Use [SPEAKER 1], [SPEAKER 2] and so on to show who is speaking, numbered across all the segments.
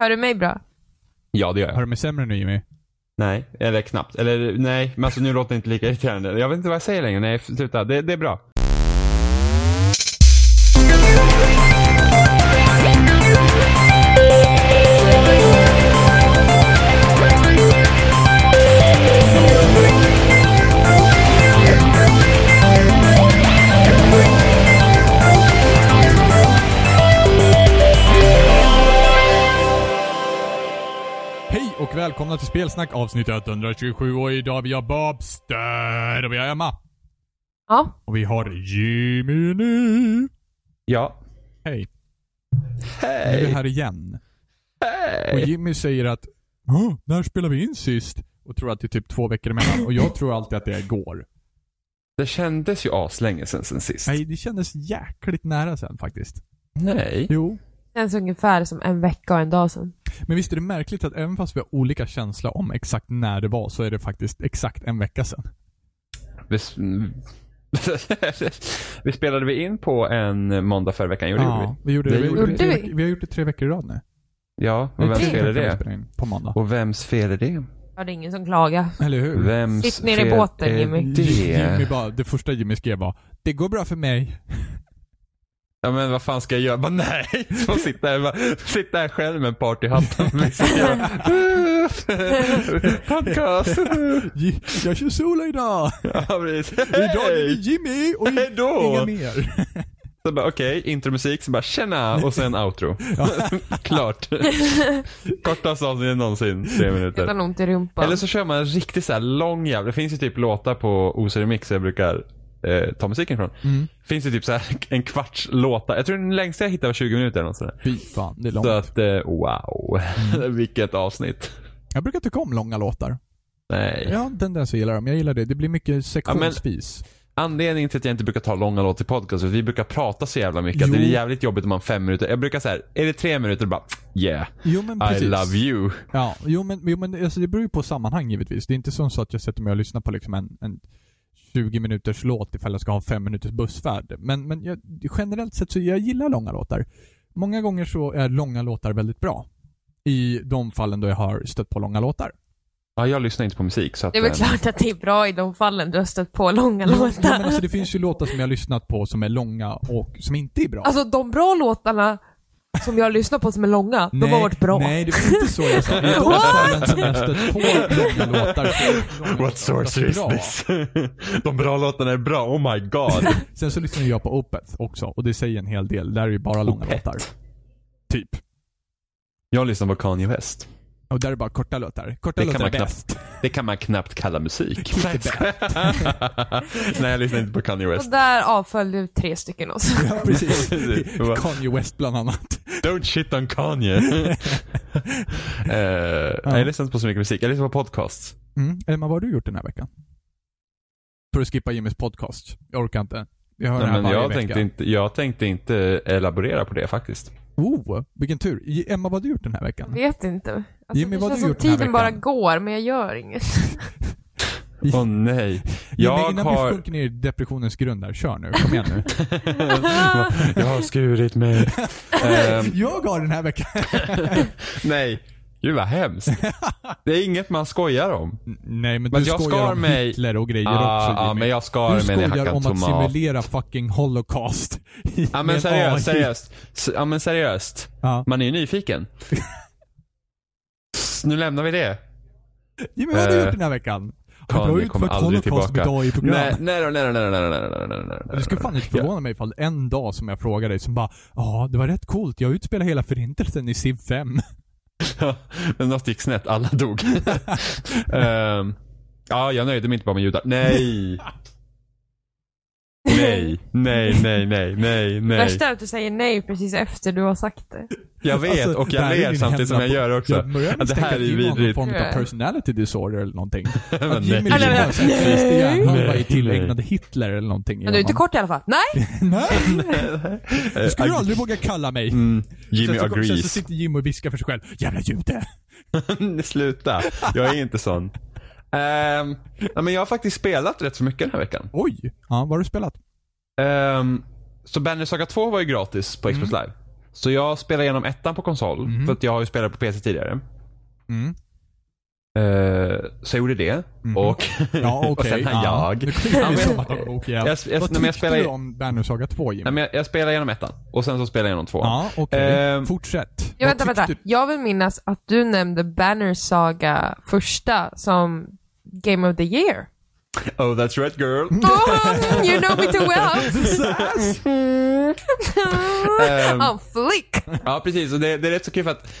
[SPEAKER 1] Hör du mig bra?
[SPEAKER 2] Ja, det gör jag.
[SPEAKER 3] Har du mig sämre nu Jimmy?
[SPEAKER 2] Nej, eller knappt. Eller nej, men alltså nu låter det inte lika irriterande. Jag vet inte vad jag säger längre. Nej, sluta. Det, det är bra.
[SPEAKER 3] Hej och välkomna till Spelsnack avsnitt 127 och idag har vi har Babster och vi har Emma.
[SPEAKER 1] Ja.
[SPEAKER 3] Och vi har Jimmy nu.
[SPEAKER 2] Ja.
[SPEAKER 3] Hej. Nu är vi
[SPEAKER 2] Hej!
[SPEAKER 3] här igen. Och Jimmy säger att "Åh, när spelar vi in sist? Och tror att det är typ två veckor emellan. Och jag tror alltid att det är igår.
[SPEAKER 2] Det kändes ju aslänge sen, sen sist.
[SPEAKER 3] Nej, det kändes jäkligt nära sen faktiskt.
[SPEAKER 2] Nej.
[SPEAKER 3] Jo.
[SPEAKER 1] Känns ungefär som en vecka och en dag sedan.
[SPEAKER 3] Men visst är det märkligt att även fast vi har olika känsla om exakt när det var så är det faktiskt exakt en vecka sen.
[SPEAKER 2] Vi, s- vi spelade vi in på en måndag förra veckan? Gjorde vi?
[SPEAKER 3] vi gjorde det.
[SPEAKER 2] Det
[SPEAKER 3] Vi, har
[SPEAKER 2] gjorde
[SPEAKER 3] gjort det
[SPEAKER 1] vi.
[SPEAKER 3] tre veck- vi har gjort det tre veckor i rad nu.
[SPEAKER 2] Ja, och vems
[SPEAKER 3] tre
[SPEAKER 2] fel är
[SPEAKER 3] veckor vi
[SPEAKER 2] det?
[SPEAKER 3] spelar in På måndag.
[SPEAKER 2] Och vems fel är det?
[SPEAKER 1] Ja, det är ingen som klagar.
[SPEAKER 3] Eller hur?
[SPEAKER 2] Vems
[SPEAKER 1] Sitt ner i
[SPEAKER 2] fel
[SPEAKER 1] båten,
[SPEAKER 2] är
[SPEAKER 1] Jimmy.
[SPEAKER 3] Jimmy
[SPEAKER 2] det?
[SPEAKER 3] bara, det första Jimmy skrev var Det går bra för mig.
[SPEAKER 2] Ja men vad fan ska jag göra? Bara, nej! Så sitta här, bara, sitta här själv med partyhatten på mig. Podcast!
[SPEAKER 3] J- Jag kör solo idag.
[SPEAKER 2] Ja, precis.
[SPEAKER 3] Idag är det
[SPEAKER 2] Hej!
[SPEAKER 3] Jimmy och
[SPEAKER 2] Hej då!
[SPEAKER 3] inga mer.
[SPEAKER 2] Så bara okej, intromusik, så bara tjena och sen outro. Klart. Kortaste avsnittet någonsin, tre minuter.
[SPEAKER 1] Utan ont i rumpan.
[SPEAKER 2] Eller så kör man en riktigt så här lång jävla, det finns ju typ låtar på OC Remix jag brukar eh, ta musiken ifrån. Finns ju typ så här en kvarts låta. Jag tror den längsta jag hittade var 20 minuter eller något sånt där.
[SPEAKER 3] Fy fan, det är långt.
[SPEAKER 2] Så att eh, wow, vilket avsnitt.
[SPEAKER 3] Jag brukar tycka om långa låtar.
[SPEAKER 2] Nej.
[SPEAKER 3] Jag har en tendens att gilla dem. Jag gillar det. Det blir mycket sektionsvis.
[SPEAKER 2] Anledningen till att jag inte brukar ta långa låtar i podcast är att vi brukar prata så jävla mycket. att
[SPEAKER 3] Jo.
[SPEAKER 2] Det är jävligt jobbigt om man fem minuter. Jag brukar så här, är det tre minuter bara yeah,
[SPEAKER 3] Jo men precis.
[SPEAKER 2] I love you.
[SPEAKER 3] Ja, jo men, jo, men alltså, det beror ju på sammanhang givetvis. Det är inte som så att jag sätter mig och lyssnar på liksom en, en 20 minuters låt ifall jag ska ha en 5 minuters bussfärd. Men, men jag, generellt sett så jag gillar långa låtar. Många gånger så är långa låtar väldigt bra. I de fallen då jag har stött på långa låtar.
[SPEAKER 2] Ja, jag lyssnar inte på musik så att...
[SPEAKER 1] Det är väl
[SPEAKER 2] eh,
[SPEAKER 1] klart att det är bra i de fallen du har stött på långa
[SPEAKER 3] Ja, men
[SPEAKER 1] låtar.
[SPEAKER 3] alltså, det finns ju låtar som jag har lyssnat på som är långa och som inte är bra.
[SPEAKER 1] Alltså de bra låtarna som jag lyssnar på som är långa, de har varit bra.
[SPEAKER 3] Nej, det var inte så jag sa. I de fallen som jag stött på långa låtar så är långa
[SPEAKER 2] What sorcery is
[SPEAKER 3] låtar bra.
[SPEAKER 2] this? De bra låtarna är bra, oh my god.
[SPEAKER 3] Sen så lyssnar jag på Opeth också och det säger en hel del. Där är ju bara långa
[SPEAKER 2] Opeth.
[SPEAKER 3] låtar. Typ.
[SPEAKER 2] Jag lyssnar på Kanye West.
[SPEAKER 3] Och där är bara korta låtar. Korta
[SPEAKER 2] Det kan
[SPEAKER 3] låtar är
[SPEAKER 2] man knappt-
[SPEAKER 3] bäst.
[SPEAKER 2] Det kan man knappt kalla musik. Nej, jag lyssnar inte på Kanye
[SPEAKER 1] Och
[SPEAKER 2] West.
[SPEAKER 1] där avföll du tre stycken oss.
[SPEAKER 3] Ja, precis.
[SPEAKER 2] Precis. Det var-
[SPEAKER 3] Kanye West bland annat.
[SPEAKER 2] Don't shit on Kanye. Eh, nej, Jag lyssnar inte på så mycket musik, jag lyssnar på podcasts.
[SPEAKER 3] Mm. Emma, vad har du gjort den här veckan? För att skippa Jimmys podcast. Jag orkar inte. Jag hör
[SPEAKER 2] Nej,
[SPEAKER 3] den
[SPEAKER 2] men
[SPEAKER 3] här varje
[SPEAKER 2] jag,
[SPEAKER 3] vecka.
[SPEAKER 2] tänkte inte, jag tänkte inte elaborera på det faktiskt.
[SPEAKER 3] Oh, vilken tur. J- Emma, vad har du gjort den här
[SPEAKER 1] Jag
[SPEAKER 3] veckan?
[SPEAKER 1] vet inte. Alltså,
[SPEAKER 3] Jimmy,
[SPEAKER 1] det
[SPEAKER 3] vad har
[SPEAKER 1] känns
[SPEAKER 3] du
[SPEAKER 1] som
[SPEAKER 3] gjort den här
[SPEAKER 1] tiden bara
[SPEAKER 3] veckan?
[SPEAKER 1] går, men jag gör inget.
[SPEAKER 2] Åh nej. Jag
[SPEAKER 3] Jimmy, innan vi
[SPEAKER 2] har,
[SPEAKER 3] sjunker ner i depressionens grund där. Kör nu. Kom igen nu.
[SPEAKER 2] jag har skurit mig. Ehm,
[SPEAKER 3] jag har den här veckan.
[SPEAKER 2] nej. Gud vad hemskt. Det är inget man skojar om.
[SPEAKER 3] Nej, men,
[SPEAKER 2] Men
[SPEAKER 3] du
[SPEAKER 2] jag
[SPEAKER 3] skojar
[SPEAKER 2] skar
[SPEAKER 3] om
[SPEAKER 2] mig- Ah,
[SPEAKER 3] Hitler och grejer
[SPEAKER 2] Ja,
[SPEAKER 3] också
[SPEAKER 2] ja,
[SPEAKER 3] Jimmy.
[SPEAKER 2] men jag skar
[SPEAKER 3] Du
[SPEAKER 2] mig när jag
[SPEAKER 3] skojar
[SPEAKER 2] hackade
[SPEAKER 3] om att
[SPEAKER 2] tomat.
[SPEAKER 3] simulera fucking holocaust. i-
[SPEAKER 2] Ja
[SPEAKER 3] med
[SPEAKER 2] men
[SPEAKER 3] en AI.
[SPEAKER 2] seriöst, seriöst. S- Ja men seriöst.
[SPEAKER 3] Ja.
[SPEAKER 2] Man är ju nyfiken. S- Nu lämnar vi det.
[SPEAKER 3] Jimmy, vad har du
[SPEAKER 2] Eh,
[SPEAKER 3] gjort den här veckan? Ja, Du har ju
[SPEAKER 2] Kanye
[SPEAKER 3] inte
[SPEAKER 2] kommer
[SPEAKER 3] fått
[SPEAKER 2] aldrig
[SPEAKER 3] holocaust
[SPEAKER 2] tillbaka.
[SPEAKER 3] idag i program.
[SPEAKER 2] Nej, nej då, nej då, nej då, nej då, nej då, nej då, nej då.
[SPEAKER 3] Du skulle fan inte förvåna mig ifall en dag som jag frågar dig som bara Ja, det var rätt coolt. Jag utspelade hela förintelsen i Civ 5.
[SPEAKER 2] Ja, Men något gick snett, alla dog. Ehm, ja, jag nöjde mig inte bara med judar. Nej! Nej, nej, nej, nej, nej, nej.
[SPEAKER 1] Värsta är att du säger nej precis efter du har sagt det.
[SPEAKER 2] Jag vet
[SPEAKER 3] Alltså,
[SPEAKER 2] och
[SPEAKER 3] där
[SPEAKER 2] jag
[SPEAKER 3] är
[SPEAKER 2] ler
[SPEAKER 3] din
[SPEAKER 2] samtidigt som jag
[SPEAKER 3] hämnd-
[SPEAKER 2] gör det också.
[SPEAKER 3] Jag börjar
[SPEAKER 2] Ja, det
[SPEAKER 3] misstänka
[SPEAKER 2] här är
[SPEAKER 3] att Jimmy har någon
[SPEAKER 2] vidrigt.
[SPEAKER 3] form av
[SPEAKER 1] Ja.
[SPEAKER 3] personality disorder eller någonting. Att
[SPEAKER 2] Men
[SPEAKER 3] Jimmy
[SPEAKER 2] nej.
[SPEAKER 3] liksom
[SPEAKER 1] Eller-
[SPEAKER 3] bara såhär fryst i hjärnan bara är
[SPEAKER 2] Nej.
[SPEAKER 3] tillägnade Hitler eller någonting.
[SPEAKER 1] Men du är inte
[SPEAKER 3] Ja,
[SPEAKER 1] kort i alla fall. Nej!
[SPEAKER 3] man- Nej! Du skulle
[SPEAKER 2] Eh,
[SPEAKER 3] ju aldrig våga kalla mig.
[SPEAKER 2] Mm, Jimmy
[SPEAKER 3] sen, så, sen så
[SPEAKER 2] agrees.
[SPEAKER 3] sitter Jimmy och viskar för sig själv. Jävla jude!
[SPEAKER 2] Sluta, jag är inte sån. Ehm, nej, men jag har faktiskt spelat rätt så mycket den här veckan.
[SPEAKER 3] Oj! Ja, vad har du spelat?
[SPEAKER 2] Ehm, så Banner Saga 2 var ju gratis på Xbox Live. Så jag spelar igenom ettan på konsol,
[SPEAKER 3] Mm.
[SPEAKER 2] för att jag har ju spelat på PC tidigare.
[SPEAKER 3] Mm.
[SPEAKER 2] Eh, så jag gjorde det.
[SPEAKER 3] Mhm.
[SPEAKER 2] Och,
[SPEAKER 3] Ja, okej.
[SPEAKER 2] och sen hann
[SPEAKER 3] ja.
[SPEAKER 2] jag.
[SPEAKER 3] Nu klickar
[SPEAKER 2] Ja,
[SPEAKER 3] vi
[SPEAKER 2] men-
[SPEAKER 3] som att- och
[SPEAKER 2] Jag- jag-
[SPEAKER 3] ihjäl. Vad
[SPEAKER 2] när jag
[SPEAKER 3] tyckte
[SPEAKER 2] spelar-
[SPEAKER 3] du om Banner Saga 2, Jimmy?
[SPEAKER 2] Nej, men jag, jag spelade igenom ettan och sen så spelade jag igenom tvåan.
[SPEAKER 3] Ja, okej.
[SPEAKER 2] Ehm,
[SPEAKER 3] Fortsätt.
[SPEAKER 1] Ja,
[SPEAKER 3] Vad
[SPEAKER 1] vänta, vänta.
[SPEAKER 3] tyckte du?
[SPEAKER 1] Jag vill minnas att du nämnde Banner Saga första som Game of the Year.
[SPEAKER 2] Oh that's right girl.
[SPEAKER 3] Mm.
[SPEAKER 1] Oh, you know me too well.
[SPEAKER 3] This ass!
[SPEAKER 2] Ehm,
[SPEAKER 1] I'm flick.
[SPEAKER 2] Ja, precis. Och det, det är rätt så kul för att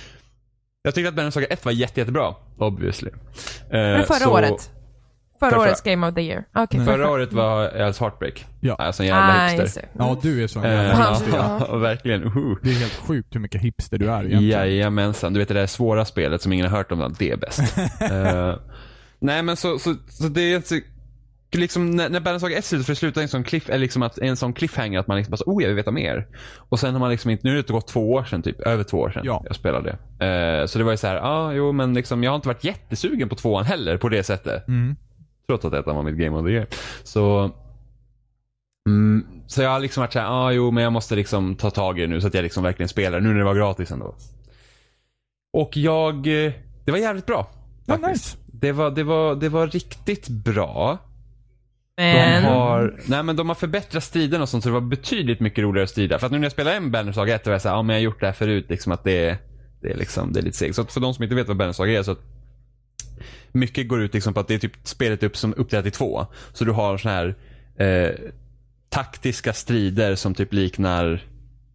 [SPEAKER 2] jag tyckte att Banner Saga 1 var jätte, jättebra. Obviously.
[SPEAKER 1] Men
[SPEAKER 2] Eh,
[SPEAKER 1] förra
[SPEAKER 2] så-
[SPEAKER 1] året? Förra
[SPEAKER 2] Förra.
[SPEAKER 1] årets Game of the Year. Okej,
[SPEAKER 2] Förra året var Els Heartbreak.
[SPEAKER 3] Ja.
[SPEAKER 2] Alltså en jävla
[SPEAKER 1] Ah, just
[SPEAKER 2] hipster.
[SPEAKER 1] det.
[SPEAKER 3] Ja, du är sån
[SPEAKER 2] Eh,
[SPEAKER 3] jävla
[SPEAKER 1] Fan.
[SPEAKER 3] hipster.
[SPEAKER 2] ja, verkligen. Uh.
[SPEAKER 3] Det är helt sjukt hur mycket hipster du är egentligen.
[SPEAKER 2] Jajamensan. Du vet det där svåra spelet som ingen har hört om, det är bäst. Eh, nej men så, så, så det är inte Liksom när, när Banner Saga 1 slutar, för det slutar i en sån, cliff, eller liksom att, en sån cliffhanger att man liksom bara så, oh jag vill veta mer. Och sen har man liksom inte, nu har det gått två år sedan typ, över två år sedan
[SPEAKER 3] Ja.
[SPEAKER 2] jag spelade. Eh, så det var ju så här, ja ah, jo men liksom jag har inte varit jättesugen på tvåan heller på det sättet.
[SPEAKER 3] Mm.
[SPEAKER 2] Trots att ettan var mitt game of the year. Så, mm, så jag har liksom varit såhär, ah, jo men jag måste liksom ta tag i det nu så att jag liksom verkligen spelar. Nu när det var gratis ändå. Och jag, eh, det var jävligt bra.
[SPEAKER 3] Ja,
[SPEAKER 2] Faktiskt.
[SPEAKER 3] nice.
[SPEAKER 2] det, var, det, var, det var riktigt bra. De
[SPEAKER 1] Men...
[SPEAKER 2] har, nej men de har förbättrat striden och sånt så det var betydligt mycket roligare att strida. För att nu när jag spelar en Banner Saga 1 så var jag såhär, ja ah, men jag har gjort det här förut liksom att det är, det är, liksom, det är lite segt. Så att för de som inte vet vad Banner Saga är så att mycket går ut liksom på att det är typ spelet upp som uppdelat i två. Så du har såna här eh, taktiska strider som typ liknar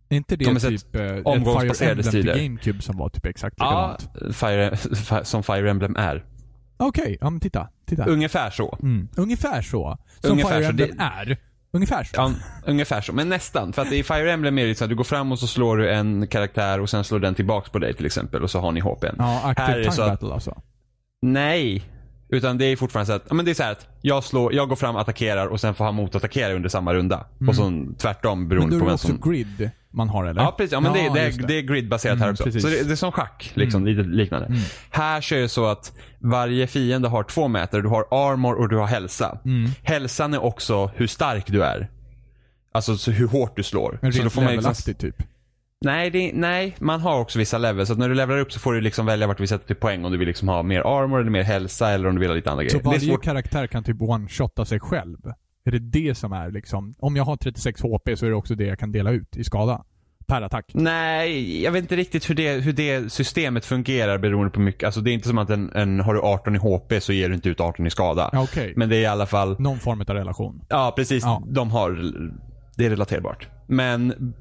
[SPEAKER 3] Är inte det
[SPEAKER 2] De har sett
[SPEAKER 3] typ eh, ett Fire
[SPEAKER 2] omgångsbaserade
[SPEAKER 3] Emblem till
[SPEAKER 2] strider.
[SPEAKER 3] GameCube som var typ exakt
[SPEAKER 2] ja,
[SPEAKER 3] likadant?
[SPEAKER 2] Fire, Fi- som Fire Emblem är.
[SPEAKER 3] Okej, ja men titta. titta.
[SPEAKER 2] Ungefär så.
[SPEAKER 3] Mm. Ungefär så. Som
[SPEAKER 2] Ungefär
[SPEAKER 3] Fire
[SPEAKER 2] så,
[SPEAKER 3] Emblem
[SPEAKER 2] det-
[SPEAKER 3] är. Ungefär så.
[SPEAKER 2] Ja, ungefär så. Men nästan. För att i Fire Emblem är det så att du går fram och så slår du en karaktär och sen slår den tillbaks på dig till exempel och så har ni HP. n.
[SPEAKER 3] Ja,
[SPEAKER 2] Här
[SPEAKER 3] Active
[SPEAKER 2] är det
[SPEAKER 3] Time
[SPEAKER 2] så att-
[SPEAKER 3] Battle alltså.
[SPEAKER 2] Nej. Utan det är fortfarande så att, ja, men det är så här att jag, slår, jag går fram, attackerar och sen får han motattackera under samma runda. Och så tvärtom
[SPEAKER 3] Mm. Men då
[SPEAKER 2] beroende
[SPEAKER 3] är
[SPEAKER 2] på
[SPEAKER 3] det
[SPEAKER 2] vem
[SPEAKER 3] också
[SPEAKER 2] som...
[SPEAKER 3] grid man har eller?
[SPEAKER 2] Ja precis, ja, men det, det,
[SPEAKER 3] just Mm,
[SPEAKER 2] är, det är gridbaserat här också.
[SPEAKER 3] precis. Mm.
[SPEAKER 2] Så det, det är som schack, liksom, lite liknande. Här kör det så att varje fiende har två mätare. Du har armor och du har hälsa.
[SPEAKER 3] Mm.
[SPEAKER 2] Hälsan är också hur stark du är. Alltså så hur hårt du slår.
[SPEAKER 3] Men
[SPEAKER 2] så då
[SPEAKER 3] rent
[SPEAKER 2] får man liksom
[SPEAKER 3] levelaktigt typ.
[SPEAKER 2] Nej, det, nej, man har också vissa level. Så att när du levlar upp så får du liksom välja vart du vill sätta till poäng. Om du vill liksom ha mer armor eller mer hälsa eller om du vill ha lite andra
[SPEAKER 3] Så
[SPEAKER 2] grejer. Det är
[SPEAKER 3] varje
[SPEAKER 2] svårt.
[SPEAKER 3] karaktär kan typ one-shotta sig själv? Är det det som är liksom... Om jag har 36 HP så är det också det jag kan dela ut i skada. Per attack.
[SPEAKER 2] Nej, jag vet inte riktigt hur det, hur det systemet fungerar beroende på mycket. Alltså det är inte som att en, en, har du 18 i HP så ger du inte ut 18 i skada.
[SPEAKER 3] Ja, okej.
[SPEAKER 2] Men det är i alla fall
[SPEAKER 3] Någon form av relation.
[SPEAKER 2] Ja, precis.
[SPEAKER 3] Ja.
[SPEAKER 2] De har... Det är relaterbart. Men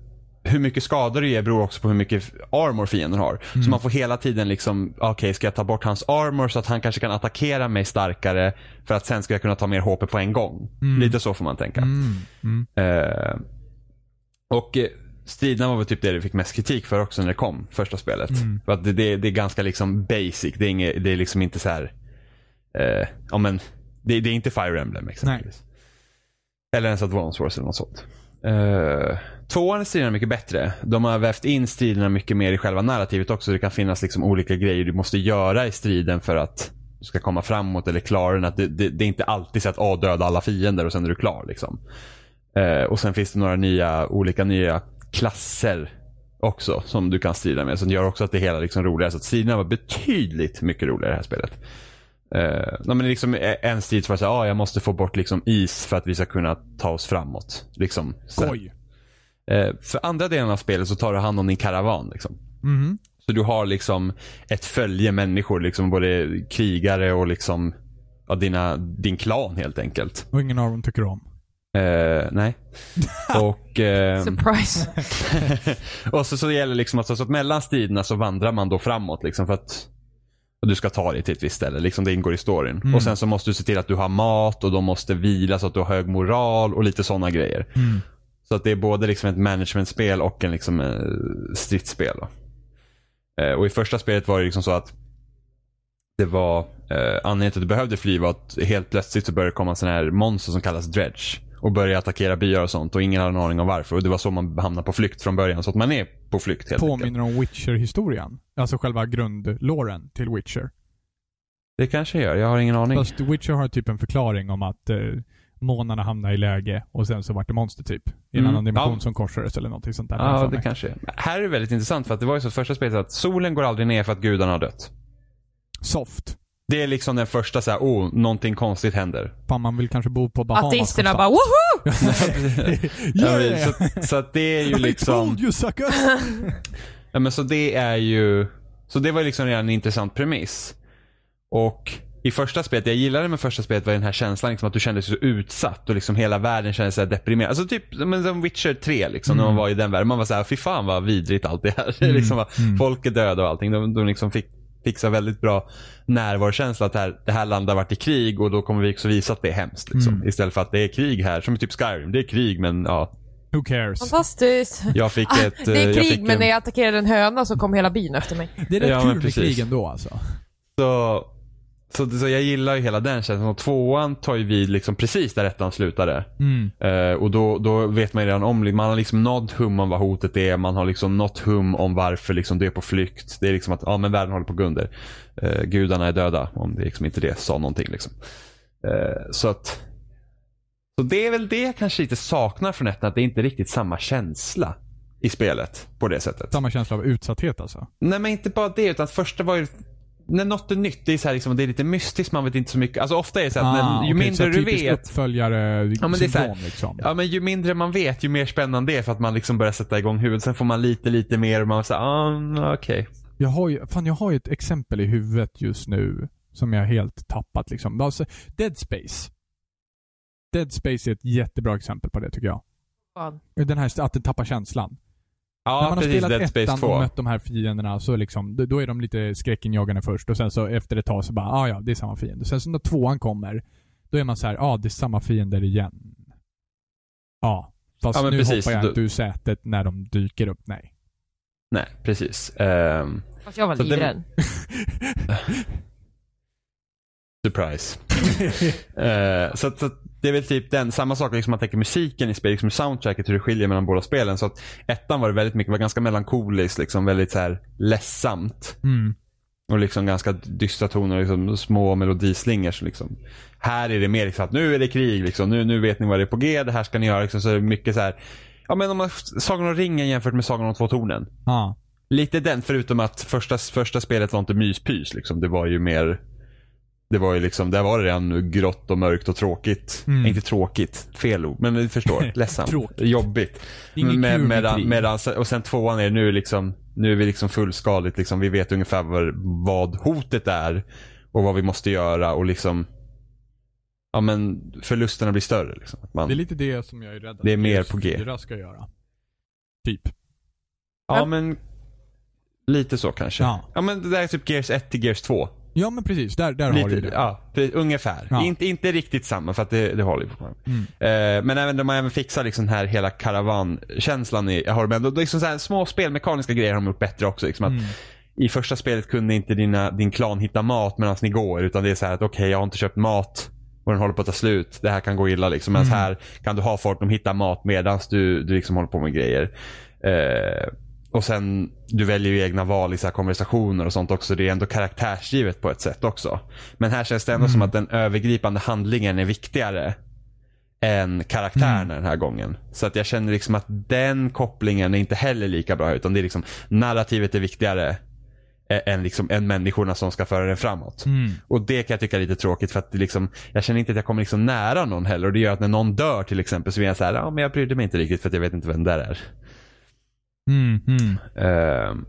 [SPEAKER 2] hur mycket skador du ger beror också på hur mycket armor fienden har.
[SPEAKER 3] Mm.
[SPEAKER 2] Så man får hela tiden liksom, okej ska jag ta bort hans armor så att han kanske kan attackera mig starkare för att sen ska jag kunna ta mer HP på en gång.
[SPEAKER 3] Mm.
[SPEAKER 2] Lite så får man tänka. Eh, och eh, striderna var väl typ det du fick mest kritik för också när det kom, första spelet. För att det, det, det är ganska liksom basic. Det är, inget, det är liksom inte så här, eh, ja men, det, det är inte Fire Emblem exempelvis. Eller ens Advance Wars eller något sånt. Eh, tvåan är striderna mycket bättre. De har vävt in striderna mycket mer i själva narrativet också. Det kan finnas liksom olika grejer du måste göra i striden för att du ska komma framåt eller klara den. Att det, det, det är inte alltid så att ah, döda alla fiender och sen är du klar. Liksom. Eh, och sen finns det några nya, olika nya klasser också som du kan strida med. Som gör också att det hela liksom roligare. Så att striderna var betydligt mycket roligare i det här spelet. Eh, nej, men liksom eh, en strid så var det såhär, ah, jag måste få bort liksom is för att vi ska kunna ta oss framåt. Liksom, så här.
[SPEAKER 3] Skoj.
[SPEAKER 2] Eh, för andra delen av spelet så tar du hand om din karavan. Liksom.
[SPEAKER 3] Mhm.
[SPEAKER 2] Så du har liksom ett följe människor, liksom både krigare och liksom, ja, dina, din klan helt enkelt.
[SPEAKER 3] Och ingen av dem tycker om.
[SPEAKER 2] Eh, nej. och, ehm,
[SPEAKER 1] Surprise.
[SPEAKER 2] och så, så gäller det liksom att, så att mellan striderna så vandrar man då framåt liksom för att och du ska ta dig till ett visst ställe. Liksom det ingår i storyn. Och sen så måste du se till att du har mat och de måste vila så att du har hög moral och lite sådana grejer. Så att det är både liksom ett managementspel och en liksom eh, stridsspel. Då. Eh, och i första spelet var det liksom så att det var eh, anledningen till att du behövde fly var att helt plötsligt så började det komma sådana här monster som kallas dredge. Och började attackera byar och sånt och ingen hade en aning om varför. Och det var så man hamnade på flykt från början. Så att man är på flykt helt enkelt.
[SPEAKER 3] Påminner om Witcher-historien. Alltså själva grundlåren till Witcher.
[SPEAKER 2] Det kanske jag gör, jag har ingen aning.
[SPEAKER 3] Fast Witcher har typ en förklaring om att eh, månarna hamnar i läge och sen så vart det monster typ. I en
[SPEAKER 2] Mm.
[SPEAKER 3] annan dimension
[SPEAKER 2] Ja.
[SPEAKER 3] som korsades eller någonting sånt där. har jag
[SPEAKER 2] Ja,
[SPEAKER 3] för
[SPEAKER 2] det
[SPEAKER 3] mig.
[SPEAKER 2] kanske är. Här är det väldigt intressant för att det var ju så att första spelet att solen går aldrig ner för att gudarna har dött.
[SPEAKER 3] Soft.
[SPEAKER 2] Det är liksom den första så här, oh, någonting konstigt händer.
[SPEAKER 3] Fan, man vill kanske bo på Bahamas.
[SPEAKER 1] Ateisterna bara
[SPEAKER 3] någonstans.
[SPEAKER 1] woho!
[SPEAKER 2] Ja,
[SPEAKER 3] Yeah!
[SPEAKER 2] men Så, att- så att det är ju
[SPEAKER 3] I
[SPEAKER 2] liksom...
[SPEAKER 3] told you sucker!
[SPEAKER 2] Ja, men så det är ju... Så det var ju liksom redan en intressant premiss. Och i första spelet, jag gillade med första spelet var den här känslan liksom att du kände dig så utsatt och liksom hela världen kändes så här deprimerad. Alltså typ men som Witcher 3 liksom när man var i den världen. Man var så här, fy fan vad vidrigt allt det här. liksom, va, Folk är döda och allting. De, de liksom fick fixa väldigt bra närvarokänsla att det här, det här landet har varit i krig och då kommer vi också visa att det är hemskt. Liksom. Istället för att det är krig här, som i typ Skyrim. Det är krig men ja,
[SPEAKER 3] Who cares?
[SPEAKER 1] Fantastiskt.
[SPEAKER 2] jag fick ett...
[SPEAKER 1] Ah, Det
[SPEAKER 2] eh,
[SPEAKER 1] är
[SPEAKER 2] jag
[SPEAKER 1] krig
[SPEAKER 2] fick
[SPEAKER 1] men
[SPEAKER 2] en-
[SPEAKER 1] när jag attackerade en höna så kom hela byn efter mig.
[SPEAKER 3] Det är rätt
[SPEAKER 2] Ja, men
[SPEAKER 3] kul med
[SPEAKER 2] precis.
[SPEAKER 3] krig ändå alltså.
[SPEAKER 2] Så, så, så jag gillar ju hela den känslan. Och tvåan tar ju vid liksom precis där ettan slutade.
[SPEAKER 3] Mm.
[SPEAKER 2] Eh, och då, då vet man ju redan om, man har liksom något hum om vad hotet är. Man har liksom något hum om varför liksom det är på flykt. Det är liksom att ja, men världen håller på att gå under. Eh, gudarna är döda. Om det liksom inte det sa någonting. Liksom. Eh, så att så det är väl det jag kanske lite saknar från ettan. Att det är inte riktigt samma känsla i spelet på det sättet.
[SPEAKER 3] Samma känsla av utsatthet alltså.
[SPEAKER 2] Nej men inte bara det utan att första var ju när något är nytt, det är, så här, liksom, det är lite mystiskt, man vet inte så mycket. Alltså ofta är det så att
[SPEAKER 3] Ah,
[SPEAKER 2] när, ju
[SPEAKER 3] okej,
[SPEAKER 2] mindre
[SPEAKER 3] så
[SPEAKER 2] du
[SPEAKER 3] typiskt
[SPEAKER 2] vet,
[SPEAKER 3] uppföljare ja,
[SPEAKER 2] men det är så här-
[SPEAKER 3] syndrom liksom.
[SPEAKER 2] ja, men ju mindre man vet ju mer spännande det är för att man liksom börjar sätta igång huvudet. Sen får man lite, lite mer och man säger ah, mm, okej.
[SPEAKER 3] Jag har ju, fan jag har ju ett exempel i huvudet just nu som jag helt tappat liksom. Men Alltså, Dead Space. Dead Space är ett jättebra exempel på det tycker jag.
[SPEAKER 1] Fan.
[SPEAKER 3] Den här att den tappar känslan. När
[SPEAKER 2] Ja,
[SPEAKER 3] man har
[SPEAKER 2] precis.
[SPEAKER 3] spelat
[SPEAKER 2] Dead Space
[SPEAKER 3] ettan och
[SPEAKER 2] 2.
[SPEAKER 3] mött de här fienderna så liksom, då- då är de lite skräckinjagande först och sen så efter ett tag så bara, ah, ja det är samma fiende. Sen så när tvåan kommer, då är man så här, ja ah, det är samma fiender igen. Ja, fast
[SPEAKER 2] Ja, men
[SPEAKER 3] nu
[SPEAKER 2] precis.
[SPEAKER 3] hoppar jag
[SPEAKER 2] Du-
[SPEAKER 3] inte ur sätet när de dyker upp. Nej.
[SPEAKER 2] Nej, precis. Ehm,
[SPEAKER 1] Fast jag var
[SPEAKER 2] Så det-
[SPEAKER 1] livrädd.
[SPEAKER 2] surprise. Eh, så att, så att det är väl typ den, samma sak liksom man tänker musiken i spelet, liksom soundtracket, hur det skiljer mellan båda spelen. Så att ettan var det väldigt mycket, var ganska melankoliskt, liksom väldigt så här ledsamt.
[SPEAKER 3] Mm.
[SPEAKER 2] Och liksom ganska dystra toner, liksom, små melodislingers. Liksom. Här är det mer liksom att nu är det krig, liksom. nu, nu vet ni vad det är på G, det här ska ni göra. Liksom. Så är det mycket så här, ja men om man, Sagan om ringen jämfört med Sagan om två tornen.
[SPEAKER 3] Ja.
[SPEAKER 2] Lite den, förutom att första, första spelet var inte myspys. Liksom. Det var ju mer, det var ju liksom, där var det redan grått och mörkt och tråkigt.
[SPEAKER 3] Mm.
[SPEAKER 2] Inte tråkigt, fel ord, men ni förstår. Ledsamt.
[SPEAKER 3] Tråkigt.
[SPEAKER 2] Jobbigt.
[SPEAKER 3] Inget kul med krig.
[SPEAKER 2] medan, medan, och sen tvåan är nu liksom, nu är vi liksom fullskaligt. Liksom, vi vet ungefär vad, vad hotet är och vad vi måste göra och liksom, ja men förlusterna blir större. Liksom. Att man,
[SPEAKER 3] Det är lite det som jag är rädd att
[SPEAKER 2] Det är mer
[SPEAKER 3] Gears
[SPEAKER 2] på G.
[SPEAKER 3] 4 ska göra. Typ.
[SPEAKER 2] ja men, lite så kanske.
[SPEAKER 3] Ja.
[SPEAKER 2] Ja. men det där är typ Gears 1 till Gears 2.
[SPEAKER 3] Ja men precis, där, där har du ju
[SPEAKER 2] Lite,
[SPEAKER 3] det.
[SPEAKER 2] ja, pre- ungefär.
[SPEAKER 3] Ja. Mm.
[SPEAKER 2] Inte, inte riktigt samma för att det, det håller ju fortfarande. Eh, men även, de har även fixat liksom den här hela karavankänslan i har de ändå, liksom så här, Små spelmekaniska grejer har de gjort bättre också. Liksom att
[SPEAKER 3] Mm.
[SPEAKER 2] I första spelet kunde inte dina, din klan hitta mat medan ni går. Utan det är så här att okej, jag har inte köpt mat och den håller på att ta slut. Det här kan gå illa. Liksom. Men
[SPEAKER 3] Mm.
[SPEAKER 2] här kan du ha folk, de hittar mat medan du, du liksom håller på med grejer. Eh, och sen, du väljer ju egna val i så här konversationer och sånt också. Det är ändå karaktärsgivet på ett sätt också. Men här känns det ändå som att den övergripande handlingen är viktigare än karaktärerna den här gången. Så att jag känner liksom att den kopplingen är inte heller lika bra. Utan det är liksom, narrativet är viktigare ä- än, liksom, än människorna som ska föra den framåt.
[SPEAKER 3] Mm.
[SPEAKER 2] Och det kan jag tycka är lite tråkigt för att det liksom, jag känner inte att jag kommer liksom nära någon heller. Och det gör att när någon dör till exempel så blir jag så här, ja men jag brydde mig inte riktigt för att jag vet inte vem det där är.
[SPEAKER 3] Mm, mm.
[SPEAKER 2] Ehm,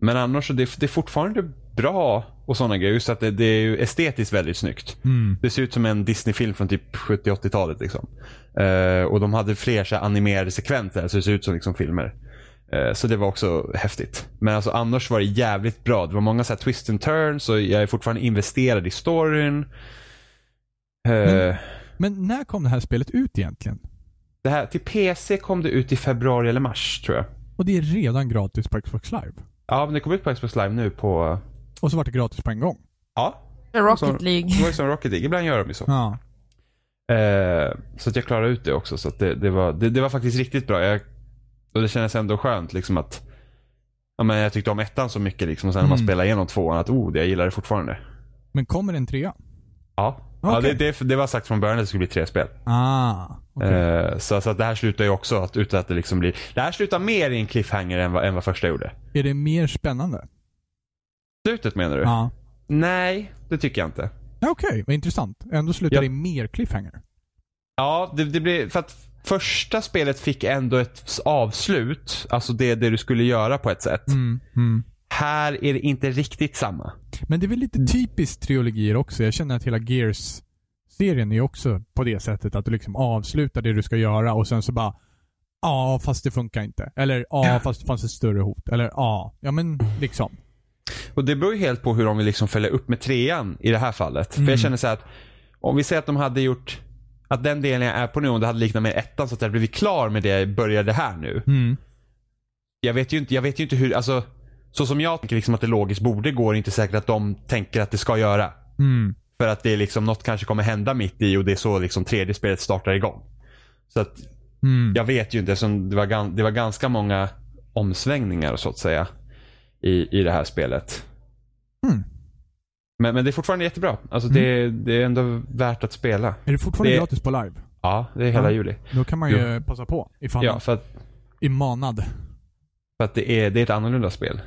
[SPEAKER 2] men annars så det, det är fortfarande bra och sådana grejer. Just att det, det är ju estetiskt väldigt snyggt.
[SPEAKER 3] Mm.
[SPEAKER 2] Det ser ut som en Disney-film från typ 70-80-talet. Liksom. Eh, och de hade fler så här, animerade sekvenser, så det ser ut som liksom, filmer. Eh, så det var också häftigt. Men alltså, annars var det jävligt bra. Det var många så här, twist and turns och jag är fortfarande investerad i storyn. Eh,
[SPEAKER 3] Men när kom det här spelet ut egentligen?
[SPEAKER 2] det här, till PC kom det ut i februari eller mars tror jag.
[SPEAKER 3] Och det är redan gratis på Xbox Live.
[SPEAKER 2] Ja, men det kom ut på Xbox Live nu på...
[SPEAKER 3] Och så vart det gratis på en gång.
[SPEAKER 2] Ja,
[SPEAKER 1] Rocket League.
[SPEAKER 2] det var ju som Rocket League. Ibland gör de ju så.
[SPEAKER 3] Ja.
[SPEAKER 2] Eh, så att jag klarade ut det också. Så att det, det, var, det, det var faktiskt riktigt bra. Jag, och det kändes ändå skönt liksom att ja, men jag tyckte om ettan så mycket liksom, och sen när man
[SPEAKER 3] Mm.
[SPEAKER 2] spelar igenom tvåan att oh, det, jag gillar det fortfarande.
[SPEAKER 3] Men kommer en trea?
[SPEAKER 2] Ja. Ja,
[SPEAKER 3] Okej.
[SPEAKER 2] det, det, det var sagt från början att det skulle bli tre spel.
[SPEAKER 3] Ah, okej.
[SPEAKER 2] Eh, så, så att det här slutar ju också att, utan att det liksom blir... Det här slutar mer i en cliffhanger än vad, än vad första gjorde.
[SPEAKER 3] Är det mer spännande?
[SPEAKER 2] Slutet menar du?
[SPEAKER 3] Ja.
[SPEAKER 2] Nej, det tycker jag inte.
[SPEAKER 3] Ja, Okej, vad intressant. Ändå slutar
[SPEAKER 2] Ja.
[SPEAKER 3] det i mer cliffhanger.
[SPEAKER 2] Ja, det, det blir... För att första spelet fick ändå ett avslut. Alltså det, det du skulle göra på ett sätt.
[SPEAKER 3] Mm. Mm.
[SPEAKER 2] Här är det inte riktigt samma.
[SPEAKER 3] Men det är väl lite typiskt trilogier också. Jag känner att hela Gears-serien är ju också på det sättet att du liksom avslutar det du ska göra och sen så bara Ja, fast det funkar inte. Eller ja, fast det fanns ett större hot. Eller ja, ja men liksom.
[SPEAKER 2] Och det beror ju helt på hur de vill liksom följa upp med trean i det här fallet. För jag känner så här att om vi säger att de hade gjort att den delen jag är på nu, om det hade liknat med ettan så att jag hade blivit klar med det jag började här nu.
[SPEAKER 3] Mm.
[SPEAKER 2] Jag vet ju inte, jag vet ju inte hur, alltså så som jag tänker liksom att det logiskt borde gå är det inte säkert att de tänker att det ska göra.
[SPEAKER 3] Mm.
[SPEAKER 2] För att det är liksom något kanske kommer hända mitt i och det är så liksom tredje spelet startar igång. Så att
[SPEAKER 3] Mm.
[SPEAKER 2] jag vet ju inte eftersom det var, gan- det var ganska många omsvängningar så att säga i, i det här spelet.
[SPEAKER 3] Mm.
[SPEAKER 2] Men, men det är fortfarande jättebra. Alltså det, det är ändå värt att spela.
[SPEAKER 3] Är det fortfarande
[SPEAKER 2] Det-
[SPEAKER 3] gratis på live?
[SPEAKER 2] Ja, det är hela
[SPEAKER 3] Ja.
[SPEAKER 2] juli.
[SPEAKER 3] Då kan man ju passa på ifall
[SPEAKER 2] Ja,
[SPEAKER 3] man
[SPEAKER 2] för att,
[SPEAKER 3] är manad.
[SPEAKER 2] för att det, är, det är ett annorlunda spel.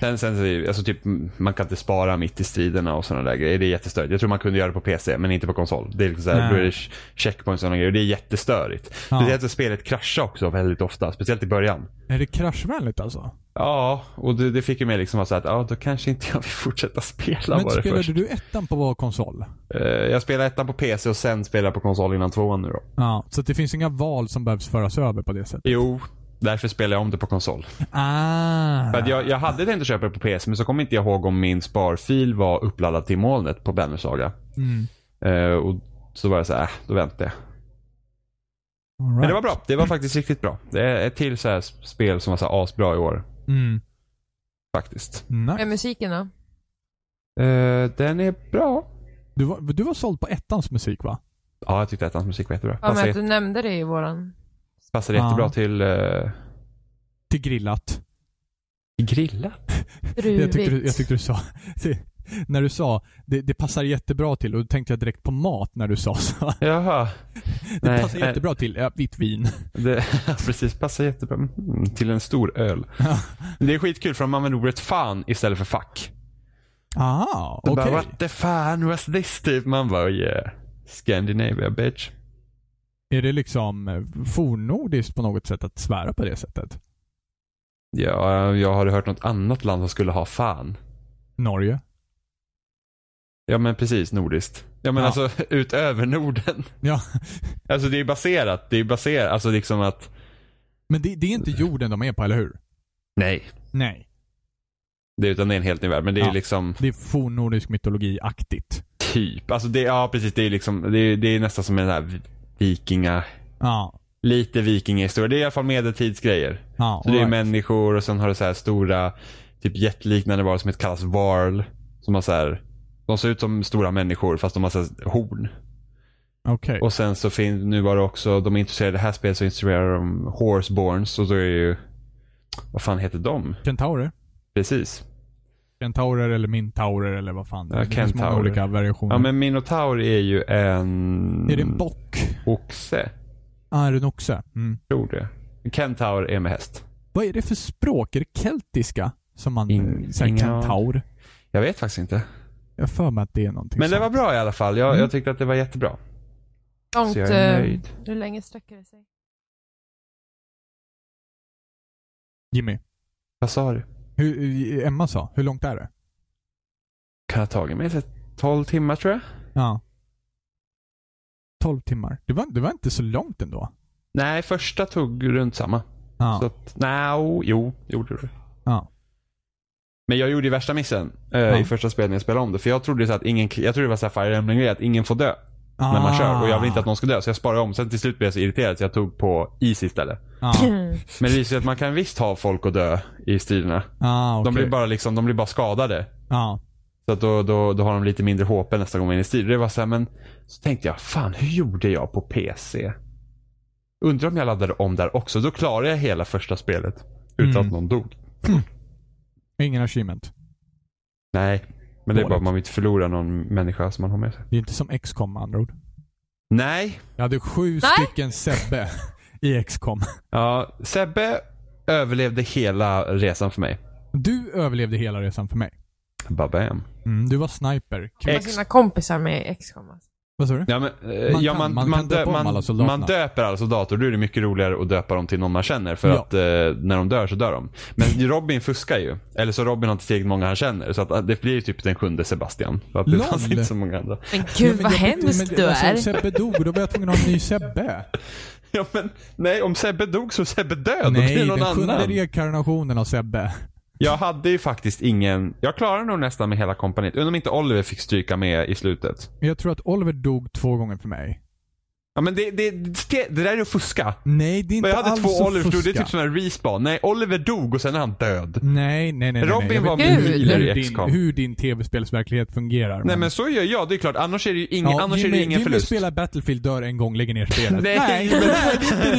[SPEAKER 2] Sen, sen så är det- alltså typ, m- man kan inte spara mitt i striderna och sådana där grejer. Det är jättestörigt. Jag tror man kunde göra det på PC, men inte på konsol. Det är liksom såhär,
[SPEAKER 3] Nej.
[SPEAKER 2] då är det ch- checkpoints och sådana grejer. Det är jättestörigt.
[SPEAKER 3] Ja.
[SPEAKER 2] Speciellt att spelet kraschar också väldigt ofta. Speciellt i början.
[SPEAKER 3] Är det kraschvänligt alltså?
[SPEAKER 2] Ja, och det, det fick ju mig liksom att säga att ja, då kanske inte jag vill fortsätta spela
[SPEAKER 3] Men
[SPEAKER 2] var det
[SPEAKER 3] spelade
[SPEAKER 2] först.
[SPEAKER 3] du ettan på vår konsol?
[SPEAKER 2] Eh, Jag spelade ettan på PC och sen spelade jag på konsol innan tvåan nu då.
[SPEAKER 3] Ja. Så att det finns inga val som behövs föras över på det sättet?
[SPEAKER 2] Jo, därför spelar jag om det på konsol.
[SPEAKER 3] Ah.
[SPEAKER 2] För att jag, jag hade tänkt att köpa det på PS, men så kommer inte jag ihåg om min sparfil var uppladdad till molnet på Bannersaga.
[SPEAKER 3] Mm.
[SPEAKER 2] Eh, och så var jag så här, äh, då väntar jag.
[SPEAKER 3] All right.
[SPEAKER 2] Men det var bra. Det var faktiskt riktigt bra. Det är ett till så här spel som var så här asbra i år.
[SPEAKER 3] Mm.
[SPEAKER 2] Faktiskt.
[SPEAKER 1] Är
[SPEAKER 3] Nice.
[SPEAKER 1] musiken då?
[SPEAKER 2] Eh, den är bra.
[SPEAKER 3] Du, var, du var såld på ettans musik va?
[SPEAKER 2] Ja, jag tyckte att hans musik var jättebra.
[SPEAKER 1] Ja,
[SPEAKER 2] Passar,
[SPEAKER 1] men att
[SPEAKER 2] jätte-
[SPEAKER 1] du nämnde det i våran.
[SPEAKER 2] passar
[SPEAKER 3] Ja.
[SPEAKER 2] jättebra till eh,
[SPEAKER 3] Till grillat.
[SPEAKER 2] grillat.
[SPEAKER 3] Jag tyckte, du,
[SPEAKER 1] Druvigt.
[SPEAKER 3] jag tyckte du sa... När du sa det, det passar jättebra till och då tänkte jag direkt på mat när du sa så.
[SPEAKER 2] Jaha.
[SPEAKER 3] Det
[SPEAKER 2] Nej,
[SPEAKER 3] passar
[SPEAKER 2] nej.
[SPEAKER 3] jättebra till ja, vitt vin.
[SPEAKER 2] Det, precis, passar jättebra. Mm, till en stor öl.
[SPEAKER 3] Ja.
[SPEAKER 2] Det är skitkul för de använder ordet fan istället för fuck.
[SPEAKER 3] Ah,
[SPEAKER 2] Så
[SPEAKER 3] okej.
[SPEAKER 2] bara, What the fan was this? Typ. Man bara yeah. Scandinavia bitch.
[SPEAKER 3] Är det liksom eh, fornnordiskt på något sätt att svära på det sättet?
[SPEAKER 2] Ja, jag har hört något annat land som skulle ha fan.
[SPEAKER 3] Norge?
[SPEAKER 2] Ja men precis, nordiskt. Ja men
[SPEAKER 3] Ja.
[SPEAKER 2] alltså utöver Norden.
[SPEAKER 3] Ja.
[SPEAKER 2] Alltså det är baserat, det är baserat, alltså liksom att
[SPEAKER 3] Men det, det är inte jorden de är på, eller hur?
[SPEAKER 2] nej.
[SPEAKER 3] Nej.
[SPEAKER 2] Det, utan det är en helt ny värld. Men det är
[SPEAKER 3] Ja.
[SPEAKER 2] liksom
[SPEAKER 3] Det är fornnordisk mytologi-aktigt.
[SPEAKER 2] typ, alltså det, ja precis, det är liksom, det är, det är nästan som en sån här vi- vikinga,
[SPEAKER 3] Ja.
[SPEAKER 2] lite vikingahistoria. Det är i alla fall medeltidsgrejer.
[SPEAKER 3] ja
[SPEAKER 2] Så det är
[SPEAKER 3] alright.
[SPEAKER 2] människor och sen har du så här stora, typ jätteliknande varelser som heter- kallas varl. Som har så här, de ser ut som stora människor fast de har så här horn.
[SPEAKER 3] Okej.
[SPEAKER 2] Och sen så finns, nu var det också, de är intresserade i det här spelet så instruerar de horseborns och då är ju, vad fan heter de?
[SPEAKER 3] Kentaurer?
[SPEAKER 2] Precis.
[SPEAKER 3] Kentaurer eller mintaurer eller vad fan det
[SPEAKER 2] Ja,
[SPEAKER 3] är. Det finns många
[SPEAKER 2] kentaurer.
[SPEAKER 3] olika variationer.
[SPEAKER 2] Ja men minotaur är ju en
[SPEAKER 3] Mm. Är det en bock?
[SPEAKER 2] oxe,
[SPEAKER 3] Ah, är det en oxe? Mm.
[SPEAKER 2] tror det. Kentaur är med häst.
[SPEAKER 3] Vad är det för språk? Är det keltiska? Som man...
[SPEAKER 2] In-
[SPEAKER 3] säger
[SPEAKER 2] inga-
[SPEAKER 3] kentaur?
[SPEAKER 2] Jag vet faktiskt inte.
[SPEAKER 3] Jag har för mig att det är någonting
[SPEAKER 2] Men det
[SPEAKER 3] sånt.
[SPEAKER 2] var bra i alla fall. Jag,
[SPEAKER 3] Mm.
[SPEAKER 2] jag tyckte att det var jättebra.
[SPEAKER 1] Långt,
[SPEAKER 2] Så jag är
[SPEAKER 1] eh,
[SPEAKER 2] nöjd.
[SPEAKER 1] Hur länge sträcker det sig?
[SPEAKER 3] Jimmy,
[SPEAKER 2] Vad sa du?
[SPEAKER 3] hur, Emma sa, hur långt är det?
[SPEAKER 2] Kan ha tagit mig så här 12 timmar tror jag.
[SPEAKER 3] Ja. 12 timmar. Det var, det var inte så långt ändå.
[SPEAKER 2] Nej, första tog runt samma.
[SPEAKER 3] Ja.
[SPEAKER 2] Så att, no, jo, gjorde det.
[SPEAKER 3] Ja.
[SPEAKER 2] Men jag gjorde ju värsta missen eh, i första spelet när jag spelade om det. För jag trodde ju så att ingen, jag trodde det var så här Fire Emblem grej att ingen får dö när man kör. Och jag vill inte att någon ska dö. Så jag sparade om. Sen till slut blev jag så irriterad så jag tog på is istället.
[SPEAKER 3] Ja.
[SPEAKER 2] Men det visar sig att man kan visst ha folk att dö i striderna.
[SPEAKER 3] Ah,
[SPEAKER 2] De,
[SPEAKER 3] okej.
[SPEAKER 2] blir bara liksom, de blir bara skadade.
[SPEAKER 3] Ja.
[SPEAKER 2] Så att då, då, då har de lite mindre HP nästa gång man är inne i strider. Det var så här, men så tänkte jag, fan hur gjorde jag på PC? Undrar om jag laddade om där också. Då klarade jag hela första spelet. Utan
[SPEAKER 3] Mm.
[SPEAKER 2] att någon dog.
[SPEAKER 3] Ingen achievement.
[SPEAKER 2] Nej. Men det är
[SPEAKER 3] Dåligt.
[SPEAKER 2] bara att man vill inte förlora någon människa som man har med sig.
[SPEAKER 3] Det är inte som XCOM med andra ord.
[SPEAKER 2] Nej.
[SPEAKER 3] Jag hade sju stycken Sebbe i XCOM.
[SPEAKER 2] Ja, Sebbe överlevde hela resan för mig.
[SPEAKER 3] Du överlevde hela resan för mig. Eh.
[SPEAKER 2] Babam.
[SPEAKER 3] Mm, du var sniper. Kul.
[SPEAKER 1] Med
[SPEAKER 2] Ex-
[SPEAKER 1] sina kompisar med alltså. x
[SPEAKER 3] Vad sa du?
[SPEAKER 2] Ja, men, eh,
[SPEAKER 3] Man
[SPEAKER 2] ja,
[SPEAKER 3] kan-
[SPEAKER 2] man,
[SPEAKER 3] man
[SPEAKER 2] man,
[SPEAKER 3] kan döpa
[SPEAKER 2] dö-
[SPEAKER 3] om
[SPEAKER 2] man,
[SPEAKER 3] alla soldaterna.
[SPEAKER 2] man döper alla soldater. Då är det mycket roligare att döpa dem till någon man känner. För
[SPEAKER 3] Ja.
[SPEAKER 2] att eh, när de dör så dör de. Men Robin fuskar ju. Eller så Robin har inte tillräckligt många han känner. Så att, eh, det blir typ den sjunde Sebastian. För att det
[SPEAKER 3] Lol.
[SPEAKER 2] fanns inte så många andra.
[SPEAKER 1] Men
[SPEAKER 3] Nej,
[SPEAKER 1] gud
[SPEAKER 3] men
[SPEAKER 1] vad
[SPEAKER 3] jag-
[SPEAKER 1] hemskt
[SPEAKER 3] men-
[SPEAKER 1] du är.
[SPEAKER 3] Alltså, Sebbe dog och då var jag tvungen att ha en ny Sebbe.
[SPEAKER 2] Ja, men, nej, om Sebbe dog så är Sebbe död. Nej,
[SPEAKER 3] Nej,
[SPEAKER 2] det är
[SPEAKER 3] den
[SPEAKER 2] någon
[SPEAKER 3] sjunde
[SPEAKER 2] annan.
[SPEAKER 3] rekarnationen av Sebbe.
[SPEAKER 2] Jag hade ju faktiskt ingen... Jag klarade nog nästan med hela kompaniet. Undrar om inte Oliver fick stryka med i slutet.
[SPEAKER 3] Men Jag tror att Oliver dog två gånger för mig.
[SPEAKER 2] Ja, men det, det, det, det där är att fuska.
[SPEAKER 3] Nej, det är inte
[SPEAKER 2] Jag hade
[SPEAKER 3] alls
[SPEAKER 2] två
[SPEAKER 3] att
[SPEAKER 2] Oliver, det är
[SPEAKER 3] fuska.
[SPEAKER 2] typ sån här respawn. Nej, Oliver dog och sen är han död.
[SPEAKER 3] Nej, nej, nej. nej,
[SPEAKER 2] Robin
[SPEAKER 3] nej. Jag
[SPEAKER 2] var
[SPEAKER 3] vet
[SPEAKER 1] min
[SPEAKER 3] inte
[SPEAKER 1] healer
[SPEAKER 2] i
[SPEAKER 3] hur din,
[SPEAKER 2] XCOM.
[SPEAKER 3] hur din tv-spelsverklighet fungerar.
[SPEAKER 2] Nej men så gör jag, det är klart. Annars är det ju ingen, annars
[SPEAKER 3] Jimmy,
[SPEAKER 2] är det ingen
[SPEAKER 3] Jimmy
[SPEAKER 2] förlust.
[SPEAKER 3] spelar Battlefield, dör en gång, lägger ner spelet.
[SPEAKER 2] Nej,
[SPEAKER 3] nej men
[SPEAKER 2] men-
[SPEAKER 3] det är inte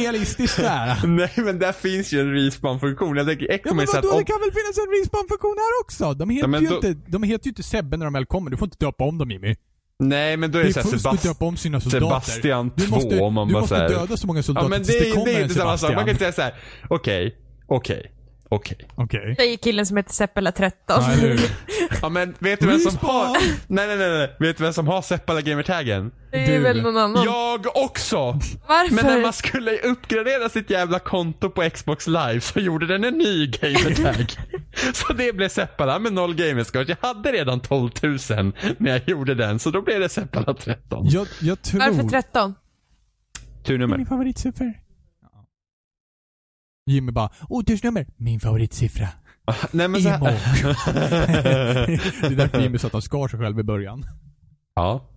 [SPEAKER 3] realistiskt där.
[SPEAKER 2] Nej men där finns ju en respawn-funktion. Jag tänker, Echo
[SPEAKER 3] Ja, men
[SPEAKER 2] så att
[SPEAKER 3] vadå,
[SPEAKER 2] om...
[SPEAKER 3] det kan väl finnas en respawn-funktion här också? De heter,
[SPEAKER 2] Ja, men
[SPEAKER 3] ju
[SPEAKER 2] då-
[SPEAKER 3] inte, de heter ju inte Sebbe när de väl kommer. Du får inte döpa om dem Jimmy.
[SPEAKER 2] Nej men då är
[SPEAKER 3] Det
[SPEAKER 2] det,
[SPEAKER 3] är
[SPEAKER 2] såhär
[SPEAKER 3] först du
[SPEAKER 2] Sebastian...
[SPEAKER 3] döpa om sina soldater.
[SPEAKER 2] Sebastian
[SPEAKER 3] du
[SPEAKER 2] 2,
[SPEAKER 3] måste,
[SPEAKER 2] om man
[SPEAKER 3] Du
[SPEAKER 2] bara
[SPEAKER 3] måste
[SPEAKER 2] så här-
[SPEAKER 3] döda så många soldater
[SPEAKER 2] Ja men det,
[SPEAKER 3] tills det
[SPEAKER 2] är-
[SPEAKER 3] kommer
[SPEAKER 2] det är
[SPEAKER 3] en
[SPEAKER 2] inte samma sak. Man kan
[SPEAKER 3] Sebastian.
[SPEAKER 2] inte säga såhär, okej, okej, okej.
[SPEAKER 3] Okej.
[SPEAKER 1] Det är killen som heter Seppela 13.
[SPEAKER 3] Ja, eller hur?
[SPEAKER 2] Ja men vet du vem som har...
[SPEAKER 3] Respawn!
[SPEAKER 2] Nej nej nej, nej. vet du vem som har Seppala Gamertaggen?
[SPEAKER 1] det är
[SPEAKER 3] Du.
[SPEAKER 1] väl någon annan.
[SPEAKER 2] Jag också!
[SPEAKER 1] Varför?
[SPEAKER 2] Men när man skulle uppgradera sitt jävla konto på Xbox live så gjorde den en ny gamertag. så det blev Seppala med noll gamerscores. Jag hade redan 12 000 när jag gjorde den så då blev det Seppala 13.
[SPEAKER 3] Jag, jag tror...
[SPEAKER 1] Varför 13?
[SPEAKER 2] Turnummer.
[SPEAKER 3] Min favoritsiffra. Jimmy bara, återsnummer, min favoritsiffra.
[SPEAKER 2] Nej men så
[SPEAKER 3] Emo.
[SPEAKER 2] här.
[SPEAKER 3] det är därför Jimmy sa att han skar sig själv i början.
[SPEAKER 2] Ja.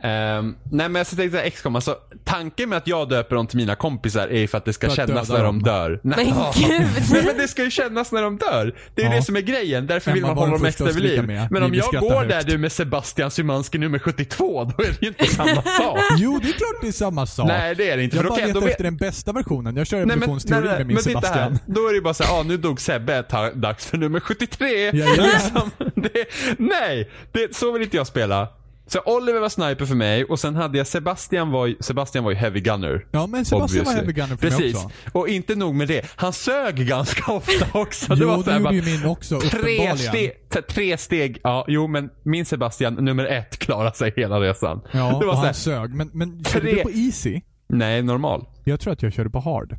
[SPEAKER 2] Ehm, nej men så tänkte jag XCOM, alltså tanken med att jag döper dem till mina kompisar är ju för att det ska
[SPEAKER 3] För att
[SPEAKER 2] kännas
[SPEAKER 3] döda
[SPEAKER 2] när de
[SPEAKER 3] dem.
[SPEAKER 2] dör. Nej,
[SPEAKER 1] Men
[SPEAKER 2] ja.
[SPEAKER 1] gud.
[SPEAKER 2] Nej men det ska ju kännas när de dör. Det är ju
[SPEAKER 3] Ja.
[SPEAKER 2] det som är grejen, därför
[SPEAKER 3] Kan
[SPEAKER 2] vill
[SPEAKER 3] man
[SPEAKER 2] man
[SPEAKER 3] vara
[SPEAKER 2] hålla
[SPEAKER 3] den
[SPEAKER 2] dem
[SPEAKER 3] första
[SPEAKER 2] extra
[SPEAKER 3] att
[SPEAKER 2] vid liv.
[SPEAKER 3] skrika med?
[SPEAKER 2] Men om
[SPEAKER 3] Ni
[SPEAKER 2] jag
[SPEAKER 3] beskrattar
[SPEAKER 2] går där
[SPEAKER 3] högt.
[SPEAKER 2] du med Sebastian Szymanski nummer 72, då är det ju inte samma sak.
[SPEAKER 3] Jo, det är klart det är samma sak.
[SPEAKER 2] Nej det är det inte,
[SPEAKER 3] jag
[SPEAKER 2] för då
[SPEAKER 3] bara
[SPEAKER 2] kan jag...
[SPEAKER 3] letar
[SPEAKER 2] Då vet,
[SPEAKER 3] efter den bästa versionen. Jag kör
[SPEAKER 2] nej men, nej,
[SPEAKER 3] evolutionsteori
[SPEAKER 2] nej,
[SPEAKER 3] med min
[SPEAKER 2] men titta här.
[SPEAKER 3] Sebastian.
[SPEAKER 2] Då är det ju bara såhär, ah, nu dog Sebbe, ta, dags för nummer 73.
[SPEAKER 3] Ja, ja.
[SPEAKER 2] Liksom, det, nej, det, så vill inte jag spela. Så Oliver var sniper för mig och sen hade jag Sebastian var ju, Sebastian var ju heavy gunner.
[SPEAKER 3] Ja, men Sebastian var
[SPEAKER 2] Obviously.
[SPEAKER 3] heavy gunner för mig
[SPEAKER 2] Precis.
[SPEAKER 3] också.
[SPEAKER 2] Och inte nog med det, han sög ganska ofta också.
[SPEAKER 3] jo,
[SPEAKER 2] var
[SPEAKER 3] det
[SPEAKER 2] så här
[SPEAKER 3] gjorde
[SPEAKER 2] bara-
[SPEAKER 3] ju min också,
[SPEAKER 2] Tre,
[SPEAKER 3] uppenbarligen.
[SPEAKER 2] ste t- tre steg. Ja, jo men min Sebastian nummer ett klarade sig hela resan.
[SPEAKER 3] Ja,
[SPEAKER 2] det var
[SPEAKER 3] och
[SPEAKER 2] så här,
[SPEAKER 3] han sög. Men, men körde
[SPEAKER 2] Tre.
[SPEAKER 3] du på easy?
[SPEAKER 2] nej normal.
[SPEAKER 3] Jag tror att jag körde på hard.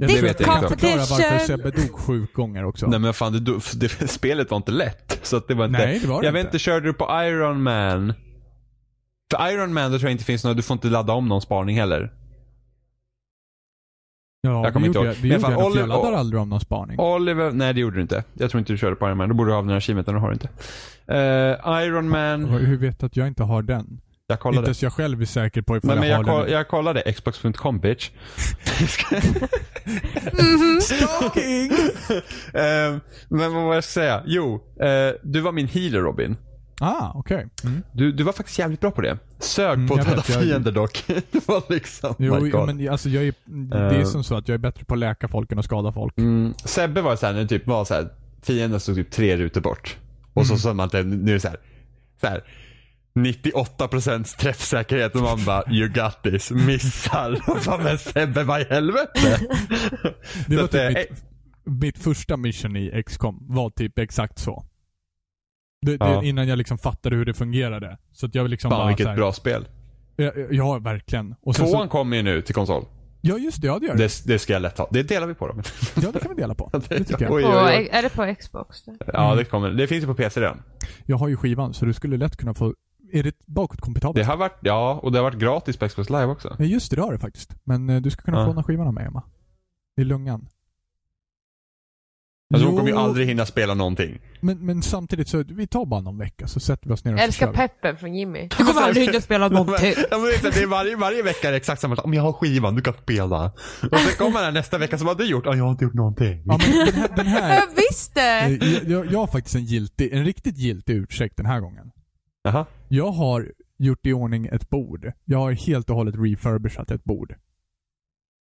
[SPEAKER 3] Jag
[SPEAKER 1] Dick
[SPEAKER 3] tror att jag kan förklara varför
[SPEAKER 1] competition.
[SPEAKER 3] Sebbe dog sju gånger också.
[SPEAKER 2] Nej men fan, det, du- det, spelet var inte lätt. Så att det var inte,
[SPEAKER 3] Nej, det var det
[SPEAKER 2] Jag vet
[SPEAKER 3] inte.
[SPEAKER 2] inte, körde du på Iron Man? För Iron Man då tror jag inte finns några, du får inte ladda om någon spaning heller.
[SPEAKER 3] ja,
[SPEAKER 2] kommer inte
[SPEAKER 3] det
[SPEAKER 2] ihåg.
[SPEAKER 3] gjorde jag, det
[SPEAKER 2] Men
[SPEAKER 3] gjorde
[SPEAKER 2] fan,
[SPEAKER 3] jag nog, för jag
[SPEAKER 2] Oliver-
[SPEAKER 3] laddar aldrig om någon spaning.
[SPEAKER 2] Oliver, nej det gjorde du inte. Jag tror inte du körde på Iron Man. Då borde du ha den här achievementen, det har du inte. Eh, Iron Man,
[SPEAKER 3] Hur vet du att jag inte har den?
[SPEAKER 2] jag
[SPEAKER 3] Inte
[SPEAKER 2] kollade.
[SPEAKER 3] ens jag själv är säker på ifall
[SPEAKER 2] Nej, men
[SPEAKER 3] jag
[SPEAKER 2] jag,
[SPEAKER 3] har
[SPEAKER 2] koll,
[SPEAKER 3] den.
[SPEAKER 2] jag kollade xbox.com bitch.
[SPEAKER 3] Stalking!
[SPEAKER 2] Eh, men vad var jag ska säga? Jo, eh, du var min healer Robin.
[SPEAKER 3] Ah, okej. Mm.
[SPEAKER 2] Du, du var faktiskt jävligt bra på det. Sög
[SPEAKER 3] Mm,
[SPEAKER 2] på
[SPEAKER 3] jag
[SPEAKER 2] att döda
[SPEAKER 3] vet, jag-
[SPEAKER 2] fiender dock. det var liksom,
[SPEAKER 3] Jo,
[SPEAKER 2] my God.
[SPEAKER 3] men alltså jag är, det är
[SPEAKER 2] Eh.
[SPEAKER 3] som så att jag är bättre på att läka folk än att skada folk.
[SPEAKER 2] Mm. Sebbe var såhär, när typ var såhär, fienden stod typ tre rutor bort. Och
[SPEAKER 3] Mm.
[SPEAKER 2] så sa man att det- nu är det såhär, såhär 98% träffsäkerhet och man bara you got this, missar. Och bara, men Sebbe vad i helvete?
[SPEAKER 3] Det
[SPEAKER 2] Så
[SPEAKER 3] var
[SPEAKER 2] att det-
[SPEAKER 3] typ mitt, mitt första mission i XCOM var typ exakt så. Det,
[SPEAKER 2] Ja.
[SPEAKER 3] det, innan jag liksom fattade hur det fungerade. Så att jag liksom
[SPEAKER 2] Fan
[SPEAKER 3] bara
[SPEAKER 2] vilket
[SPEAKER 3] så här,
[SPEAKER 2] bra spel.
[SPEAKER 3] Ja, ja, verkligen. Och sen
[SPEAKER 2] Tvåan
[SPEAKER 3] så,
[SPEAKER 2] kommer ju nu till konsol.
[SPEAKER 3] ja, just det. Ja, det gör det.
[SPEAKER 2] Det, det ska jag lätt ha. Det delar vi på då.
[SPEAKER 3] Ja, det kan vi dela på. Det tycker jag.
[SPEAKER 2] Oj,
[SPEAKER 1] På,
[SPEAKER 2] oj, oj.
[SPEAKER 1] är det på Xbox? Då?
[SPEAKER 2] Ja, det kommer. Det finns ju på PC redan.
[SPEAKER 3] Jag har ju skivan, så du skulle lätt kunna få... Är det bakåtkompatibelt?
[SPEAKER 2] Det har varit, ja, och det har varit gratis på Xbox Live också.
[SPEAKER 3] Nej, just det. Det har det faktiskt. Men eh, du ska kunna
[SPEAKER 2] Ja.
[SPEAKER 3] få låna skivan av mig, Emma. I lungan.
[SPEAKER 2] Alltså, hon kommer ju
[SPEAKER 3] Jo,
[SPEAKER 2] aldrig hinna spela någonting.
[SPEAKER 3] Men, men samtidigt så, vi tar bara någon vecka så sätter vi oss ner och
[SPEAKER 1] Jag
[SPEAKER 3] så
[SPEAKER 1] älskar
[SPEAKER 3] kör vi.
[SPEAKER 1] peppen från Jimmy. Du kommer aldrig hinna spela någonting.
[SPEAKER 2] Ja, men vet du, det är varje, varje vecka är det exakt samma sak. Om jag har skivan, du kan spela. Och sen kommer den här nästa vecka, som har du gjort? Ja, jag har inte gjort någonting.
[SPEAKER 3] Ja, men den här... Den här
[SPEAKER 1] Jag visste!
[SPEAKER 3] eh, jag- jag, jag har faktiskt en giltig, en riktigt giltig ursäkt den här gången.
[SPEAKER 2] Jaha.
[SPEAKER 3] Jag har gjort i ordning ett bord. Jag har helt och hållet refurbishat ett bord.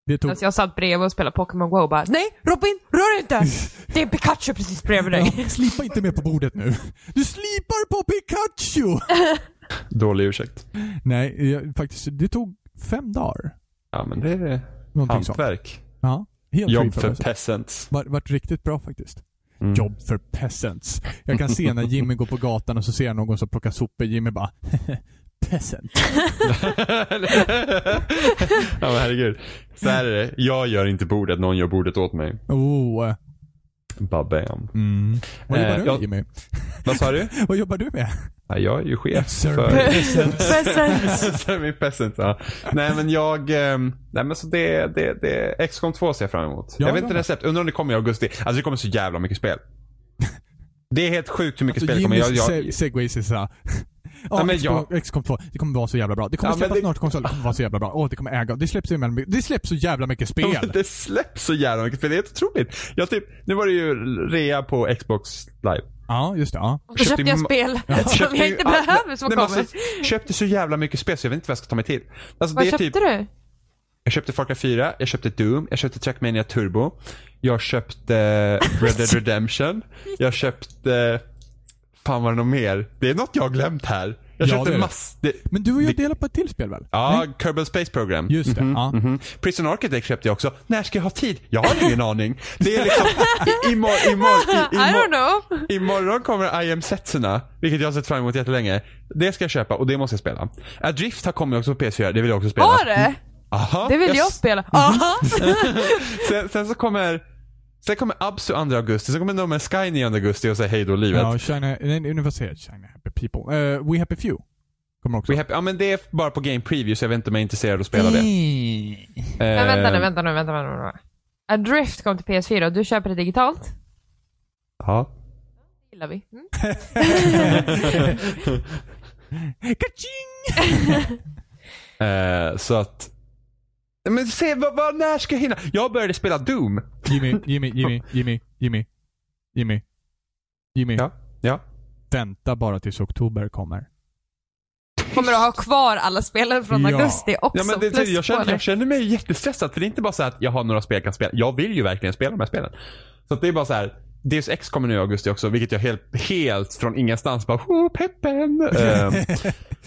[SPEAKER 3] Det tog...
[SPEAKER 1] Alltså jag satt bredvid och spelade Pokémon Go och bara Nej Robin, rör inte! Det är Pikachu precis bredvid dig.
[SPEAKER 3] Ja, slipa inte mer på bordet nu. Du slipar på Pikachu!
[SPEAKER 2] Dålig ursäkt.
[SPEAKER 3] Nej, jag, faktiskt, det tog fem dagar.
[SPEAKER 2] Ja, men det är
[SPEAKER 3] Någonting sånt.
[SPEAKER 2] hantverk.
[SPEAKER 3] Ja, helt fri
[SPEAKER 2] Jobb för
[SPEAKER 3] förberedelse.
[SPEAKER 2] peasants.
[SPEAKER 3] Var, vart riktigt bra faktiskt.
[SPEAKER 2] Mm.
[SPEAKER 3] Jobb för peasants. Jag kan se när Jimmy går på gatan och så ser jag någon som plockar sopor. Jimmy bara peasant.
[SPEAKER 2] ja, men herregud. Så här är det. Jag gör inte bordet, någon gör bordet åt mig.
[SPEAKER 3] Oh.
[SPEAKER 2] Babam.
[SPEAKER 3] Mm. Vad jobbar
[SPEAKER 2] Eh,
[SPEAKER 3] du med
[SPEAKER 2] jag-
[SPEAKER 3] Jimmy?
[SPEAKER 2] Vad sa du?
[SPEAKER 3] Vad jobbar du med?
[SPEAKER 2] Ja, jag är ju chef
[SPEAKER 3] Sir
[SPEAKER 2] för...
[SPEAKER 3] peasant.
[SPEAKER 1] Present.
[SPEAKER 2] Semi peasant, ja. Nej men jag, ehm, nej men så det, det, det, XCOM 2 ser jag fram emot.
[SPEAKER 3] Ja,
[SPEAKER 2] jag vet
[SPEAKER 3] ja.
[SPEAKER 2] inte recept, undrar om det kommer i augusti. Alltså det kommer så jävla mycket spel. Det är helt sjukt hur mycket
[SPEAKER 3] Så
[SPEAKER 2] spel det kommer. Jag,
[SPEAKER 3] Jimmys
[SPEAKER 2] jag,
[SPEAKER 3] se- segways är såhär. Ja,
[SPEAKER 2] men
[SPEAKER 3] Xbox- XCOM 2. Det kommer vara så jävla bra. Det kommer
[SPEAKER 2] Ja, men
[SPEAKER 3] släppas
[SPEAKER 2] det-
[SPEAKER 3] snart konsol. Det kommer vara så jävla bra. Åh, det kommer äga. Det släpps, så jävla mycket- det släpps så jävla mycket
[SPEAKER 2] Ja, men
[SPEAKER 3] spel.
[SPEAKER 2] det släpps så jävla mycket spel. Det är helt otroligt. Jag typ, nu var det ju rea på Xbox live.
[SPEAKER 3] Ja, just det. Ja.
[SPEAKER 1] Då köpte jag spel som jag inte behöver som
[SPEAKER 2] nej, men
[SPEAKER 1] kommer.
[SPEAKER 2] alltså, köpte så jävla mycket spel så jag vet inte vad jag ska ta mig till. Alltså,
[SPEAKER 1] Vad
[SPEAKER 2] det är
[SPEAKER 1] köpte
[SPEAKER 2] typ,
[SPEAKER 1] du?
[SPEAKER 2] Jag köpte Far Cry 4, jag köpte Doom, jag köpte Trackmania Turbo. Jag köpte Red Dead Redemption. Jag köpte... Fan var det något mer? Det är något jag har glömt här. Jag
[SPEAKER 3] Ja, det
[SPEAKER 2] köpte
[SPEAKER 3] är det.
[SPEAKER 2] mass... Det,
[SPEAKER 3] Men du och jag
[SPEAKER 2] Det-
[SPEAKER 3] delar på ett till spel väl?
[SPEAKER 2] ja,
[SPEAKER 3] Nej?
[SPEAKER 2] Kerbal Space Program.
[SPEAKER 3] Just det. Ja.
[SPEAKER 2] Mhm. Prison Architect köpte jag också. När ska jag ha tid? Jag har ingen aning. Det är liksom... i- Imorgon... Imorgon...
[SPEAKER 1] I
[SPEAKER 2] i- imorgon-
[SPEAKER 1] don't know.
[SPEAKER 2] Imorgon kommer I am Setsuna, vilket jag har sett fram emot jättelänge. Det ska jag köpa och det måste jag spela. Adrift har kommit också på PS4, det vill jag också spela. Mm.
[SPEAKER 1] Var det?
[SPEAKER 2] Aha,
[SPEAKER 1] Det vill jag spela. Aha.
[SPEAKER 2] Eh. sen, sen så kommer Sen kommer Absu 2 augusti, sen kommer No Man's Sky 9 augusti och säger hej då livet.
[SPEAKER 3] Ja, China, nej, nu vad säger jag? China Happy People. Eh, We Happy Few. Kommer också.
[SPEAKER 2] We happy, ja men det är bara på Game Preview så jag vet inte om jag är intresserad av att spela det. Eh,
[SPEAKER 3] Mm.
[SPEAKER 1] Men vänta nu, vänta nu, vänta nu. vänta nu. Adrift kom till PS4 och du köper det digitalt.
[SPEAKER 2] Ja.
[SPEAKER 1] Det gillar vi. Mm.
[SPEAKER 3] Kaching!
[SPEAKER 2] Eh, så att... Men se, vad, vad, när ska jag hinna? Jag började spela Doom.
[SPEAKER 3] Jimmy, Jimmy, Jimmy, Jimmy, Jimmy, Jimmy. Jimmy,
[SPEAKER 2] Ja, ja.
[SPEAKER 3] vänta bara tills oktober kommer.
[SPEAKER 1] Kommer du ha kvar alla spelare från
[SPEAKER 3] Ja.
[SPEAKER 1] augusti också?
[SPEAKER 2] ja men det, typ-
[SPEAKER 1] plus
[SPEAKER 2] jag, känner,
[SPEAKER 1] på
[SPEAKER 2] jag
[SPEAKER 1] det.
[SPEAKER 2] känner mig jättestressad för det är inte bara så att jag har några spel jag kan spela. Jag vill ju verkligen spela de här spelen. Så att det är bara så här. Deus Ex kommer nu i augusti också, vilket jag helt, helt från ingenstans bara oh, peppen. Ehm,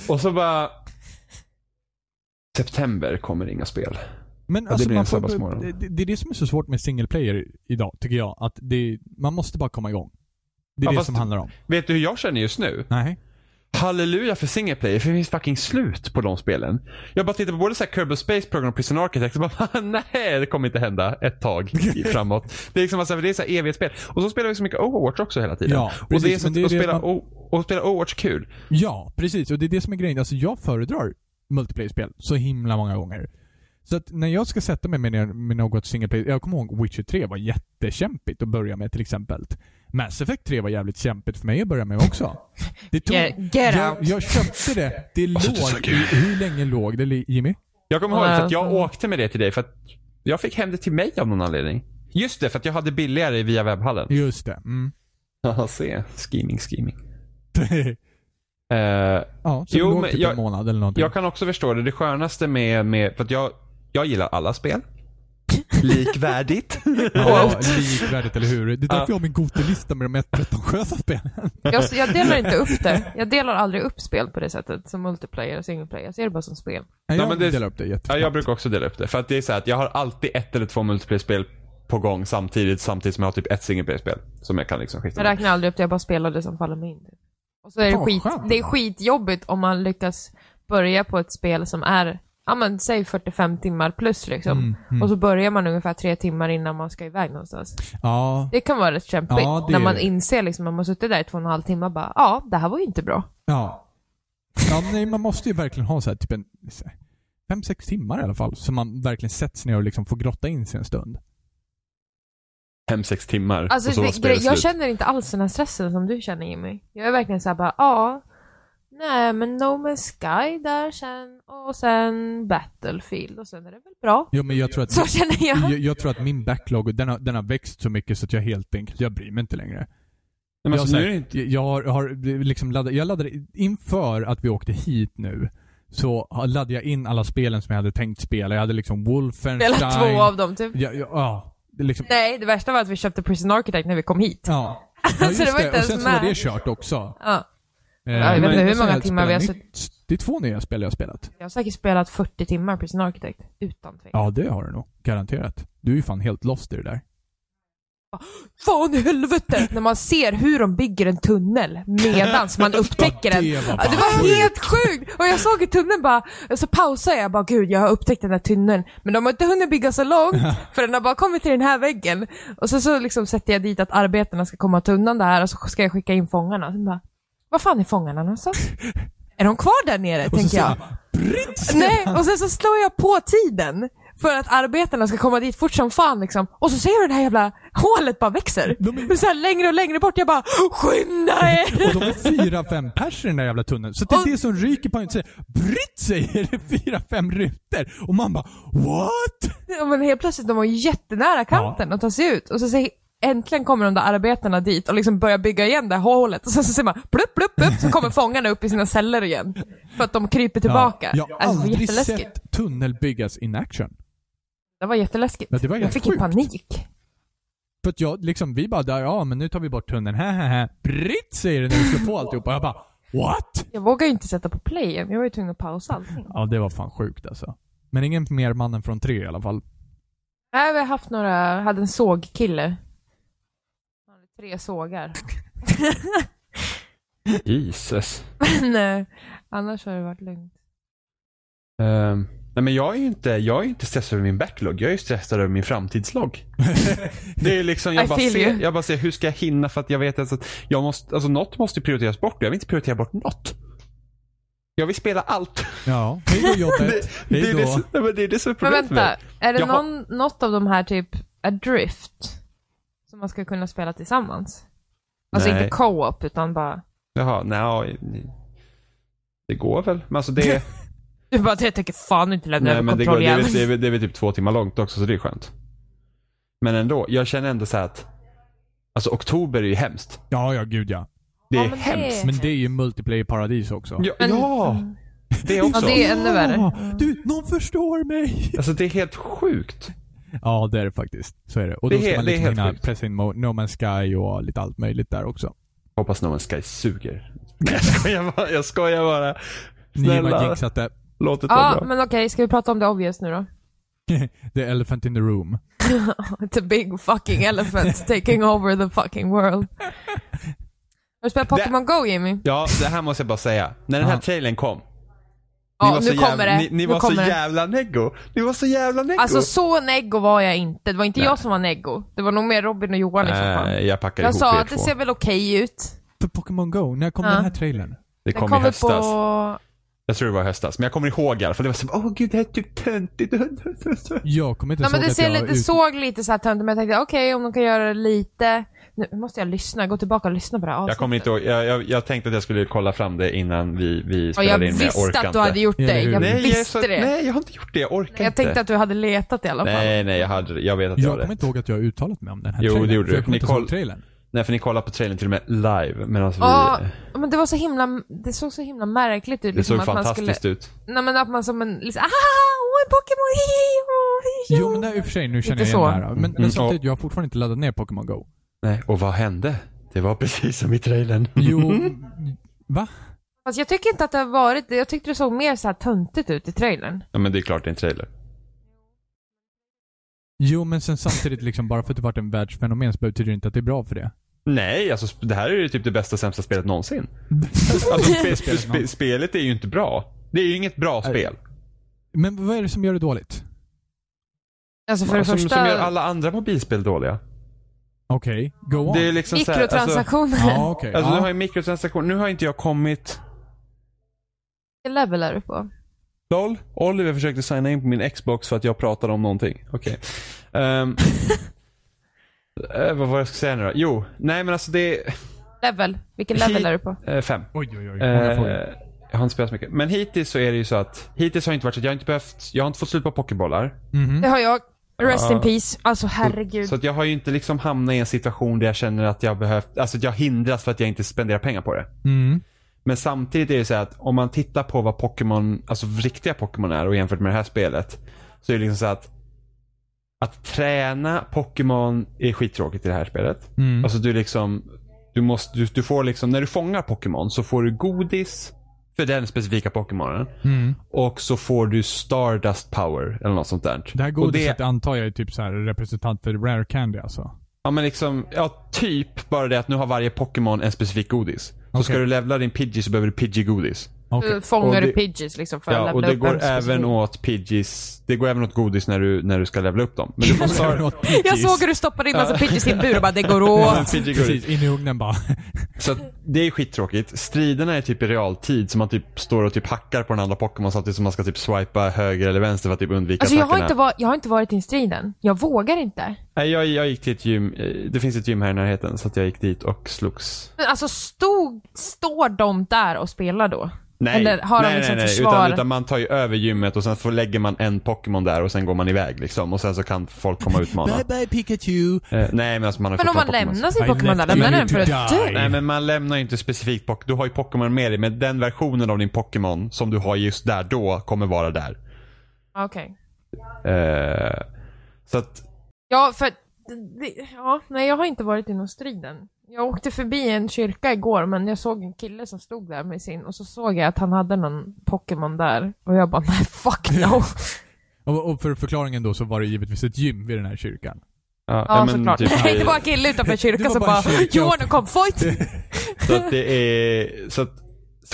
[SPEAKER 2] och så bara... September kommer inga spel.
[SPEAKER 3] Men
[SPEAKER 2] det
[SPEAKER 3] alltså,
[SPEAKER 2] blir
[SPEAKER 3] man
[SPEAKER 2] en
[SPEAKER 3] får,
[SPEAKER 2] sabbatsmorgon.
[SPEAKER 3] det, det är det som är så svårt med single player idag, tycker jag. Att det, man måste bara komma igång. Det är
[SPEAKER 2] Ja,
[SPEAKER 3] det
[SPEAKER 2] fast-
[SPEAKER 3] som handlar om.
[SPEAKER 2] Vet du hur jag känner just nu?
[SPEAKER 3] Nej.
[SPEAKER 2] Halleluja för single player, för det finns fucking slut på de spelen. Jag bara tittar på både så här Kerbal Space Program och Prison Architect och bara nej, det kommer inte hända ett tag i- framåt. Det är liksom alltså, det är så här evighetsspel. Och så spelar vi så mycket Overwatch också hela tiden.
[SPEAKER 3] Ja,
[SPEAKER 2] och det är
[SPEAKER 3] precis,
[SPEAKER 2] så
[SPEAKER 3] men
[SPEAKER 2] att
[SPEAKER 3] det är
[SPEAKER 2] att
[SPEAKER 3] det
[SPEAKER 2] spela,
[SPEAKER 3] man-
[SPEAKER 2] o- och spela Overwatch kul.
[SPEAKER 3] Ja, precis. Och det är det som är grejen. Alltså jag föredrar multiplayer-spel så himla många gånger. Så att när jag ska sätta mig med, ner- med något single player, jag kommer ihåg Witcher 3 var jättekämpigt att börja med till exempel. Mass Effect 3 var jävligt kämpigt för mig att börja med också. Det tog,
[SPEAKER 1] Get- get
[SPEAKER 3] jag,
[SPEAKER 1] out.
[SPEAKER 3] jag köpte det. Det låg
[SPEAKER 2] så
[SPEAKER 3] i,
[SPEAKER 2] söker jag.
[SPEAKER 3] hur länge låg det li- Jimmy?
[SPEAKER 2] Jag kommer ihåg
[SPEAKER 1] Ja,
[SPEAKER 2] för att jag
[SPEAKER 1] alltså.
[SPEAKER 2] åkte med det till dig för att jag fick hem det till mig av någon anledning. Just det, för att jag hade billigare via webbhallen.
[SPEAKER 3] Just det. Mm.
[SPEAKER 2] Ja, se. Scheming, scheming. Eh,
[SPEAKER 3] ja, så
[SPEAKER 2] Jo,
[SPEAKER 3] det låg
[SPEAKER 2] men
[SPEAKER 3] typ
[SPEAKER 2] jag-
[SPEAKER 3] en månad eller någonting.
[SPEAKER 2] Jag kan också förstå det. Det skönaste med, med för att jag, jag gillar alla spel. Likvärdigt.
[SPEAKER 3] Ja, likvärdigt, eller hur? Det är därför
[SPEAKER 2] Ja.
[SPEAKER 3] jag har min gotelista med de mest pretentiösa spelen.
[SPEAKER 1] Jag, jag delar inte upp det. Jag delar aldrig upp spel på det sättet som multiplayer och single player. Jag ser det bara som spel.
[SPEAKER 3] Nej, jag
[SPEAKER 2] men det-
[SPEAKER 3] delar upp det jättefint.
[SPEAKER 2] ja, jag brukar också dela upp det. För att det är så här att jag har alltid ett eller två multiplayer-spel på gång samtidigt, samtidigt som jag har typ ett single-player-spel. Som jag kan liksom skifta
[SPEAKER 1] Jag
[SPEAKER 2] mellan.
[SPEAKER 1] räknar aldrig upp det, jag bara spelar det som faller mig in. Och så är det,
[SPEAKER 3] Fan, vad
[SPEAKER 1] skit,
[SPEAKER 3] skönt.
[SPEAKER 1] det är skitjobbigt om man lyckas börja på ett spel som är, ja men säg 45 timmar plus liksom.
[SPEAKER 2] Mm,
[SPEAKER 1] Och så börjar man ungefär tre timmar innan man ska iväg någonstans.
[SPEAKER 3] Ja,
[SPEAKER 1] Det kan vara rätt kämpigt.
[SPEAKER 3] Ja, det
[SPEAKER 1] när
[SPEAKER 3] är
[SPEAKER 1] man
[SPEAKER 3] det.
[SPEAKER 1] inser liksom, man har suttit där i två och en halv timme och bara, ja, det här var ju inte bra.
[SPEAKER 3] Ja. Ja, nej, man måste ju verkligen ha så här, typ en så här, fem, sex timmar i alla fall. Så man verkligen sätts ner och liksom får grotta in sig en stund.
[SPEAKER 2] Fem, sex timmar. och
[SPEAKER 1] Alltså,
[SPEAKER 2] så var
[SPEAKER 1] det,
[SPEAKER 2] spelet
[SPEAKER 1] jag
[SPEAKER 2] slut.
[SPEAKER 1] känner inte alls den här stressen som du känner Jimmy. Jag är verkligen såhär bara, ja. Nej men No Man's Sky där sen och sen Battlefield och sen är det väl bra.
[SPEAKER 3] Jo, men jag tror att,
[SPEAKER 1] Så känner jag.
[SPEAKER 3] jag, jag tror att min backlog, den har, den har växt så mycket så att jag helt enkelt, jag bryr mig inte längre.
[SPEAKER 2] Nej, men
[SPEAKER 3] Jag,
[SPEAKER 2] alltså,
[SPEAKER 3] så
[SPEAKER 2] nu
[SPEAKER 3] här,
[SPEAKER 2] är det inte...
[SPEAKER 3] jag har, har liksom laddat, jag laddade inför att vi åkte hit nu. så har- laddade jag in alla spelen som jag hade tänkt spela. Jag hade liksom Wolfenstein.
[SPEAKER 1] Spela två av dem typ.
[SPEAKER 3] Ja, ja, ja. Det är liksom,
[SPEAKER 1] Nej, det värsta var att vi köpte Prison Architect när vi kom hit.
[SPEAKER 3] ja. ja just
[SPEAKER 1] Så det var
[SPEAKER 3] det.
[SPEAKER 1] inte
[SPEAKER 3] Och
[SPEAKER 1] ens
[SPEAKER 3] sen så var
[SPEAKER 1] med.
[SPEAKER 3] det kört också.
[SPEAKER 1] Ja.
[SPEAKER 3] Eh,
[SPEAKER 1] jag vet
[SPEAKER 3] men-
[SPEAKER 1] inte hur
[SPEAKER 3] och sen
[SPEAKER 1] många
[SPEAKER 3] jag
[SPEAKER 1] timmar vi har
[SPEAKER 3] spelat nytt. Det är två nya spel jag har spelat.
[SPEAKER 1] Jag har säkert spelat 40 timmar Prison Architect. Utan tvekan.
[SPEAKER 3] Ja, det har du nog. Garanterat. Du är ju fan helt lost i det där.
[SPEAKER 1] Fan i helvete! när man ser hur de bygger en tunnel medans man upptäcker den.
[SPEAKER 3] var
[SPEAKER 1] Ja, det
[SPEAKER 3] fan
[SPEAKER 1] var helt sjukt! Och jag såg i tunneln bara, så pausade jag bara gud jag har upptäckt den här tunneln. Men de har inte hunnit bygga så långt för den har bara kommit till den här väggen. Och sen så liksom sätter jag dit att arbetarna ska komma till undan det här och så ska jag skicka in fångarna. Sen bara, vad fan är fångarna någonstans? är de kvar där nere?
[SPEAKER 3] Och så
[SPEAKER 1] tänker jag.
[SPEAKER 3] Brits!
[SPEAKER 1] Nej, och sen så slår jag på tiden för att arbetarna ska komma dit fort som fan liksom. Och så ser du det här jävla hålet bara växer.
[SPEAKER 3] De är-
[SPEAKER 1] Och så här, längre och längre bort. Jag bara, skynda er!
[SPEAKER 3] Och de är fyra, fem pers i den där jävla tunneln. Så det är
[SPEAKER 1] Och-
[SPEAKER 3] det som ryker på en och säger Britt säger det fyra, fem rutor. Och man bara What?
[SPEAKER 1] Ja, men helt plötsligt, de var ju jättenära kanten och tar sig ut. Och så säger, äntligen kommer de där arbetarna dit och liksom börjar bygga igen det här hålet. Och sen så ser man plupp, plupp, plupp, så kommer fångarna upp i sina celler igen. För att de kryper tillbaka.
[SPEAKER 3] Ja, jag har
[SPEAKER 1] alltså, det var
[SPEAKER 3] aldrig
[SPEAKER 1] jätteläskigt.
[SPEAKER 3] sett tunnel byggas in action.
[SPEAKER 1] Det var jätteläskigt.
[SPEAKER 3] Ja, det var
[SPEAKER 1] jag
[SPEAKER 3] helt
[SPEAKER 1] fick ju
[SPEAKER 3] sjukt.
[SPEAKER 1] panik.
[SPEAKER 3] För att jag liksom, vi bara där, ja men nu tar vi bort tunneln, hä hä hä. Britt säger det när vi slår på alltihopa. Jag bara What?
[SPEAKER 1] Jag vågade ju inte sätta på play än. Jag var ju tvungen att pausa allting.
[SPEAKER 3] Ja, det var fan sjukt alltså. Men ingen mer mannen från tre i alla fall.
[SPEAKER 1] Nej, vi har haft några, hade en sågkille. Han hade tre sågar.
[SPEAKER 2] Jesus.
[SPEAKER 1] Men eh, annars har det varit lugnt.
[SPEAKER 2] Ehm, nej men jag är ju inte, jag är inte stressad över min backlog. Jag är ju stressad över min framtidslogg. det är liksom,
[SPEAKER 1] I
[SPEAKER 2] jag bara,
[SPEAKER 1] feel
[SPEAKER 2] ser,
[SPEAKER 1] you.
[SPEAKER 2] jag bara ser hur ska jag hinna för att jag vet alltså att jag måste, alltså något måste prioriteras bort. Jag vill inte prioritera bort något. Jag vill spela allt.
[SPEAKER 3] Ja, hej då jobbet.
[SPEAKER 2] Det,
[SPEAKER 3] Hej
[SPEAKER 2] är, det,
[SPEAKER 3] då.
[SPEAKER 2] som- nej, men det är det som är
[SPEAKER 1] Men
[SPEAKER 2] problemet för
[SPEAKER 1] vänta,
[SPEAKER 2] mig.
[SPEAKER 1] är det
[SPEAKER 2] Jag har-
[SPEAKER 1] någon, något av de här typ Adrift som man ska kunna spela tillsammans? Alltså
[SPEAKER 2] Nej.
[SPEAKER 1] inte co-op utan bara...
[SPEAKER 2] Jaha, nej. ja, Det går väl. Men alltså det,
[SPEAKER 1] Du bara, jag tänker fan inte lämna
[SPEAKER 2] nej,
[SPEAKER 1] över
[SPEAKER 2] men det, går,
[SPEAKER 1] kontroll
[SPEAKER 2] det, är, väl- det, är,
[SPEAKER 1] igen.
[SPEAKER 2] väl- det är väl typ två timmar långt också så det är skönt. Men ändå, jag känner ändå så här att, alltså oktober är ju hemskt.
[SPEAKER 3] Ja, ja gud ja.
[SPEAKER 2] Det
[SPEAKER 1] Ja,
[SPEAKER 2] är
[SPEAKER 1] men det-
[SPEAKER 2] hemskt.
[SPEAKER 3] Men det är ju multiplayer-paradis också.
[SPEAKER 2] Ja,
[SPEAKER 1] Men-
[SPEAKER 2] ja, det också.
[SPEAKER 1] Ja, det är ännu värre.
[SPEAKER 3] Ja, Du, någon förstår mig!
[SPEAKER 2] Alltså det är helt sjukt.
[SPEAKER 3] Ja, det är det faktiskt. Så är det. Och
[SPEAKER 2] Det
[SPEAKER 3] då
[SPEAKER 2] är
[SPEAKER 3] ska
[SPEAKER 2] he-
[SPEAKER 3] man
[SPEAKER 2] det är
[SPEAKER 3] liksom
[SPEAKER 2] helt
[SPEAKER 3] hinna
[SPEAKER 2] sjukt.
[SPEAKER 3] pressa in Mo- No Man's Sky och lite allt möjligt där också.
[SPEAKER 2] Hoppas No Man's Sky suger. Nej, jag skojar bara. Jag skojar bara.
[SPEAKER 3] Ni
[SPEAKER 2] Snälla.
[SPEAKER 3] bara jinxade.
[SPEAKER 2] Låt det ta
[SPEAKER 1] Ja,
[SPEAKER 2] bra.
[SPEAKER 1] men okej, ska vi prata om det obvious nu då?
[SPEAKER 3] The elephant in the room.
[SPEAKER 1] It's a big fucking elephant taking over the fucking world. Har du spelat Pokémon Go, Jimmy?
[SPEAKER 2] Ja, det här måste jag bara säga. När den här
[SPEAKER 3] Ja.
[SPEAKER 2] trailern kom. Ni
[SPEAKER 1] Ja, nu
[SPEAKER 2] så jävla,
[SPEAKER 1] kommer det.
[SPEAKER 2] Ni, ni
[SPEAKER 1] nu
[SPEAKER 2] var så
[SPEAKER 1] kommer det.
[SPEAKER 2] jävla neggo. Ni var så jävla neggo.
[SPEAKER 1] Alltså så neggo var jag inte. Det var inte
[SPEAKER 2] Nej.
[SPEAKER 1] jag som var neggo. Det var nog mer Robin och Johan i så fall.
[SPEAKER 2] Nej, Eh, jag packade
[SPEAKER 1] liksom Jag
[SPEAKER 2] ihop
[SPEAKER 1] sa
[SPEAKER 2] er
[SPEAKER 1] att det
[SPEAKER 2] två.
[SPEAKER 1] ser väl okej ut.
[SPEAKER 3] För Pokémon Go, när kom
[SPEAKER 1] Ja.
[SPEAKER 3] den här trailern?
[SPEAKER 2] Det
[SPEAKER 1] Den
[SPEAKER 2] kom i
[SPEAKER 1] kommer
[SPEAKER 2] höstas.
[SPEAKER 1] på...
[SPEAKER 2] Jag tror det var i höstas. Men jag kommer ihåg i alla fall. Det var så åh gud, det här är typ töntigt.
[SPEAKER 3] Jag kommer inte
[SPEAKER 1] Nej, men
[SPEAKER 3] ihåg
[SPEAKER 1] det,
[SPEAKER 3] att
[SPEAKER 1] ser
[SPEAKER 3] jag
[SPEAKER 1] lite, det
[SPEAKER 3] ut-
[SPEAKER 1] såg lite så här töntigt men jag tänkte okej om de kan göra det lite... Nu måste jag lyssna, gå tillbaka och lyssna på det här
[SPEAKER 2] Jag kommer inte ihåg. Jag, jag, jag tänkte att jag skulle kolla fram det innan vi, vi
[SPEAKER 1] Ja, jag
[SPEAKER 2] spelade in, men jag
[SPEAKER 1] visste
[SPEAKER 2] orkar
[SPEAKER 1] att du
[SPEAKER 2] inte.
[SPEAKER 1] hade gjort
[SPEAKER 3] Eller
[SPEAKER 1] det.
[SPEAKER 3] hur?
[SPEAKER 1] Jag
[SPEAKER 2] nej, jag är
[SPEAKER 1] visste
[SPEAKER 2] så,
[SPEAKER 1] det.
[SPEAKER 2] Nej, jag har inte gjort det. Jag orkar
[SPEAKER 1] jag
[SPEAKER 2] inte.
[SPEAKER 1] tänkte att du hade letat i alla fall.
[SPEAKER 2] Nej, nej, jag, hade, jag vet att jag,
[SPEAKER 3] Jag
[SPEAKER 2] har
[SPEAKER 3] kommer
[SPEAKER 2] det.
[SPEAKER 3] inte ihåg att jag har uttalat mig om den här
[SPEAKER 2] Jo, det
[SPEAKER 3] trailern.
[SPEAKER 2] gjorde
[SPEAKER 3] för
[SPEAKER 2] du.
[SPEAKER 3] Jag kommer inte
[SPEAKER 2] Nicole-
[SPEAKER 3] ihåg trailern.
[SPEAKER 2] Nej, för ni kollar på trailern till och med live. Medan vi...
[SPEAKER 1] Ja, men det var så himla... Det såg så himla märkligt ut. liksom
[SPEAKER 2] Det såg
[SPEAKER 1] att man skulle,
[SPEAKER 2] fantastiskt ut.
[SPEAKER 1] Nej men att man som en... Liksom, ah, åh, en Pokémon! hi, hi, åh, hi,
[SPEAKER 3] Jo, men nej, i och för sig, nu känner jag
[SPEAKER 1] Lite så.
[SPEAKER 3] igen det här. Men,
[SPEAKER 2] Mm,
[SPEAKER 3] men samtidigt, jag har fortfarande inte laddat ner Pokémon Go.
[SPEAKER 2] Nej, och vad hände? Det var precis som i trailern.
[SPEAKER 3] Jo, va?
[SPEAKER 1] Fast jag tycker inte att det har varit... Jag tyckte det såg mer så här töntigt ut i trailern.
[SPEAKER 2] Ja, men det är klart det är en trailer.
[SPEAKER 3] Jo, men sen samtidigt liksom, bara för att det varit en världsfenomen så betyder det inte att det är bra för det.
[SPEAKER 2] Nej, alltså sp- det här är ju typ det bästa sämsta spelet någonsin. Alltså, spe, spe, spe, spelet är ju inte bra. Det är ju inget bra
[SPEAKER 3] Nej.
[SPEAKER 2] spel.
[SPEAKER 3] Men vad är det som gör det dåligt?
[SPEAKER 1] Alltså för det
[SPEAKER 2] som,
[SPEAKER 1] första...
[SPEAKER 2] som gör alla andra mobilspel dåliga.
[SPEAKER 3] Okej, go on.
[SPEAKER 2] Det är liksom så här, alltså,
[SPEAKER 1] mikrotransaktioner.
[SPEAKER 3] Ja, okej.
[SPEAKER 2] alltså du har
[SPEAKER 3] ja.
[SPEAKER 2] ju mikrotransaktioner. Nu har inte jag kommit...
[SPEAKER 1] Vilken level är du på?
[SPEAKER 2] LOL, Oliver försökte signa in på min Xbox för att jag pratade om någonting. Okej. Ehm, eh, vad var jag ska säga nu då? Jo, nej men alltså det är...
[SPEAKER 1] Level? Vilken level är du på?
[SPEAKER 2] eh, fem.
[SPEAKER 3] Oj, oj, oj. Många
[SPEAKER 2] Eh,
[SPEAKER 3] frågor.
[SPEAKER 2] jag har inte spelat så mycket. Men hittills så är det ju så att, hittills har det inte varit så att jag har inte behövt, jag har inte fått slut på pokébollar.
[SPEAKER 3] Mhm.
[SPEAKER 1] Det har jag. Rest
[SPEAKER 2] Ja.
[SPEAKER 1] in peace. Alltså herregud.
[SPEAKER 2] Så att jag har ju inte liksom hamnat i en situation där jag känner att jag behövt, alltså att jag hindras för att jag inte spenderar pengar på det.
[SPEAKER 3] Mm.
[SPEAKER 2] Men samtidigt är det så här att om man tittar på vad Pokémon, alltså riktiga Pokémon är och jämfört med det här spelet. Så är det liksom så att att träna Pokémon är skittråkigt i det här spelet.
[SPEAKER 3] Mm.
[SPEAKER 2] Alltså du liksom, du måste, du, du får liksom, när du fångar Pokémon så får du godis för den specifika Pokémonen.
[SPEAKER 3] Mm.
[SPEAKER 2] Och så får du Stardust Power eller något sånt där.
[SPEAKER 3] Det här
[SPEAKER 2] Och
[SPEAKER 3] godiset antar jag är typ så här representant för Rare Candy alltså.
[SPEAKER 2] Ja men liksom, ja typ bara det att nu har varje Pokémon en specifik godis. Så
[SPEAKER 3] Okej.
[SPEAKER 2] ska du levla din Pidgey så behöver du Pidgey-godis.
[SPEAKER 3] Okej.
[SPEAKER 1] Du fångar
[SPEAKER 2] Och
[SPEAKER 1] du
[SPEAKER 2] det-
[SPEAKER 1] Pidgeys liksom för att
[SPEAKER 2] Ja,
[SPEAKER 1] levla
[SPEAKER 2] och det
[SPEAKER 1] upp en
[SPEAKER 2] går
[SPEAKER 1] specifik-
[SPEAKER 2] även åt Pidgeys, det går även åt godis när du, när du ska levla upp dem. Men du får Star...
[SPEAKER 1] Jag såg hur du stoppade in massa Pidgeys i en bur och bara det går åt.
[SPEAKER 2] Pidgey godis.
[SPEAKER 3] Precis, in i ugnen bara.
[SPEAKER 2] Så att det är skittråkigt. Striderna är typ i realtid så man typ står och typ hackar på den andra Pokémon samtidigt som man ska typ swipa höger eller vänster för att typ undvika
[SPEAKER 1] Alltså jag har,
[SPEAKER 2] attackerna.
[SPEAKER 1] inte var, jag har inte varit i striden. Jag vågar inte.
[SPEAKER 2] Nej, jag, jag gick till ett gym, eh, det finns ett gym här i närheten så att jag gick dit och slogs.
[SPEAKER 1] Men alltså stod, står de där och spelar då?
[SPEAKER 2] Nej,
[SPEAKER 1] Eller har
[SPEAKER 2] nej,
[SPEAKER 1] de liksom
[SPEAKER 2] nej, nej.
[SPEAKER 1] försvar?
[SPEAKER 2] Utan, utan man tar ju över gymmet och sen får, lägger man en Pokémon där och sen går man iväg liksom. Och sen så kan folk komma och utmana.
[SPEAKER 3] bye bye Pikachu.
[SPEAKER 2] Eh, nej men alltså man har
[SPEAKER 1] Men
[SPEAKER 2] fått
[SPEAKER 1] om man
[SPEAKER 2] ta Pokémon.
[SPEAKER 1] lämnar sin
[SPEAKER 3] I
[SPEAKER 1] Pokémon där,
[SPEAKER 3] left
[SPEAKER 1] lämnar den
[SPEAKER 3] you
[SPEAKER 1] för
[SPEAKER 3] to
[SPEAKER 1] att
[SPEAKER 3] die.
[SPEAKER 1] dö?
[SPEAKER 2] Nej men man lämnar ju inte specifikt Pokémon. Du har ju Pokémon med dig men den versionen av din Pokémon som du har just där då kommer vara där.
[SPEAKER 1] Ah, Okej.
[SPEAKER 2] Eh, så att
[SPEAKER 1] Ja, för det, ja, nej jag har inte varit i någon striden. Jag åkte förbi en kyrka igår men jag såg en kille som stod där med sin och så såg jag att han hade någon Pokémon där och jag bara nej fuck no.
[SPEAKER 3] Och, och för förklaringen då så var det givetvis ett gym vid den här kyrkan.
[SPEAKER 2] Ja,
[SPEAKER 1] Ja,
[SPEAKER 2] ja,
[SPEAKER 1] såklart.
[SPEAKER 2] typ
[SPEAKER 1] Nej, det
[SPEAKER 2] det,
[SPEAKER 1] var en kille utanför
[SPEAKER 3] Det
[SPEAKER 1] kyrkan
[SPEAKER 3] var
[SPEAKER 1] som
[SPEAKER 3] bara
[SPEAKER 1] bara
[SPEAKER 3] en kyrka.
[SPEAKER 1] “You wanna come fight?”
[SPEAKER 2] så att det är, så att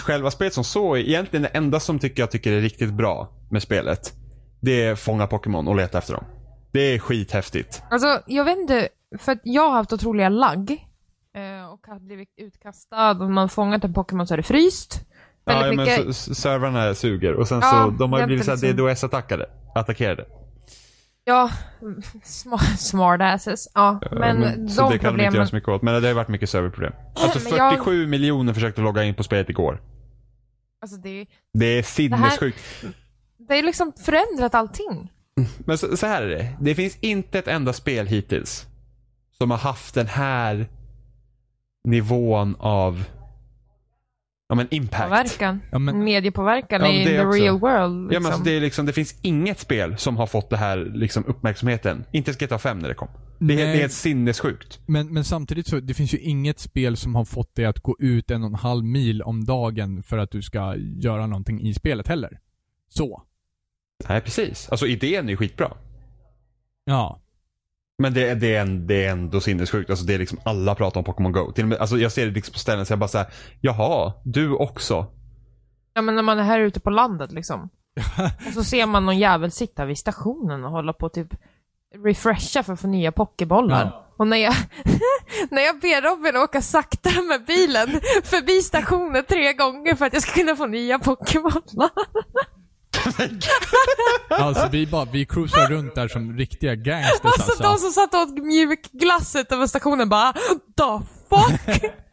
[SPEAKER 2] själva spelet som så är egentligen det enda som tycker jag tycker är riktigt bra med spelet. Det är fånga Pokémon och leta efter dem. Det är skithäftigt.
[SPEAKER 1] Alltså, jag vet inte, för att jag har haft otroliga lagg. eh, Och har blivit utkastad och man fångat en Pokémon så är det fryst.
[SPEAKER 2] Ja,
[SPEAKER 1] Väldigt
[SPEAKER 2] ja, men
[SPEAKER 1] mycket.
[SPEAKER 2] så- s- servrarna suger och sen
[SPEAKER 1] Ja,
[SPEAKER 2] så, de har ju
[SPEAKER 1] hjälper
[SPEAKER 2] blivit såhär
[SPEAKER 1] liksom.
[SPEAKER 2] DDoS-attackade. Attackerade.
[SPEAKER 1] Ja, sma, smartasses. Ja, men,
[SPEAKER 2] så
[SPEAKER 1] de
[SPEAKER 2] det kan de inte göra
[SPEAKER 1] problemen.
[SPEAKER 2] så mycket åt. Men det har ju varit mycket serverproblem. Alltså
[SPEAKER 1] Men jag-
[SPEAKER 2] 47 miljoner försökte logga in på spelet igår.
[SPEAKER 1] Alltså, det, är-
[SPEAKER 2] Det är sinnessjukt.
[SPEAKER 1] det är liksom förändrat allting.
[SPEAKER 2] Men så, så här är det. Det finns inte ett enda spel hittills som har haft den här nivån av ja, men impact.
[SPEAKER 1] Påverkan.
[SPEAKER 3] Ja, men-
[SPEAKER 1] Mediepåverkan
[SPEAKER 2] Ja,
[SPEAKER 1] i
[SPEAKER 2] det
[SPEAKER 1] the
[SPEAKER 2] också.
[SPEAKER 1] real world. Liksom.
[SPEAKER 2] Ja, men alltså det, är liksom, det finns inget spel som har fått det här liksom, uppmärksamheten. Inte ens GTA 5 när det kom. Det är,
[SPEAKER 3] Nej.
[SPEAKER 2] helt- det är helt sinnessjukt.
[SPEAKER 3] Men, men samtidigt så, det finns ju inget spel som har fått dig att gå ut en och en halv mil om dagen för att du ska göra någonting i spelet heller. Så.
[SPEAKER 2] Nej, precis. Alltså idén är ju skitbra.
[SPEAKER 3] Ja.
[SPEAKER 2] Men det, det, är, en, det är ändå sinnessjukt. Alltså det är liksom alla pratar om Pokémon Go. Till och med, alltså jag ser det liksom på ställen så jag bara såhär, jaha, du också?
[SPEAKER 1] Ja, men när man är här ute på landet liksom. Och så ser man någon jävel sitta vid stationen och hålla på och typ refresha för att få nya pokébollar.
[SPEAKER 3] Ja.
[SPEAKER 1] Och när jag, när jag ber Robin åka sakta med bilen förbi stationen tre gånger för att jag ska kunna få nya pokébollar.
[SPEAKER 3] Alltså vi bara, vi cruisar runt där som riktiga gangsters
[SPEAKER 1] Alltså de som satt och åt mjuk glass utanför stationen bara the fuck?
[SPEAKER 3] Det är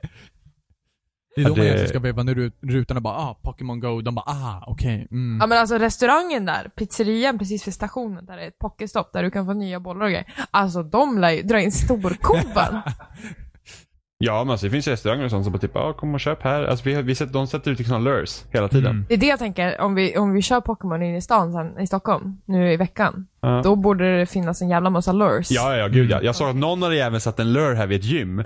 [SPEAKER 2] Ja,
[SPEAKER 3] då man
[SPEAKER 2] det-
[SPEAKER 3] egentligen ska veva ner rut- rutan och bara ah, Pokémon Go. De bara ah, okej, mm.
[SPEAKER 1] Ja men alltså restaurangen där, pizzerian precis vid stationen där det är ett pokestopp där du kan få nya bollar och grejer. Alltså de lär ju dra in storkovan.
[SPEAKER 2] Ja men alltså det finns ju restauranger och sånt som bara typ, ja kom och köp här. Alltså vi, har- vi sätter, de sätter ut liksom lures hela tiden.
[SPEAKER 3] Mm.
[SPEAKER 1] Det är det jag tänker, om vi, om vi kör Pokémon in i stan sen, i Stockholm, nu i veckan.
[SPEAKER 2] Ja.
[SPEAKER 1] Då borde det finnas en jävla massa lures.
[SPEAKER 2] Ja, ja, ja, gud ja. Jag såg att någon hade även satt en lure här vid ett gym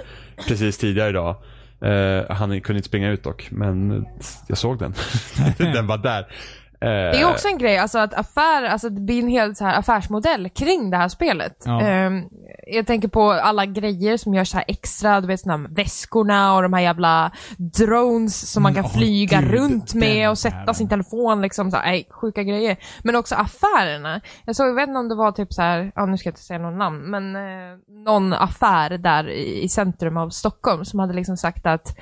[SPEAKER 2] precis tidigare idag. Eh, han kunde inte springa ut dock, men jag såg den. den var där. Eh,
[SPEAKER 1] Det
[SPEAKER 3] Eh,
[SPEAKER 1] är också en grej, alltså att affär, alltså det blir en hel så här affärsmodell kring det här spelet.
[SPEAKER 3] Ja.
[SPEAKER 1] Ehm, jag tänker på alla grejer som görs så här extra, du vet såna här väskorna och de här jävla drones som man kan
[SPEAKER 3] Mm, åh,
[SPEAKER 1] flyga
[SPEAKER 3] gud,
[SPEAKER 1] runt med
[SPEAKER 3] den
[SPEAKER 1] och sätta
[SPEAKER 3] jäveln.
[SPEAKER 1] sin telefon liksom. Så här, nej, sjuka grejer. Men också affärerna. Jag såg, jag vet inte om det var typ så här, ja, nu ska jag inte säga någon namn, men eh, någon affär där i, i centrum av Stockholm som hade liksom sagt att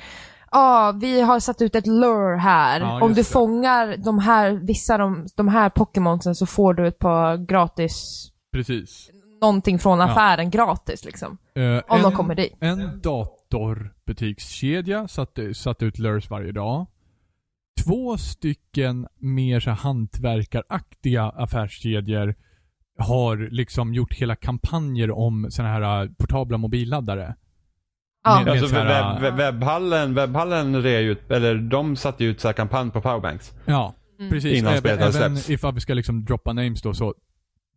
[SPEAKER 1] Ja, vi har satt ut ett lure här.
[SPEAKER 3] Ja,
[SPEAKER 1] Om
[SPEAKER 3] just
[SPEAKER 1] du
[SPEAKER 3] det.
[SPEAKER 1] fångar de här, vissa de, de här Pokémonsen så får du ett par gratis,
[SPEAKER 3] Precis.
[SPEAKER 1] någonting från affären gratis liksom.
[SPEAKER 3] Eh,
[SPEAKER 1] Om de
[SPEAKER 3] en-
[SPEAKER 1] kommer dit.
[SPEAKER 3] En datorbutikskedja satte, satte ut lures varje dag. Två stycken mer så här hantverkaraktiga affärskedjor har liksom gjort hela kampanjer om såna här eh, portabla mobilladdare.
[SPEAKER 1] Ja.
[SPEAKER 3] Med, med
[SPEAKER 2] Alltså,
[SPEAKER 3] så här,
[SPEAKER 2] webb, webb- webbhallen, webbhallen rea ut, eller de satte ju ut så här kampanj på powerbanks.
[SPEAKER 3] Ja,
[SPEAKER 1] Mm.
[SPEAKER 3] precis.
[SPEAKER 2] Innan
[SPEAKER 3] Även,
[SPEAKER 2] spelet hade
[SPEAKER 3] även
[SPEAKER 2] släppts.
[SPEAKER 3] ifall vi ska liksom droppa names då så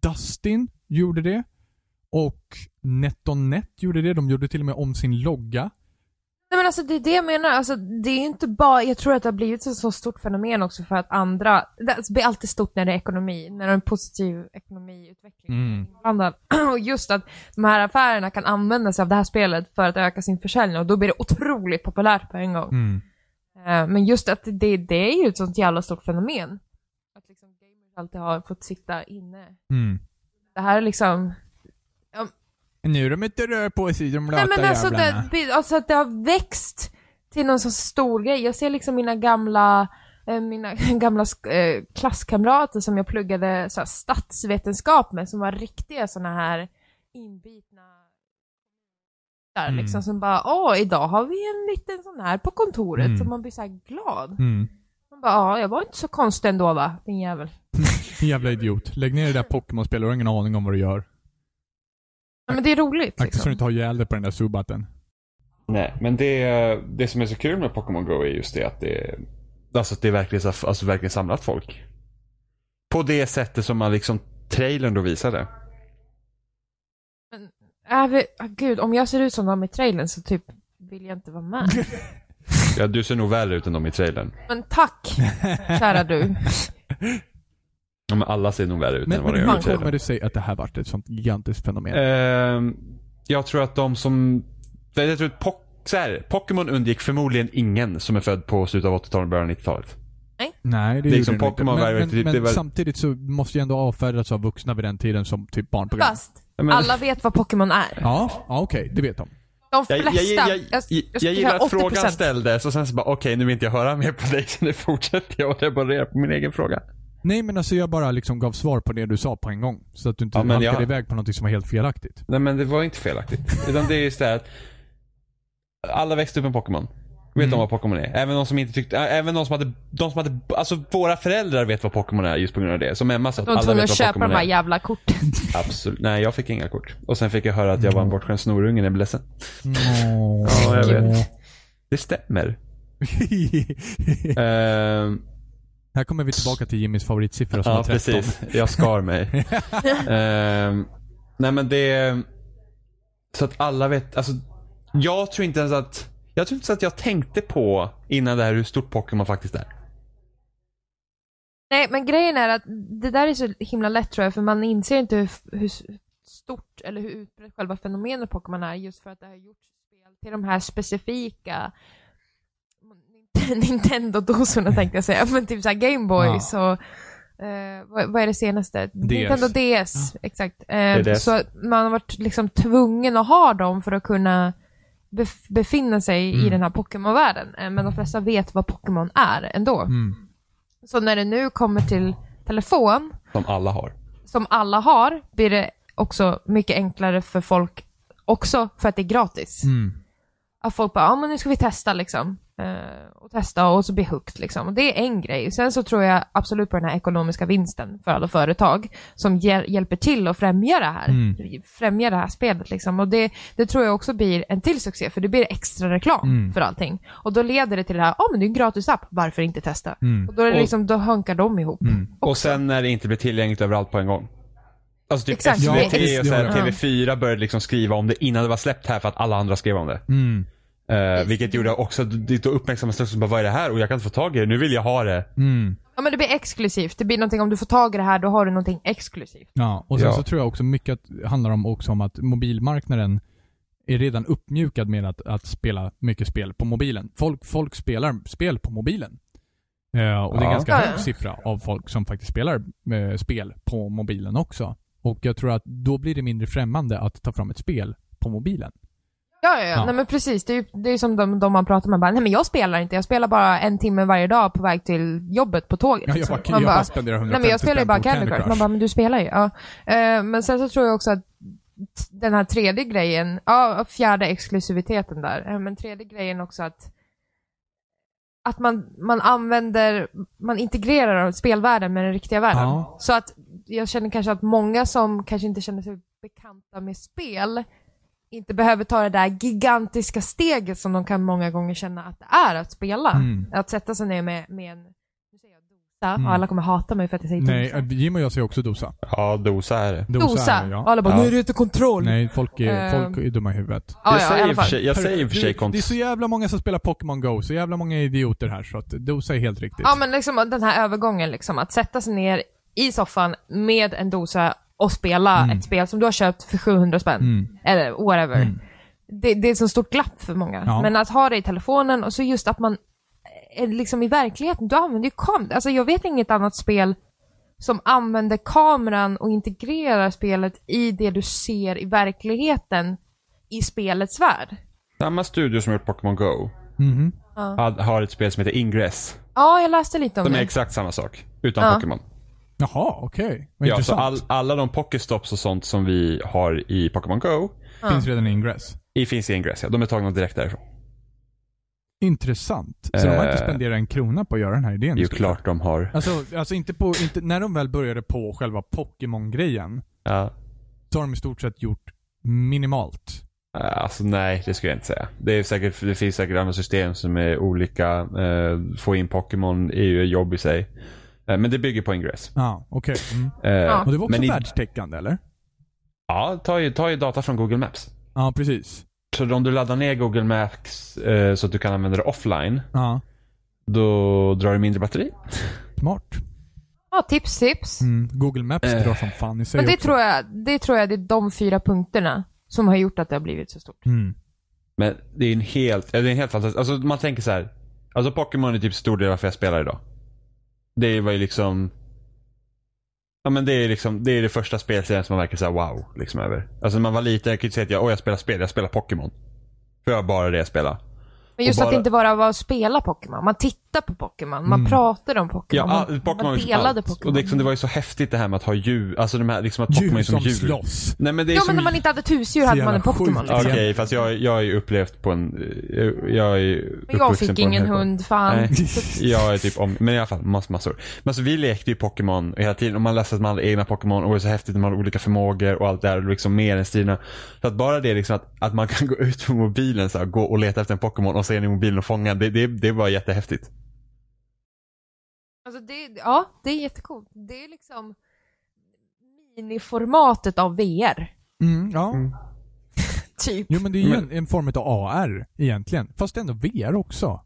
[SPEAKER 3] Dustin gjorde det. Och NetOnNet gjorde det. De gjorde till och med om sin logga.
[SPEAKER 1] Nej men alltså det är det jag menar, alltså, det är inte bara, jag tror att det har blivit ett så stort fenomen också för att andra, det alltså, blir alltid stort när det är ekonomi, när det är en positiv ekonomiutveckling
[SPEAKER 3] Mm.
[SPEAKER 1] inblandad. Och just att de här affärerna kan använda sig av det här spelet för att öka sin försäljning och då blir det otroligt populärt på en gång. Eh, Men just att det, det är ju ett sånt jävla stort fenomen. Att liksom gamers alltid har fått sitta inne.
[SPEAKER 3] Mm.
[SPEAKER 1] Det här är liksom,
[SPEAKER 3] Nu är de inte rör på sig de
[SPEAKER 1] Nej
[SPEAKER 3] lata
[SPEAKER 1] men alltså,
[SPEAKER 3] jävlarna.
[SPEAKER 1] det, det- alltså att det har växt till någon så stor grej. Jag ser liksom mina gamla, eh, mina gamla sk- eh, klasskamrater som jag pluggade så här, statsvetenskap med som var riktiga såna här inbitna där,
[SPEAKER 3] Mm.
[SPEAKER 1] liksom som bara åh idag har vi en liten sån här på kontoret
[SPEAKER 3] Mm.
[SPEAKER 1] så man blir så här glad.
[SPEAKER 3] Mm.
[SPEAKER 1] Man bara ja, jag var inte så konstig ändå va, din jävel.
[SPEAKER 3] Jävla idiot. Lägg ner det där Pokémon-spelet. Du har ingen aning om vad du gör.
[SPEAKER 1] Ja, men det är roligt
[SPEAKER 3] Akta så du
[SPEAKER 1] liksom.
[SPEAKER 3] inte har ihjäl dig på den där subaten.
[SPEAKER 2] Nej, men det, det som är så kul med Pokémon Go är just det att det, alltså att det verkligen, så- alltså verkligen samlat folk. På det sättet som man liksom trailern då visade.
[SPEAKER 1] Äh, vi, ah, gud, om jag ser ut som de i trailern så typ vill jag inte vara med.
[SPEAKER 2] Ja, du ser nog värre ut än de i trailern.
[SPEAKER 1] Men tack, kära du.
[SPEAKER 2] Ja, men alla ser nog värre ut
[SPEAKER 3] Men,
[SPEAKER 2] än vad
[SPEAKER 3] men
[SPEAKER 2] de gör
[SPEAKER 3] hur
[SPEAKER 2] i
[SPEAKER 3] kommer
[SPEAKER 2] trailern.
[SPEAKER 3] det sig att det här vart ett sånt gigantiskt fenomen?
[SPEAKER 2] Ehm, jag tror att de som, nej, jag tror att Poc- så här, Pokémon undgick förmodligen ingen som är född på slutet av 80-talet och början av 90-talet.
[SPEAKER 3] Nej, det
[SPEAKER 2] liksom
[SPEAKER 3] gjorde den inte.
[SPEAKER 2] Pokémon var ju
[SPEAKER 3] Men,
[SPEAKER 2] typ-
[SPEAKER 3] men,
[SPEAKER 2] det
[SPEAKER 3] men
[SPEAKER 2] var-
[SPEAKER 3] samtidigt så måste jag ändå avfärdas av vuxna vid den tiden som typ barnprogram.
[SPEAKER 1] Fast,
[SPEAKER 2] Ja, men-
[SPEAKER 1] alla vet vad Pokémon är.
[SPEAKER 3] Ja, ja okej. Det vet de.
[SPEAKER 1] De
[SPEAKER 2] Jag,
[SPEAKER 1] flesta.
[SPEAKER 2] jag, jag, jag,
[SPEAKER 1] jag-
[SPEAKER 2] jag,
[SPEAKER 1] jag skulle
[SPEAKER 2] jag gillar
[SPEAKER 1] säga
[SPEAKER 2] att frågan
[SPEAKER 1] 80%.
[SPEAKER 2] ställdes och sen så bara okej nu vill inte jag höra mer på dig så nu fortsätter jag att reparera på min egen fråga.
[SPEAKER 3] Nej men alltså jag bara liksom gav svar på det du sa på en gång. Så att du inte
[SPEAKER 2] Ja, men
[SPEAKER 3] halkade
[SPEAKER 2] jag-
[SPEAKER 3] iväg på någonting som var helt felaktigt.
[SPEAKER 2] Nej men det var inte felaktigt. Utan det är just det här att alla växte upp med Pokémon. Vet
[SPEAKER 1] Mm.
[SPEAKER 2] de vad Pokémon är? Även de som inte tyckte, äh, även de som hade, de som hade, alltså våra föräldrar vet vad Pokémon är just på grund av det. Som Emma sa, att
[SPEAKER 1] De var
[SPEAKER 2] alla
[SPEAKER 1] tvungna att
[SPEAKER 2] vet vad
[SPEAKER 1] köpa de
[SPEAKER 2] Pokémon
[SPEAKER 1] här
[SPEAKER 2] är.
[SPEAKER 1] jävla korten.
[SPEAKER 2] Absolut. Nej, jag fick inga kort. Och sen fick jag höra att jag var en bortskämd snorunge när jag blev ledsen. Ja, jag vet. Det stämmer. Ehm,
[SPEAKER 3] här kommer vi tillbaka till Jimmys favoritsiffra som
[SPEAKER 2] Ja,
[SPEAKER 3] var 13.
[SPEAKER 2] precis. Jag skar mig. Ehm, nej men det... Så att alla vet, alltså. Jag tror inte ens att... Jag tror inte så att jag tänkte på innan det här hur stort Pokémon faktiskt är.
[SPEAKER 1] Nej, men grejen är att det där är så himla lätt tror jag, för man inser inte hur, hur stort eller hur utbrett själva fenomenet Pokémon är just för att det har gjorts spel till de här specifika Nintendo-dosorna tänkte jag säga, men typ såhär Gameboy
[SPEAKER 3] Ja.
[SPEAKER 1] så eh, vad, vad är det senaste? Nintendo DS, exakt. Eh,
[SPEAKER 2] DDS.
[SPEAKER 1] så att man har varit liksom tvungen att ha dem för att kunna bef- befinna sig i
[SPEAKER 3] Mm.
[SPEAKER 1] den här Pokémon-världen. Eh, men de flesta vet vad Pokémon är ändå.
[SPEAKER 3] Mm.
[SPEAKER 1] Så när det nu kommer till telefon,
[SPEAKER 2] Som alla har.
[SPEAKER 1] som alla har, blir det också mycket enklare för folk också för att det är gratis.
[SPEAKER 3] Mm.
[SPEAKER 1] Att folk bara, ja men nu ska vi testa liksom. Eh, och testa och så bli hooked liksom. Och det är en grej. Sen så tror jag absolut på den här ekonomiska vinsten för alla företag som hjäl- hjälper till att främja det här.
[SPEAKER 3] Mm.
[SPEAKER 1] Främja det här spelet liksom. Och det, det tror jag också blir en till succé för det blir extra reklam
[SPEAKER 3] Mm.
[SPEAKER 1] för allting. Och då leder det till det här, ja men det är en gratis app, varför inte testa?
[SPEAKER 3] Mm.
[SPEAKER 1] Och då, är det
[SPEAKER 2] Och-
[SPEAKER 1] liksom, då hönkar de ihop.
[SPEAKER 3] Mm.
[SPEAKER 2] Och sen när det inte blir tillgängligt överallt på en gång. Alltså typ
[SPEAKER 1] Exakt.
[SPEAKER 2] SVT
[SPEAKER 3] Ja,
[SPEAKER 2] och så här,
[SPEAKER 3] ja.
[SPEAKER 2] TV4 började liksom skriva om det innan det var släppt här för att alla andra skrev om det.
[SPEAKER 3] Mm.
[SPEAKER 2] Eh, vilket gjorde också att det då uppmärksammades också, bara, vad är det här? Och jag kan inte få tag i det, nu vill jag ha det.
[SPEAKER 3] Mm.
[SPEAKER 1] Ja men det blir exklusivt. Det blir någonting, om du får tag i det här då har du någonting exklusivt.
[SPEAKER 3] Ja, och sen
[SPEAKER 2] Ja.
[SPEAKER 3] så tror jag också mycket att, handlar om också om att mobilmarknaden är redan uppmjukad med att, att spela mycket spel på mobilen. Folk, folk spelar spel på mobilen. Eh, och det är
[SPEAKER 2] Ja.
[SPEAKER 3] en ganska
[SPEAKER 1] Ja,
[SPEAKER 3] hög
[SPEAKER 1] ja.
[SPEAKER 3] siffra av folk som faktiskt spelar eh, spel på mobilen också. Och jag tror att då blir det mindre främmande att ta fram ett spel på mobilen.
[SPEAKER 1] Ja, ja, ja.
[SPEAKER 3] Ja.
[SPEAKER 1] Nej men precis. Det är ju det är ju som de, de man pratar med. Bara, Nej men jag spelar inte. Jag spelar bara en timme varje dag på väg till jobbet på tåget.
[SPEAKER 3] Ja, jag
[SPEAKER 1] liksom.
[SPEAKER 3] bara, jag
[SPEAKER 1] man
[SPEAKER 3] bara
[SPEAKER 1] bara,
[SPEAKER 3] spenderar
[SPEAKER 1] Nej
[SPEAKER 3] 150
[SPEAKER 1] men jag spelar ju
[SPEAKER 3] spänn
[SPEAKER 1] bara
[SPEAKER 3] på
[SPEAKER 1] Candy Crush. Man bara, men du spelar ju. Ja. Eh, men sen så tror jag också att t- den här tredje grejen, ja fjärde exklusiviteten där, Eh, men tredje grejen också att att man, man använder, man integrerar spelvärlden med den riktiga världen.
[SPEAKER 3] Ja.
[SPEAKER 1] Så att jag känner kanske att många som kanske inte känner sig bekanta med spel inte behöver ta det där gigantiska steget som de kan många gånger känna att det är att spela.
[SPEAKER 3] Mm.
[SPEAKER 1] Att sätta sig ner med, med en nu säger jag dosa,
[SPEAKER 3] Mm.
[SPEAKER 1] och alla kommer hata mig för att jag säger
[SPEAKER 3] Nej,
[SPEAKER 1] dosa.
[SPEAKER 3] eh, Jim och jag säger också dosa.
[SPEAKER 2] Ja, äh, dosa är det.
[SPEAKER 3] Dosa,
[SPEAKER 1] Dosa!
[SPEAKER 3] är det,
[SPEAKER 1] Och
[SPEAKER 3] ja.
[SPEAKER 1] alla bara
[SPEAKER 2] Ja.
[SPEAKER 1] ”Nej, det är inte kontroll”.
[SPEAKER 3] Nej, folk är,
[SPEAKER 1] Ehm.
[SPEAKER 3] folk är dumma i huvudet.
[SPEAKER 1] Ja,
[SPEAKER 2] jag,
[SPEAKER 1] ja, i
[SPEAKER 2] säger,
[SPEAKER 1] alla
[SPEAKER 2] i och för
[SPEAKER 1] fall.
[SPEAKER 2] sig, jag säger i och för sig
[SPEAKER 3] det, det är så
[SPEAKER 2] kont-
[SPEAKER 3] jävla många som spelar Pokémon Go, så jävla många idioter här så att dosa är helt riktigt.
[SPEAKER 1] Ja, men liksom den här övergången liksom, att sätta sig ner i soffan med en dosa och spela
[SPEAKER 3] Mm.
[SPEAKER 1] ett spel som du har köpt för 700 spänn. Eller whatever. Det, det är ett så stort glapp för många.
[SPEAKER 3] Mm. Ja.
[SPEAKER 1] Men att ha det i telefonen och så just att man är liksom i verkligheten, du använder ju kameran. Alltså jag vet inget annat spel som använder kameran och integrerar spelet i det du ser i verkligheten i spelets värld.
[SPEAKER 2] Samma studio som gjort Pokémon Go
[SPEAKER 3] Mhm.
[SPEAKER 2] had- har ett spel som heter Ingress.
[SPEAKER 1] Ja, jag läste lite om
[SPEAKER 2] De
[SPEAKER 1] det.
[SPEAKER 2] är exakt samma sak, utan
[SPEAKER 1] Ja.
[SPEAKER 2] Pokémon.
[SPEAKER 3] Jaha, okej. Vad
[SPEAKER 2] Ja, så
[SPEAKER 3] intressant.
[SPEAKER 2] all, alla de Pokéstops och sånt som vi har i Pokémon Go
[SPEAKER 3] Finns redan i Ingress.
[SPEAKER 2] i, finns i Ingress. Ja. De är tagna direkt därifrån.
[SPEAKER 3] Intressant. Så de har inte
[SPEAKER 2] Eh.
[SPEAKER 3] spenderat en krona på att göra den här idén?
[SPEAKER 2] Det är ju
[SPEAKER 3] skulle
[SPEAKER 2] klart de har.
[SPEAKER 3] jag- Alltså, alltså inte på, inte, när de väl började på själva Pokémon-grejen,
[SPEAKER 2] Ja.
[SPEAKER 3] så har de i stort sett gjort minimalt.
[SPEAKER 2] Eh, Alltså nej, det skulle jag inte säga. Det, är säkert, det finns säkert andra system som är olika. Eh, få in Pokémon är ju ett jobb i sig. Eh, men det bygger på Ingress.
[SPEAKER 3] Ja, okej. Mm.
[SPEAKER 2] Eh,
[SPEAKER 1] Ja.
[SPEAKER 3] Och det var också
[SPEAKER 2] men i,
[SPEAKER 3] världstäckande, eller?
[SPEAKER 2] ja, ta ju, ta ju data från Google Maps.
[SPEAKER 3] Ja, precis.
[SPEAKER 2] Så om du laddar ner Google Maps eh, så att du kan använda det offline,
[SPEAKER 3] Ja,
[SPEAKER 2] då drar det mindre batteri.
[SPEAKER 3] smart.
[SPEAKER 1] Ja, tips, tips.
[SPEAKER 3] Mm. Google Maps
[SPEAKER 2] Eh.
[SPEAKER 3] drar som fan i sig
[SPEAKER 1] Men det
[SPEAKER 3] också.
[SPEAKER 1] tror, jag, det tror jag det är de fyra punkterna som har gjort att det har blivit så stort.
[SPEAKER 3] Mm.
[SPEAKER 2] Men det är en helt, ja, det är en helt fantastisk, alltså man tänker så här. Alltså Pokémon är typ stor del av varför jag spelar idag. Det var ju liksom Ja men det är liksom, det är det första spelserien som man verkar säga wow, liksom över. Alltså när man var liten, jag kan ju inte säga att jag, åh jag spelar spel, jag spelar Pokémon. För jag har bara det jag spelar.
[SPEAKER 1] Men just
[SPEAKER 2] Och
[SPEAKER 1] att
[SPEAKER 2] bara-
[SPEAKER 1] det inte bara var att spela Pokémon. Man tittar på Pokémon, man
[SPEAKER 3] Mm.
[SPEAKER 1] pratar om Pokémon,
[SPEAKER 2] Ja, all-
[SPEAKER 1] man,
[SPEAKER 2] Pokémon var
[SPEAKER 1] man
[SPEAKER 2] ju som
[SPEAKER 1] delade
[SPEAKER 2] allt.
[SPEAKER 1] Pokémon.
[SPEAKER 2] Och det, liksom, det var ju så häftigt det här med att ha djur, alltså de här, liksom att Pokémon
[SPEAKER 3] Djur
[SPEAKER 2] är som
[SPEAKER 3] som
[SPEAKER 2] djur.
[SPEAKER 3] slåss.
[SPEAKER 2] Nej men det är
[SPEAKER 1] ja,
[SPEAKER 2] som
[SPEAKER 1] men när man inte hade tusdjur hade man en
[SPEAKER 3] jävla
[SPEAKER 1] Pokémon.
[SPEAKER 3] sjukt.
[SPEAKER 1] Liksom.
[SPEAKER 2] Okej, fast jag, jag har ju upplevt på en, jag, jag är ju
[SPEAKER 1] Men jag
[SPEAKER 2] uppvuxen
[SPEAKER 1] fick
[SPEAKER 2] på en
[SPEAKER 1] ingen
[SPEAKER 2] högborg.
[SPEAKER 1] hund, fan.
[SPEAKER 2] Nej, jag är typ om, men i alla fall massor, massor. Men alltså vi lekte ju Pokémon hela tiden och man läste att man hade egna Pokémon och det var så häftigt när man hade olika förmågor och allt det där och liksom mer än striderna. Så att bara det liksom att, att man kan gå ut på mobilen så här, gå och leta efter en Pokémon och se den i mobilen och fånga den, det, det, det var jättehäftigt.
[SPEAKER 1] Alltså det, ja, det är jättecoolt. Det är liksom miniformatet av VR.
[SPEAKER 3] Mm, ja.
[SPEAKER 2] Mm.
[SPEAKER 1] Typ.
[SPEAKER 3] Jo men det är ju
[SPEAKER 2] Men-
[SPEAKER 3] en, en form av AR egentligen. Fast ändå VR också.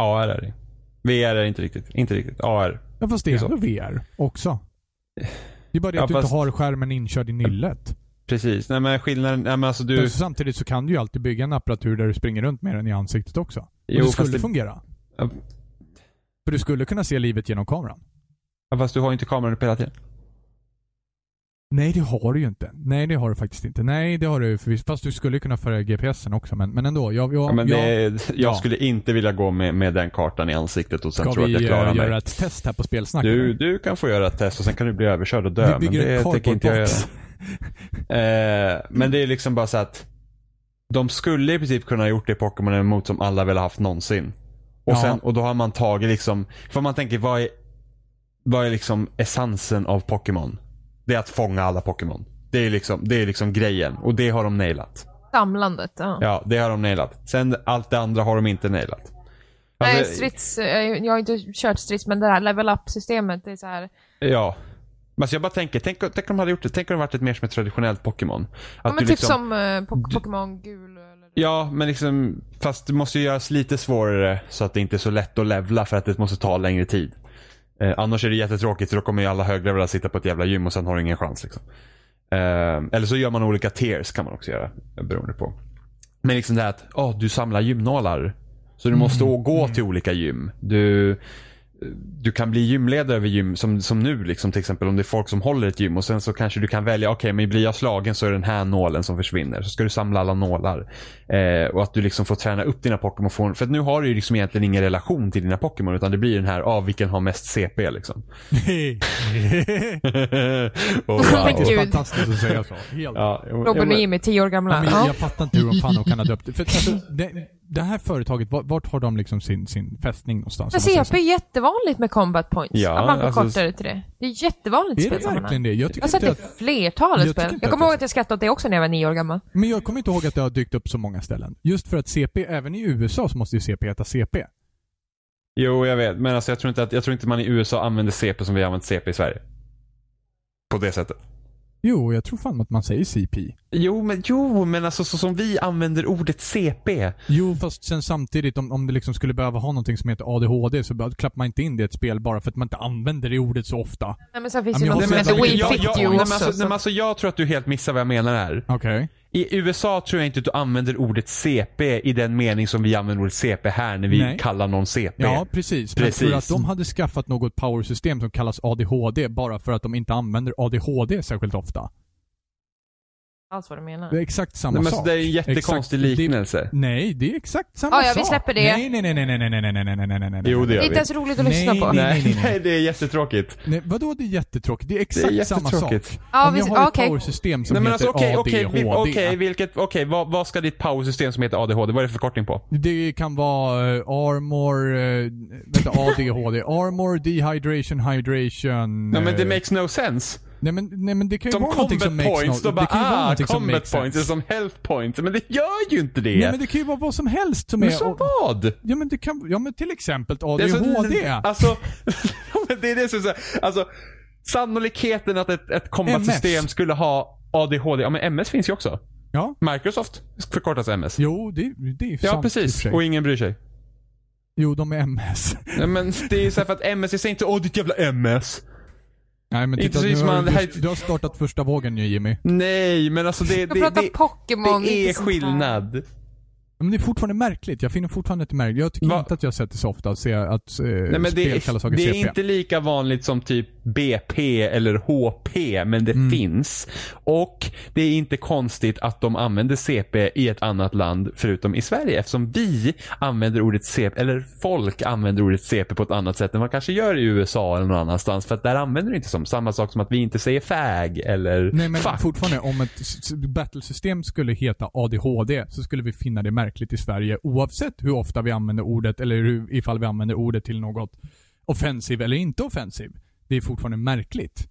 [SPEAKER 2] AR är det. VR är det inte riktigt, inte riktigt. AR.
[SPEAKER 3] Ja fast det är
[SPEAKER 2] Det är
[SPEAKER 3] ändå VR också. Det är bara det
[SPEAKER 2] Ja,
[SPEAKER 3] att du
[SPEAKER 2] fast-
[SPEAKER 3] inte har skärmen inkörd i nyllet.
[SPEAKER 2] Precis, nej men skillnaden, nej men alltså
[SPEAKER 3] Men
[SPEAKER 2] du,
[SPEAKER 3] samtidigt så kan du ju alltid bygga en apparatur där du springer runt med den i ansiktet också. Och
[SPEAKER 2] Jo,
[SPEAKER 3] det
[SPEAKER 2] fast
[SPEAKER 3] skulle
[SPEAKER 2] det-
[SPEAKER 3] fungera.
[SPEAKER 2] Ja.
[SPEAKER 3] För du skulle kunna se livet genom kameran.
[SPEAKER 2] ja, fast du har ju inte kameran uppe hela tiden.
[SPEAKER 3] Nej, det har du ju inte. Nej, det har du faktiskt inte. Nej, det har du ju förvisso. Fast du skulle kunna föra GPSen också. Men, men ändå. Jag, jag,
[SPEAKER 2] Ja, men
[SPEAKER 3] jag,
[SPEAKER 2] det, jag
[SPEAKER 3] Ja.
[SPEAKER 2] skulle inte vilja gå med, med den kartan i ansiktet och sen
[SPEAKER 3] ska
[SPEAKER 2] tro att
[SPEAKER 3] vi
[SPEAKER 2] jag
[SPEAKER 3] eh,
[SPEAKER 2] klarar
[SPEAKER 3] göra
[SPEAKER 2] mig.
[SPEAKER 3] ett test här på spelsnack?
[SPEAKER 2] Du,
[SPEAKER 3] eller?
[SPEAKER 2] du kan få göra ett test och sen kan du bli överkörd och dö.
[SPEAKER 3] vi bygger
[SPEAKER 2] men det
[SPEAKER 3] en
[SPEAKER 2] tänker
[SPEAKER 3] cardboard
[SPEAKER 2] inte jag göra.
[SPEAKER 3] box.
[SPEAKER 2] Eh, men det är liksom bara så att de skulle i princip kunna ha gjort det Pokémon emot som alla väl har haft någonsin. Och,
[SPEAKER 3] Ja.
[SPEAKER 2] sen, och då har man tagit liksom, för man tänker vad är, vad är liksom essensen av Pokémon? Det är att fånga alla Pokémon. Det är liksom, det är liksom grejen och det har de nailat.
[SPEAKER 1] Samlandet, ja.
[SPEAKER 2] Ja, det har de nailat. Sen allt det andra har de inte nailat.
[SPEAKER 1] Nej,
[SPEAKER 2] Alltså,
[SPEAKER 1] strids, eh, jag har inte kört strids, men det här level up-systemet, det är så här.
[SPEAKER 2] Ja. Men alltså jag bara tänker, tänk, tänk om de hade gjort det. Tänk om det varit ett mer som ett traditionellt Pokémon. Att
[SPEAKER 1] Ja, men
[SPEAKER 2] du
[SPEAKER 1] typ
[SPEAKER 2] liksom,
[SPEAKER 1] som eh, Pok- Pokémon gul eller
[SPEAKER 2] Ja, men liksom, fast det måste ju göras lite svårare så att det inte är så lätt att levla för att det måste ta längre tid. Eh, annars är det jättetråkigt för då kommer ju alla höglevlar sitta på ett jävla gym och sen har du ingen chans. Liksom. Eh, eller så gör man olika tiers kan man också göra. Beroende på. Men liksom det här att åh, du samlar gymnålar. Så du måste
[SPEAKER 1] Mm.
[SPEAKER 2] å- gå till olika gym. Du, du kan bli gymledare över gym som, som nu liksom till exempel om det är folk som håller ett gym och sen så kanske du kan välja, okej men blir jag slagen så är det den här nålen som försvinner. Så ska du samla alla nålar. Eh, och att du liksom får träna upp dina Pokémon. För för att nu har du ju liksom egentligen ingen relation till dina Pokémon utan det blir den här, ah vilken har mest CP liksom.
[SPEAKER 1] Men
[SPEAKER 2] och,
[SPEAKER 3] Det
[SPEAKER 2] Oh, wow.
[SPEAKER 1] gud.
[SPEAKER 3] är fantastiskt att säga så. Helt
[SPEAKER 2] ja, jo, jo,
[SPEAKER 1] Robin och
[SPEAKER 2] men-
[SPEAKER 1] Jimmy, tio år gamla.
[SPEAKER 3] Men
[SPEAKER 1] Ja.
[SPEAKER 3] jag fattar inte hur de fan de kan ha döpt det. För, alltså, det. det här företaget, vart, vart har de liksom sin, sin fästning någonstans?
[SPEAKER 1] Men
[SPEAKER 3] om man säger så?
[SPEAKER 1] CP Alltså, E är jättevanligt med combat points.
[SPEAKER 2] Ja,
[SPEAKER 1] att man
[SPEAKER 2] alltså-
[SPEAKER 1] förkortar det till det. Det är jättevanligt i
[SPEAKER 3] Är det verkligen
[SPEAKER 1] spelsammanhang.
[SPEAKER 3] det? Jag
[SPEAKER 1] Jag
[SPEAKER 3] tycker
[SPEAKER 1] har sett
[SPEAKER 3] inte
[SPEAKER 1] det i
[SPEAKER 3] att,
[SPEAKER 1] flertalet
[SPEAKER 3] jag tycker
[SPEAKER 1] spel.
[SPEAKER 3] inte
[SPEAKER 1] Jag
[SPEAKER 3] att
[SPEAKER 1] kommer
[SPEAKER 3] jag
[SPEAKER 1] ihåg att jag skrattade åt det också när jag var nio år gammal.
[SPEAKER 3] men jag kommer inte ihåg att det har dykt upp så många ställen. Just för att CP, även i USA så måste ju CP heta CP.
[SPEAKER 2] Jo, jag vet. Men alltså, jag, tror inte att, jag tror inte man i USA använder CP som vi har använt CP i Sverige. På det sättet.
[SPEAKER 3] Jo, jag tror fan att man säger CP.
[SPEAKER 2] Jo, men, jo, men alltså så som vi använder ordet CP.
[SPEAKER 3] Jo, fast sen samtidigt om, om det liksom skulle behöva ha någonting som heter ADHD så bara- klappar man inte in det i ett spel bara för att man inte använder det ordet så ofta.
[SPEAKER 1] Nej, men sen
[SPEAKER 3] Ja,
[SPEAKER 1] finns
[SPEAKER 3] men
[SPEAKER 1] det
[SPEAKER 3] jag
[SPEAKER 1] något som
[SPEAKER 3] har sett
[SPEAKER 1] heter
[SPEAKER 3] det.
[SPEAKER 1] We
[SPEAKER 3] Jag-
[SPEAKER 1] Fit
[SPEAKER 3] jag-
[SPEAKER 1] You
[SPEAKER 2] alltså, nej, men
[SPEAKER 1] också.
[SPEAKER 2] alltså, nej, men
[SPEAKER 1] så-
[SPEAKER 2] alltså, jag tror att du helt missar vad jag menar här.
[SPEAKER 3] Okej.
[SPEAKER 2] I USA tror jag inte att du använder ordet CP i den mening som vi använder ordet CP här när vi
[SPEAKER 3] Nej.
[SPEAKER 2] kallar någon CP.
[SPEAKER 3] Ja, precis. Men
[SPEAKER 2] Precis.
[SPEAKER 3] tror du att de hade skaffat något powersystem som kallas ADHD bara för att de inte använder ADHD särskilt ofta?
[SPEAKER 1] Alls vad du menar.
[SPEAKER 3] Det är exakt samma
[SPEAKER 2] Nej, men
[SPEAKER 3] sak.
[SPEAKER 2] alltså, det är en jättekonstig
[SPEAKER 3] Exakt- det-
[SPEAKER 2] liknelse.
[SPEAKER 3] Nej, det är exakt samma
[SPEAKER 1] Ja, ja,
[SPEAKER 3] sak.
[SPEAKER 1] vi släpper det.
[SPEAKER 3] Nej, nej, nej, nej, nej, nej, nej, nej, nej, nej, nej, nej.
[SPEAKER 2] Jo, det
[SPEAKER 1] Det
[SPEAKER 2] gör
[SPEAKER 1] är
[SPEAKER 2] vi.
[SPEAKER 1] inte ens roligt att lyssna
[SPEAKER 3] Nej,
[SPEAKER 1] på.
[SPEAKER 3] nej.
[SPEAKER 2] Nej, nej, det är jättetråkigt.
[SPEAKER 3] nej. Vadå, det är jättetråkigt. Det är exakt samma sak.
[SPEAKER 2] jättetråkigt.
[SPEAKER 1] Ja,
[SPEAKER 3] Om jag
[SPEAKER 1] vi-
[SPEAKER 3] har ett
[SPEAKER 1] okej.
[SPEAKER 3] powersystem som
[SPEAKER 2] Nej men
[SPEAKER 3] heter
[SPEAKER 2] alltså okej, okej, vi-
[SPEAKER 3] ADHD.
[SPEAKER 2] okej, vilket, okej, vad, vad ska ditt powersystem som heter ADHD, vad är det för förkortning på?
[SPEAKER 3] Det kan vara eh, armor, eh, vänta, ADHD. armor, dehydration, hydration.
[SPEAKER 2] Nej men det
[SPEAKER 3] eh,
[SPEAKER 2] makes no sense.
[SPEAKER 3] nej, men, nej men det kan ju
[SPEAKER 2] Som
[SPEAKER 3] vara någonting
[SPEAKER 2] combat
[SPEAKER 3] som makes
[SPEAKER 2] points,
[SPEAKER 3] no,
[SPEAKER 2] då bara
[SPEAKER 3] det kan ju vara
[SPEAKER 2] ah,
[SPEAKER 3] någonting som
[SPEAKER 2] combat
[SPEAKER 3] makes
[SPEAKER 2] points, eller
[SPEAKER 3] sense.
[SPEAKER 2] som health points. Men det gör ju inte det!
[SPEAKER 3] Nej men det kan ju vara vad som helst som
[SPEAKER 2] Men
[SPEAKER 3] är...
[SPEAKER 2] som
[SPEAKER 3] och-
[SPEAKER 2] vad?
[SPEAKER 3] Ja men det kan, ja men till exempel
[SPEAKER 2] Det är så-
[SPEAKER 3] ADHD.
[SPEAKER 2] Alltså, men det är det som är så här, alltså, sannolikheten att ett, ett combat-system
[SPEAKER 3] MS.
[SPEAKER 2] skulle ha ADHD, ja men MS finns ju också.
[SPEAKER 3] Ja.
[SPEAKER 2] Microsoft förkortas MS.
[SPEAKER 3] Jo, det, det är ju
[SPEAKER 2] Ja
[SPEAKER 3] sant i och för
[SPEAKER 2] precis,
[SPEAKER 3] sig.
[SPEAKER 2] och ingen bryr sig.
[SPEAKER 3] Jo, de är MS.
[SPEAKER 2] Nej, men det är ju så här för att MS, jag säger inte åh ditt jävla MS.
[SPEAKER 3] Nej men
[SPEAKER 2] Inte
[SPEAKER 3] titta, nu
[SPEAKER 2] precis,
[SPEAKER 3] har
[SPEAKER 2] man- det här-
[SPEAKER 3] du, du, du har startat första vågen nu Jimmy.
[SPEAKER 2] Nej, men alltså det, det,
[SPEAKER 1] Vi ska prata
[SPEAKER 2] det,
[SPEAKER 1] Pokémon.
[SPEAKER 2] det är
[SPEAKER 1] inte sånt här.
[SPEAKER 2] skillnad.
[SPEAKER 3] Men det är fortfarande märkligt. Jag finner fortfarande det märkligt. Jag tycker
[SPEAKER 2] Va?
[SPEAKER 3] inte att jag har sett det så ofta, att se att eh,
[SPEAKER 2] Nej, men
[SPEAKER 3] spel
[SPEAKER 2] det,
[SPEAKER 3] kallas
[SPEAKER 2] är-
[SPEAKER 3] saker
[SPEAKER 2] det är
[SPEAKER 3] CP.
[SPEAKER 2] inte lika vanligt som typ BP eller HP, men det
[SPEAKER 3] Mm.
[SPEAKER 2] finns. Och det är inte konstigt att de använder CP i ett annat land förutom i Sverige eftersom vi använder ordet CP, eller folk använder ordet CP på ett annat sätt än man kanske gör i USA eller någon annanstans. För att där använder det inte som samma sak som att vi inte säger fag eller
[SPEAKER 3] Nej men
[SPEAKER 2] fuck.
[SPEAKER 3] fortfarande, om ett s- s- battlesystem skulle heta ADHD så skulle vi finna det märkligt i Sverige oavsett hur ofta vi använder ordet eller hur, ifall vi använder ordet till något offensiv eller inte offensiv. Det är fortfarande märkligt.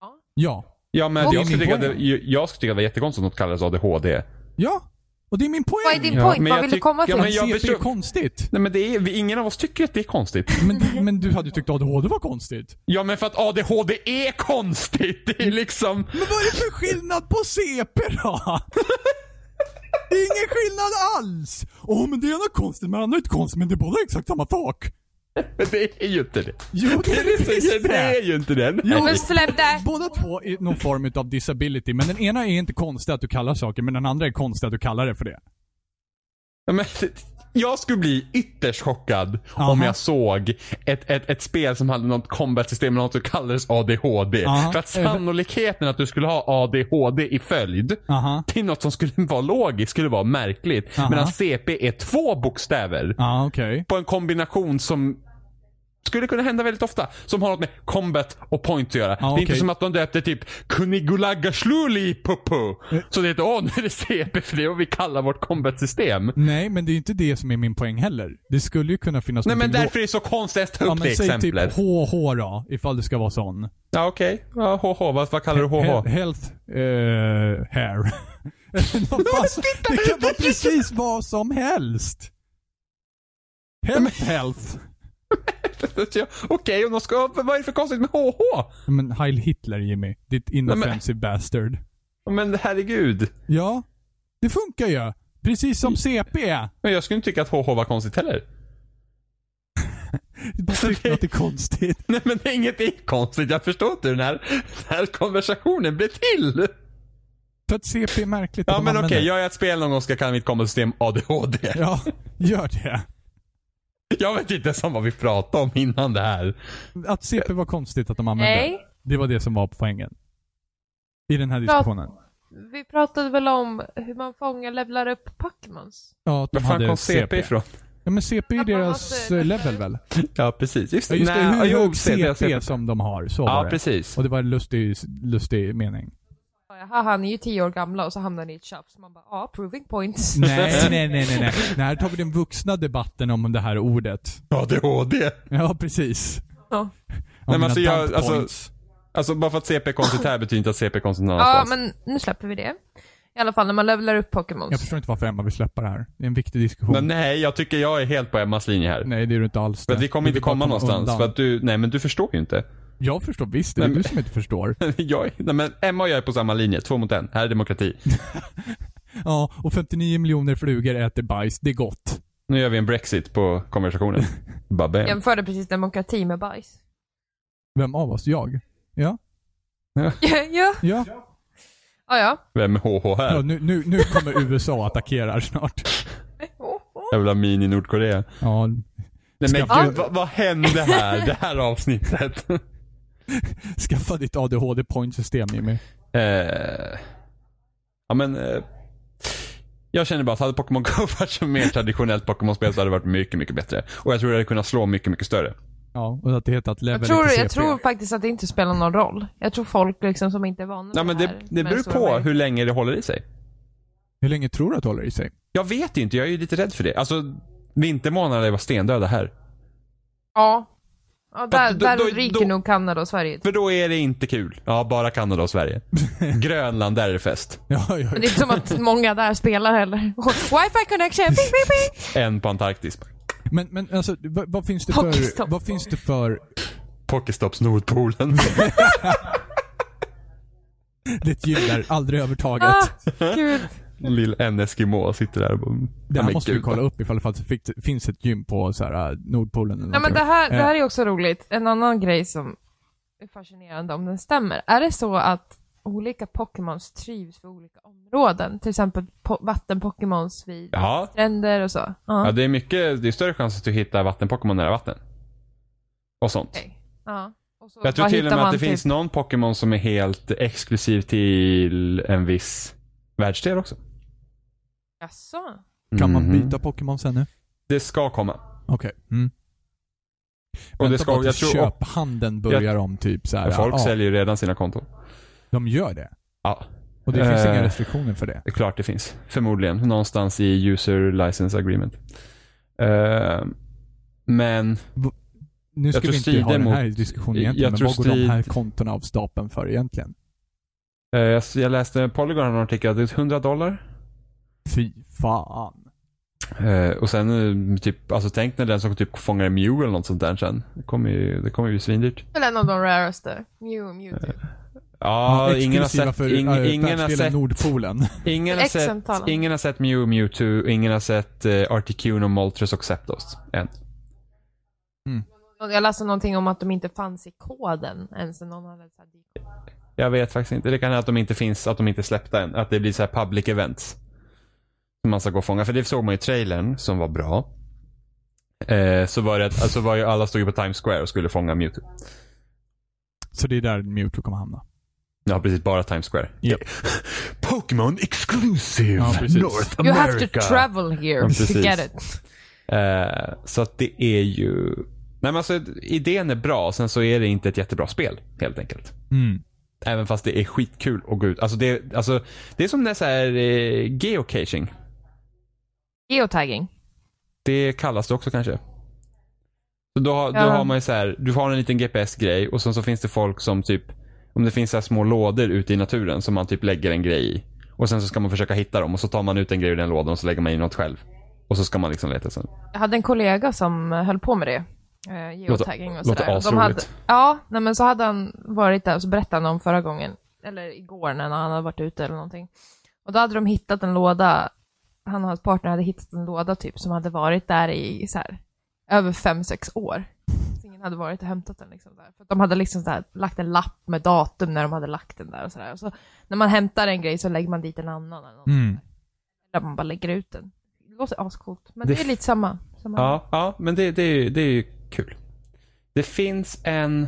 [SPEAKER 1] Ja.
[SPEAKER 3] Ja.
[SPEAKER 2] Ja, men
[SPEAKER 1] Och-
[SPEAKER 2] jag skulle,
[SPEAKER 3] Det är
[SPEAKER 2] tycka
[SPEAKER 3] min
[SPEAKER 2] att det, jag- jag skulle tycka att det var jättekonstigt om något kallades ADHD.
[SPEAKER 3] Ja. Och det är min
[SPEAKER 1] Vad är
[SPEAKER 3] poäng!
[SPEAKER 1] din
[SPEAKER 2] Ja, men
[SPEAKER 1] point?
[SPEAKER 2] jag
[SPEAKER 1] Vad vill du
[SPEAKER 2] tyck-
[SPEAKER 1] komma
[SPEAKER 2] ja,
[SPEAKER 1] till?
[SPEAKER 2] men jag-
[SPEAKER 3] CP är
[SPEAKER 2] förstår-
[SPEAKER 3] konstigt.
[SPEAKER 2] Nej men det är, vi- ingen av oss tycker att det är konstigt.
[SPEAKER 3] Men, men du hade ju tyckt ADHD var konstigt.
[SPEAKER 2] Ja men för att ADHD är konstigt. Det är liksom...
[SPEAKER 3] Men vad är det för skillnad på CP då? Det är ingen skillnad alls! Åh, men det ena är konstigt, men det andra är inte konstigt, men det är båda exakt samma sak.
[SPEAKER 2] Men det är ju inte det.
[SPEAKER 3] Jo, det är det visst
[SPEAKER 2] Det är
[SPEAKER 3] det!
[SPEAKER 2] ju inte det.
[SPEAKER 3] Jo,
[SPEAKER 1] Men släpp det!
[SPEAKER 3] Båda två är någon form av disability, men den ena är inte konstig att du kallar saker, men den andra är konstig att du kallar det för det.
[SPEAKER 2] Ja, Men, jag skulle bli ytterst chockad om
[SPEAKER 3] Aha.
[SPEAKER 2] jag såg ett, ett, ett spel som hade något combat-system eller något som kallades ADHD.
[SPEAKER 3] Aha.
[SPEAKER 2] För att sannolikheten att du skulle ha ADHD i följd
[SPEAKER 3] Aha.
[SPEAKER 2] till något som skulle vara logiskt skulle vara märkligt.
[SPEAKER 3] Aha.
[SPEAKER 2] Medan CP är två bokstäver
[SPEAKER 3] Ja, okej.
[SPEAKER 2] på en kombination som skulle kunna hända väldigt ofta. Som har något med combat och point att göra. Det
[SPEAKER 3] Ja,
[SPEAKER 2] är inte
[SPEAKER 3] okej.
[SPEAKER 2] som att de döpte typ Kunigulagashluli Popo. Så det heter åh nu är det CP för det är vad vi kallar vårt combat-system.
[SPEAKER 3] Nej, men det är inte det som är min poäng heller. Det skulle ju kunna finnas
[SPEAKER 2] Nej men
[SPEAKER 3] någonting
[SPEAKER 2] därför är det så konstigt att ta upp
[SPEAKER 3] Ja,
[SPEAKER 2] det
[SPEAKER 3] men säg typ
[SPEAKER 2] exemplet.
[SPEAKER 3] HH då, ifall det ska vara sån.
[SPEAKER 2] ja okej. Ja, HH, vad, vad kallar du
[SPEAKER 3] He-
[SPEAKER 2] HH?
[SPEAKER 3] health eh, hair. Någon fast- det kan vara precis vad som helst. Health health.
[SPEAKER 2] Ja, okej, om de ska, vad är det för konstigt med HH?
[SPEAKER 3] Men Heil Hitler Jimmy. Ditt inoffensive bastard.
[SPEAKER 2] Men herregud.
[SPEAKER 3] Ja, det funkar ju. Precis som CP.
[SPEAKER 2] Men jag skulle inte tycka att HH var konstigt heller.
[SPEAKER 3] Bara tycker att det är konstigt.
[SPEAKER 2] Nej men det är inget det är konstigt. Jag förstår inte hur den här, den här konversationen blev till.
[SPEAKER 3] För att CP är märkligt. att
[SPEAKER 2] Ja
[SPEAKER 3] de
[SPEAKER 2] men okej,
[SPEAKER 3] använder.
[SPEAKER 2] jag gör ett spel någon gång ska kalla mitt kombosystem ADHD.
[SPEAKER 3] Ja, gör det.
[SPEAKER 2] Jag vet inte ens om vad vi pratade om innan det här.
[SPEAKER 3] Att CP var konstigt att de använde.
[SPEAKER 1] Nej,
[SPEAKER 3] Det var det som var poängen. I den här
[SPEAKER 1] Prat-
[SPEAKER 3] diskussionen.
[SPEAKER 1] vi pratade väl om hur man fångar, levlar upp Pacmans?
[SPEAKER 3] Ja, att de
[SPEAKER 2] Var fan
[SPEAKER 3] hade
[SPEAKER 2] kom CP ifrån?
[SPEAKER 3] Ja men CP är
[SPEAKER 1] Att man
[SPEAKER 3] deras
[SPEAKER 1] måste-
[SPEAKER 3] eh, level väl?
[SPEAKER 2] Ja precis, just
[SPEAKER 3] Ja, just det, hur
[SPEAKER 2] ja, jo,
[SPEAKER 3] hög
[SPEAKER 2] CP,
[SPEAKER 3] CP
[SPEAKER 2] CP.
[SPEAKER 3] som de har. Så
[SPEAKER 2] Ja
[SPEAKER 3] var det.
[SPEAKER 2] precis.
[SPEAKER 3] Och det var en lustig, lustig mening.
[SPEAKER 1] Ja, haha ni är ju tio år gamla och så hamnar ni i ett tjafs. Man bara, ja, proving points.
[SPEAKER 3] Nej, nej, nej, nej, nej. Nej, här tar vi den vuxna debatten om det här ordet.
[SPEAKER 2] ADHD.
[SPEAKER 3] Ja, precis.
[SPEAKER 1] Ja.
[SPEAKER 2] men
[SPEAKER 3] mina
[SPEAKER 2] alltså, jag-
[SPEAKER 3] dump
[SPEAKER 2] alltså-
[SPEAKER 3] points.
[SPEAKER 2] Alltså bara för att CP är konstigt här betyder inte att CP är konstigt någon
[SPEAKER 1] Ja,
[SPEAKER 2] annanstans.
[SPEAKER 1] men nu släpper vi det. I alla fall när man levlar upp Pokémon.
[SPEAKER 3] Jag förstår inte varför Emma vill släppa det här. Det är en viktig diskussion.
[SPEAKER 2] Men nej, jag tycker jag är helt på Emmas linje här.
[SPEAKER 3] nej, det är du inte alls.
[SPEAKER 2] För
[SPEAKER 3] det.
[SPEAKER 2] att vi kommer
[SPEAKER 3] Du
[SPEAKER 2] inte
[SPEAKER 3] vill bara
[SPEAKER 2] komma någonstans.
[SPEAKER 3] undan.
[SPEAKER 2] För att du, nej men du förstår ju inte.
[SPEAKER 3] Jag förstår visst, det är
[SPEAKER 2] Nej,
[SPEAKER 3] du som inte förstår.
[SPEAKER 2] jag, nej, men Emma och jag är på samma linje, två mot en. Här är demokrati.
[SPEAKER 3] Ja, och 59 miljoner flugor äter bajs. Det är gott.
[SPEAKER 2] Nu gör vi en Brexit på konversationen. Babben.
[SPEAKER 1] Jämförde precis demokrati med bajs.
[SPEAKER 3] Vem av oss? Jag? Ja?
[SPEAKER 1] ja,
[SPEAKER 3] Ja?
[SPEAKER 1] ja. ja.
[SPEAKER 2] Vem är HH
[SPEAKER 3] ja
[SPEAKER 2] här?
[SPEAKER 3] nu, nu, nu kommer USA och attackerar snart.
[SPEAKER 2] Jävla mini Nordkorea.
[SPEAKER 3] Ja,
[SPEAKER 2] Nej men
[SPEAKER 3] Skaffa-
[SPEAKER 2] gud, vad, vad hände här? Det här avsnittet.
[SPEAKER 3] skaffa ditt ADHD-pointsystem Jimmy.
[SPEAKER 2] eh, ja men. Eh, jag känner bara att hade Pokémon Go varit som mer traditionellt Pokémon-spel så hade det varit mycket, mycket bättre. Och jag tror det hade kunnat slå mycket, mycket större.
[SPEAKER 3] Ja, och att det heter att level
[SPEAKER 1] Jag tror,
[SPEAKER 3] inte
[SPEAKER 1] jag
[SPEAKER 3] CP.
[SPEAKER 1] tror faktiskt att det inte spelar någon roll. Jag tror folk liksom som inte är vana
[SPEAKER 2] Ja, men det,
[SPEAKER 1] här
[SPEAKER 2] det
[SPEAKER 1] med
[SPEAKER 2] beror
[SPEAKER 1] stora
[SPEAKER 2] på
[SPEAKER 1] märken.
[SPEAKER 2] hur länge det håller i sig.
[SPEAKER 3] Hur länge tror du att det håller i sig?
[SPEAKER 2] Jag vet ju inte, jag är ju lite rädd för det. Alltså, vintermånaderna var stendöda här.
[SPEAKER 1] Ja. ja där
[SPEAKER 2] då-
[SPEAKER 1] där
[SPEAKER 2] då-
[SPEAKER 1] ryker
[SPEAKER 2] då-
[SPEAKER 1] nog Kanada och Sverige.
[SPEAKER 2] För då är det inte kul. Ja, bara Kanada och Sverige. Grönland, där är det fest.
[SPEAKER 3] Ja, ja.
[SPEAKER 1] Men det är inte som att många där spelar heller. Wifi connection, ping, ping, ping.
[SPEAKER 2] En på Antarktis.
[SPEAKER 3] Men, men alltså, vad, vad finns det
[SPEAKER 1] Hockeystopp.
[SPEAKER 3] för... Vad finns det för...
[SPEAKER 2] Pokestops Nordpolen.
[SPEAKER 3] Det gillar aldrig
[SPEAKER 1] Ah,
[SPEAKER 3] övertaget.
[SPEAKER 1] gud.
[SPEAKER 2] Lill en Eskimo sitter där och bara...
[SPEAKER 3] Det
[SPEAKER 2] Ja,
[SPEAKER 3] här
[SPEAKER 2] men
[SPEAKER 3] måste vi
[SPEAKER 2] gud.
[SPEAKER 3] kolla upp ifall det faktiskt fick- finns ett gym på så här, äh, Nordpolen eller
[SPEAKER 1] Ja, men det,
[SPEAKER 3] någonting.
[SPEAKER 1] här, det
[SPEAKER 3] Eh,
[SPEAKER 1] här är också roligt. En annan grej som är fascinerande om den stämmer. Är det så att olika Pokémons trivs för olika områden? Till exempel po- vattenpokémons vid
[SPEAKER 2] Ja.
[SPEAKER 1] stränder och så. Ja.
[SPEAKER 2] ja, det är mycket, det är större chans att du hittar vattenpokémon nära vatten. Och sånt.
[SPEAKER 1] Okej. ja. Och så,
[SPEAKER 2] Jag tror
[SPEAKER 1] vad
[SPEAKER 2] till och
[SPEAKER 1] hittar
[SPEAKER 2] med att
[SPEAKER 1] man
[SPEAKER 2] det
[SPEAKER 1] typ-
[SPEAKER 2] finns någon Pokémon som är helt exklusiv till en viss världsdel också.
[SPEAKER 1] Jaså?
[SPEAKER 3] Eh, Kan man
[SPEAKER 2] Mhm.
[SPEAKER 3] byta Pokémon sen nu?
[SPEAKER 2] Det ska komma.
[SPEAKER 3] Okej. Mm.
[SPEAKER 2] Och det
[SPEAKER 3] Vänta bara
[SPEAKER 2] ska, jag
[SPEAKER 3] tills
[SPEAKER 2] tror, och,
[SPEAKER 3] köphandeln börjar om typ så här.
[SPEAKER 2] folk
[SPEAKER 3] ja,
[SPEAKER 2] säljer ju redan sina konton.
[SPEAKER 3] De gör det.
[SPEAKER 2] Ja,
[SPEAKER 3] Och det finns
[SPEAKER 2] Eh.
[SPEAKER 3] inga restriktioner för det.
[SPEAKER 2] det är klart det finns. Förmodligen. Någonstans i user license agreement. Eh, men
[SPEAKER 3] Nu ska
[SPEAKER 2] tror
[SPEAKER 3] vi inte
[SPEAKER 2] strider
[SPEAKER 3] ha den här
[SPEAKER 2] mot-
[SPEAKER 3] diskussionen
[SPEAKER 2] jag
[SPEAKER 3] egentligen, men
[SPEAKER 2] tror
[SPEAKER 3] vad går de
[SPEAKER 2] strid-
[SPEAKER 3] här kontona av stapeln för egentligen?
[SPEAKER 2] eh, jag, jag läste Polygon har en artikel att det är 100 dollar.
[SPEAKER 3] Fy fan.
[SPEAKER 2] Eh, och sen eh, typ, alltså tänk när den som typ fångar en Mew eller något sånt där sen. Det kommer ju, det kommer ju bli svindyrt.
[SPEAKER 1] Väl en av de raraste. Mew och Mewtwo.
[SPEAKER 2] Eh. Ja, ingen har
[SPEAKER 3] exklusiva
[SPEAKER 2] sett,
[SPEAKER 3] för,
[SPEAKER 2] ing,
[SPEAKER 3] äh,
[SPEAKER 2] ingen har
[SPEAKER 3] världsdelen
[SPEAKER 2] sett,
[SPEAKER 3] Nordpolen.
[SPEAKER 2] ingen har
[SPEAKER 1] X
[SPEAKER 2] sett,
[SPEAKER 1] antalet.
[SPEAKER 2] ingen har sett Mew, Mewtwo, ingen har sett uh, Articuno, Moltres och Zapdos än.
[SPEAKER 1] Och Jag läste någonting om att de inte fanns i koden ens när någon hade så här dykt.
[SPEAKER 2] Jag vet faktiskt inte. Det kan hända att de inte finns, att de inte är släppta än. Att det blir så här public events. Som man ska gå och fånga. För det såg man ju i trailern, som var bra. Eh, så var det att, alltså var ju alla stod ju på Times Square och skulle fånga Mewtwo.
[SPEAKER 3] Så det är där Mewtwo kommer hamna.
[SPEAKER 2] Ja, precis. Bara Times Square.
[SPEAKER 3] Japp.
[SPEAKER 2] Pokémon exclusive
[SPEAKER 3] Ja, precis.
[SPEAKER 1] You have to travel here
[SPEAKER 2] Ja,
[SPEAKER 1] to
[SPEAKER 2] precis.
[SPEAKER 1] get it.
[SPEAKER 2] Eh, så att det är ju... Nej men alltså idén är bra, sen så är det inte ett jättebra spel helt enkelt.
[SPEAKER 3] Mm.
[SPEAKER 2] Även fast det är skitkul att gå ut. Alltså det, alltså, det är som när så här, eh, geocaching.
[SPEAKER 1] Geotagging.
[SPEAKER 2] Det kallas det också kanske. Så då, har- då
[SPEAKER 1] Ja.
[SPEAKER 2] har man ju så här, du har en liten GPS-grej och sen så finns det folk som typ, om det finns så här små lådor ute i naturen som man typ lägger en grej i. Och sen så ska man försöka hitta dem och så tar man ut en grej ur den lådan och så lägger man in något själv. Och så ska man liksom leta sen.
[SPEAKER 1] Jag hade en kollega som eh, höll på med det. eh, Geotagging och
[SPEAKER 2] låter
[SPEAKER 1] sådär.
[SPEAKER 2] asroligt.
[SPEAKER 1] hade, ja, nej, men så hade han varit där och så berättade han om förra gången, eller igår när han hade varit ute eller någonting. Och då hade de hittat en låda, han och hans partner hade hittat en låda typ som hade varit där i så här, över fem sex år. Så ingen hade varit och hämtat den liksom där. För de hade liksom så här, lagt en lapp med datum när de hade lagt den där och sådär. Och så när man hämtar en grej så lägger man dit en annan eller något.
[SPEAKER 3] Mm.
[SPEAKER 1] Där man bara lägger ut den. Det låter ascoolt, men
[SPEAKER 2] Det
[SPEAKER 1] det, är lite samma. samma
[SPEAKER 2] Ja, ja men det, det, är ju, det är ju kul. Det finns en...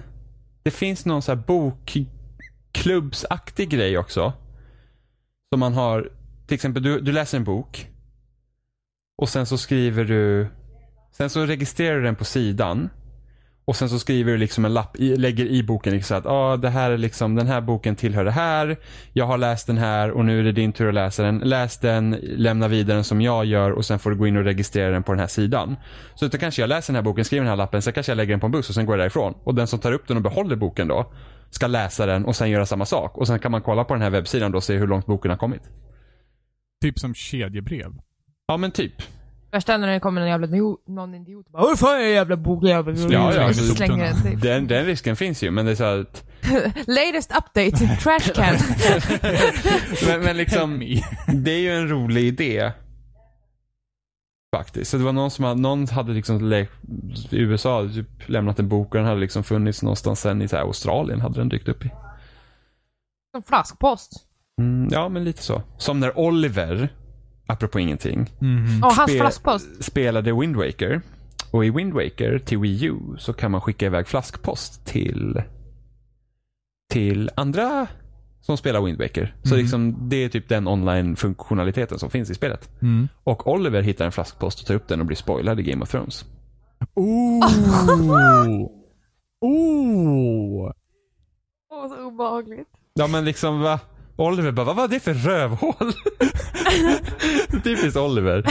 [SPEAKER 2] Det finns någon så här bokklubbsaktig grej också. Som man har... Till exempel, du, du läser en bok. Och sen så skriver du... Sen så registrerar du den på sidan. Och sen så skriver du liksom en lapp, i, lägger i boken liksom så att ah, det här är liksom, den här boken tillhör det här. Jag har läst den här och nu är det din tur att läsa den. Läs den, lämna vidare den som jag gör och sen får du gå in och registrera den på den här sidan. Så då kanske jag läser den här boken, skriver den här lappen, sen kanske jag lägger den på en buss och sen går jag därifrån. Och den som tar upp den och behåller boken då ska läsa den och sen göra samma sak. Och sen kan man kolla på den här webbsidan då och se hur långt boken har kommit.
[SPEAKER 3] Typ som kedjebrev.
[SPEAKER 2] Ja men typ.
[SPEAKER 1] Värsta är när det kommer en jävla idiot, någon idiot och bara Vad fan är en jävla bogjävel?
[SPEAKER 2] Ja, ja, alltså,
[SPEAKER 1] Slänger den typ.
[SPEAKER 2] Den, den risken finns ju men det är så att
[SPEAKER 1] Latest update, trash can.
[SPEAKER 2] men, men liksom, det är ju en rolig idé. Faktiskt. Så det var någon som hade, någon hade liksom le- i USA hade typ lämnat en bok och den hade liksom funnits någonstans sen i så här Australien hade den dykt upp i.
[SPEAKER 1] Som flaskpost.
[SPEAKER 2] Mm, ja, men lite så. Som när Oliver, apropå ingenting,
[SPEAKER 1] Ja, hans
[SPEAKER 2] Spe-
[SPEAKER 1] flaskpost.
[SPEAKER 2] spelade Wind Waker. Och i Wind Waker till Wii U så kan man skicka iväg flaskpost till, till andra som spelar Wind Waker. Så liksom, det är typ den online-funktionaliteten som finns i spelet.
[SPEAKER 3] Mm.
[SPEAKER 2] Och Oliver hittar en flaskpost och tar upp den och blir spoilad i Game of Thrones.
[SPEAKER 3] Oh! oh!
[SPEAKER 1] Åh, så obehagligt.
[SPEAKER 2] Ja men liksom va? Oliver bara, vad var det för rövhål? Typiskt Oliver.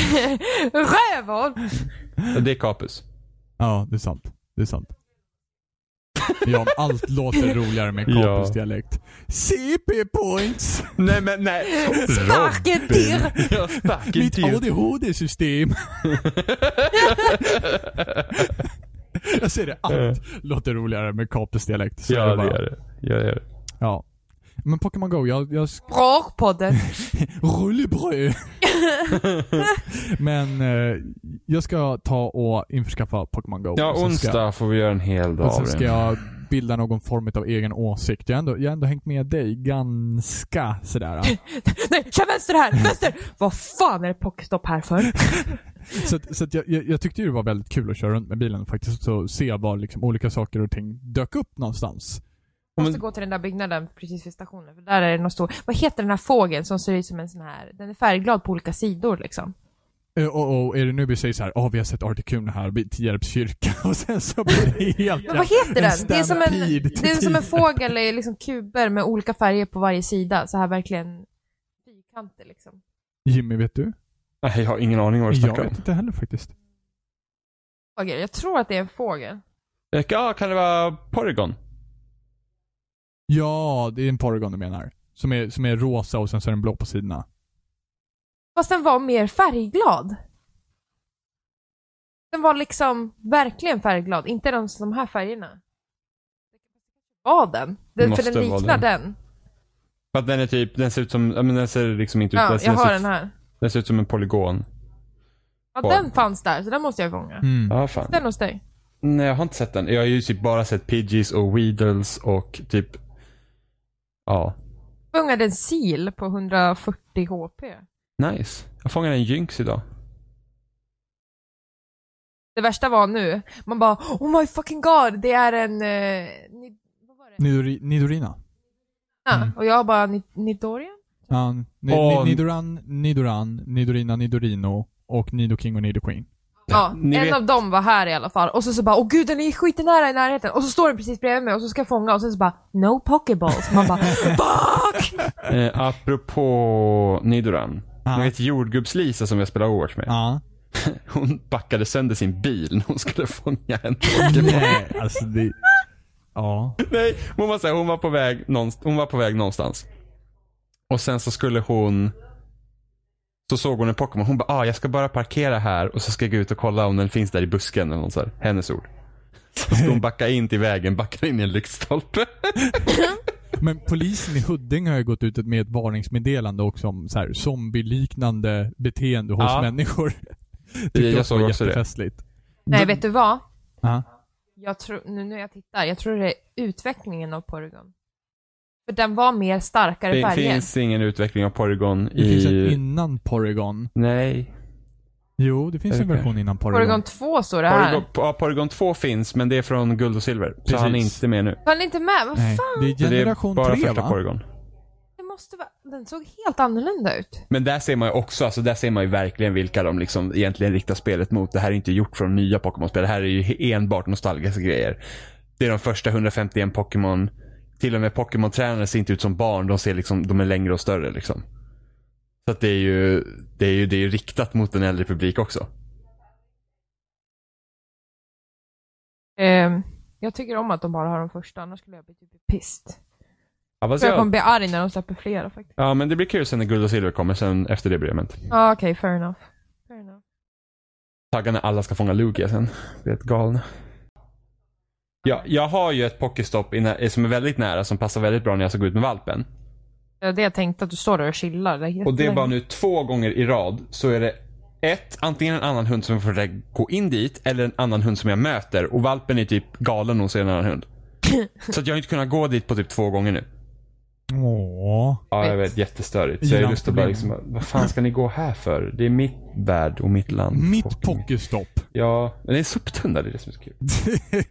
[SPEAKER 1] Rövhål!
[SPEAKER 2] Det är Capus.
[SPEAKER 3] Ja, det är sant. Det är sant. Ja, allt låter roligare med Capus
[SPEAKER 2] Ja.
[SPEAKER 3] dialekt. CP points!
[SPEAKER 2] Nej men nej.
[SPEAKER 1] Sparken dir!
[SPEAKER 2] Ja, typ. sparken
[SPEAKER 3] Mitt
[SPEAKER 2] till.
[SPEAKER 3] ADHD-system. Jag säger det, allt låter roligare med Capus dialekt. Så är
[SPEAKER 2] Eh. Ja det
[SPEAKER 3] bara-
[SPEAKER 2] gör det. Ja, det gör det.
[SPEAKER 3] Ja. Men Pokémon Go, jag, jag
[SPEAKER 1] Brakpodden.
[SPEAKER 3] Rullebröd. Men eh, jag ska ta och införskaffa Pokémon Go.
[SPEAKER 2] Ja
[SPEAKER 3] Och sen ska-
[SPEAKER 2] onsdag får vi göra en hel dag
[SPEAKER 3] Och
[SPEAKER 2] av
[SPEAKER 3] sen ska
[SPEAKER 2] det.
[SPEAKER 3] jag bilda någon form av egen åsikt. Jag har ändå, jag har ändå hängt med dig ganska sådär.
[SPEAKER 1] Nej, kör vänster här! Vänster! Vad fan är det pocketstopp här för?
[SPEAKER 3] så att, så att jag, jag, jag tyckte ju det var väldigt kul att köra runt med bilen faktiskt. Så se var liksom olika saker och ting dök upp någonstans.
[SPEAKER 1] Jag måste gå till den där byggnaden precis vid stationen, för där är det någon stor... Vad heter den här fågeln som ser ut som en sån här... Den är färgglad på olika sidor liksom.
[SPEAKER 3] Eh, Och, och är det nu vi säger så här, ja vi har sett Articuno här vid Tierps kyrka och sen så blir det helt...
[SPEAKER 1] Men vad heter den? Det är som en,
[SPEAKER 3] stampede till
[SPEAKER 1] det är som en
[SPEAKER 3] Tierp.
[SPEAKER 1] fågel i liksom kuber med olika färger på varje sida. Så här verkligen fyrkanter liksom.
[SPEAKER 3] Jimmy, vet du?
[SPEAKER 2] Nej jag har ingen aning vad du
[SPEAKER 3] Jag
[SPEAKER 2] snackar om.
[SPEAKER 3] vet inte heller faktiskt.
[SPEAKER 1] Fågel. Jag tror att det är en fågel.
[SPEAKER 2] Ja kan det vara Porygon?
[SPEAKER 3] Ja, det är en Porygon du menar. Som är, som är rosa och sen så är den blå på sidorna.
[SPEAKER 1] Fast den var mer färgglad. Den var liksom verkligen färgglad, inte de, de här färgerna. Var den? den för
[SPEAKER 2] Måste
[SPEAKER 1] den
[SPEAKER 2] vara
[SPEAKER 1] liknar
[SPEAKER 2] den. Typ
[SPEAKER 1] den.
[SPEAKER 2] För att den är typ, den ser ut som, ja, men den ser liksom inte ut,
[SPEAKER 1] Ja,
[SPEAKER 2] den, ser-
[SPEAKER 1] jag har
[SPEAKER 2] ser, ut-
[SPEAKER 1] den här.
[SPEAKER 2] den ser ut som en polygon.
[SPEAKER 1] Ja,
[SPEAKER 2] kvar.
[SPEAKER 1] den fanns där, så den måste jag fånga.
[SPEAKER 2] Ja fan.
[SPEAKER 1] Den hos dig.
[SPEAKER 2] Nej, jag har inte sett den. Jag har ju typ bara sett Pidgeys och Weedles och typ... Ja.
[SPEAKER 1] Fångade en sil på 140 HP.
[SPEAKER 2] Nice. Jag fångade en Jynx idag.
[SPEAKER 1] Det värsta var nu, man bara Oh my fucking god, det är en... Eh, ni, vad var det?
[SPEAKER 3] Nidori, Nidorina.
[SPEAKER 1] Ja,
[SPEAKER 3] Mm.
[SPEAKER 1] Och jag bara, ni, Nidorian?
[SPEAKER 3] Ja, ni, ni,
[SPEAKER 2] Och-
[SPEAKER 3] Nidoran, Nidoran, Nidorina, Nidorino och Nidoking och Nidoqueen.
[SPEAKER 1] Ja,
[SPEAKER 2] Ni
[SPEAKER 1] en
[SPEAKER 2] vet-
[SPEAKER 1] av dem var här i alla fall. Och så, så bara, åh gud den är skiten nära i närheten. Och så står den precis bredvid mig och så ska jag fånga och sen så bara, no pokeballs. Man bara, fuck!
[SPEAKER 2] Eh, apropå Nidoran.
[SPEAKER 3] Ja.
[SPEAKER 2] Ni vet jordgubbs-Lisa som jag spelar Overwatch med.
[SPEAKER 3] Ja.
[SPEAKER 2] Hon backade sönder sin bil när hon skulle fånga en.
[SPEAKER 3] Nej, alltså det... Ja.
[SPEAKER 2] Nej, hon var, så här, hon, var på väg någonst- hon var på väg någonstans. Och sen så skulle hon... Så såg hon en Pokémon. Hon bara, ah, jag ska bara parkera här och så ska jag gå ut och kolla om den finns där i busken eller något så här. Hennes ord. Så ska hon backa in till vägen, backa in i en lyktstolpe.
[SPEAKER 3] Men polisen i Huddinge har ju gått ut med ett varningsmeddelande också om så här zombieliknande beteende hos
[SPEAKER 2] Ja.
[SPEAKER 3] människor. Tyckte
[SPEAKER 2] jag såg
[SPEAKER 3] var
[SPEAKER 2] också det.
[SPEAKER 3] jättefestligt.
[SPEAKER 1] Nej, vet du vad?
[SPEAKER 3] Ja.
[SPEAKER 1] Jag tror, nu när jag tittar, jag tror det är utvecklingen av Porygon. För den var mer starkare
[SPEAKER 2] Det
[SPEAKER 1] färger.
[SPEAKER 2] finns ingen utveckling av Porygon
[SPEAKER 3] Det finns en
[SPEAKER 2] i...
[SPEAKER 3] innan Porygon.
[SPEAKER 2] Nej.
[SPEAKER 3] Jo, det finns en
[SPEAKER 2] Okej.
[SPEAKER 3] version innan Porygon.
[SPEAKER 1] Porygon 2 står det här.
[SPEAKER 2] Porygon, ja, Porygon 2 finns, men det är från guld och silver. Så
[SPEAKER 3] Precis.
[SPEAKER 2] han är inte med nu.
[SPEAKER 1] Var den inte med? Vad
[SPEAKER 3] Nej,
[SPEAKER 1] fan?
[SPEAKER 3] det är
[SPEAKER 2] Så det är
[SPEAKER 3] generation
[SPEAKER 2] bara
[SPEAKER 3] 3
[SPEAKER 2] första
[SPEAKER 3] va?
[SPEAKER 2] Porygon.
[SPEAKER 1] Det måste vara... Den såg helt annorlunda ut.
[SPEAKER 2] Men där ser man ju också, alltså där ser man ju verkligen vilka de liksom egentligen riktar spelet mot. Det här är inte gjort från nya Pokémon-spel. Det här är ju enbart nostalgiska grejer. Det är de första 151 Pokémon. Till och med Pokémon-tränare ser inte ut som barn. De ser liksom, de är längre och större liksom. Så att det är ju, det är ju, det är ju riktat mot en äldre publik också.
[SPEAKER 1] Ehm, jag tycker om att de bara har de första, annars skulle jag bli typ pist.
[SPEAKER 2] Ja,
[SPEAKER 1] Jag
[SPEAKER 2] vad
[SPEAKER 1] tror jag
[SPEAKER 2] säger
[SPEAKER 1] kommer
[SPEAKER 2] jag?
[SPEAKER 1] bli arg när de släpper flera faktiskt.
[SPEAKER 2] ja men det blir kul sen när guld och silver kommer sen efter det blir event.
[SPEAKER 1] Ja, okej, fair enough. Fair enough.
[SPEAKER 2] Taggad när alla ska fånga Lugia sen. Det är ett galna. Ja, jag har ju ett Pokéstopp i nä- som är väldigt nära som passar väldigt bra när jag ska gå ut med valpen.
[SPEAKER 1] Det är det jag tänkte, att du står där och chillar. Det är
[SPEAKER 2] Och det är bara nu två gånger i rad så är det ett, antingen en annan hund som försöker gå in dit eller en annan hund som jag möter och valpen är typ galen och så är det en annan hund. Så att jag har inte kunnat gå dit på typ två gånger nu.
[SPEAKER 3] Åh.
[SPEAKER 2] Ja, jag
[SPEAKER 1] Vet.
[SPEAKER 2] vet. Jättestörigt. Så jag har lust att bara liksom, vad fan ska ni gå här för? Det är mitt värld och mitt land.
[SPEAKER 3] Mitt
[SPEAKER 2] Pokémon.
[SPEAKER 3] pokestopp.
[SPEAKER 2] Ja, men det är soptunnor, det är det som är så kul.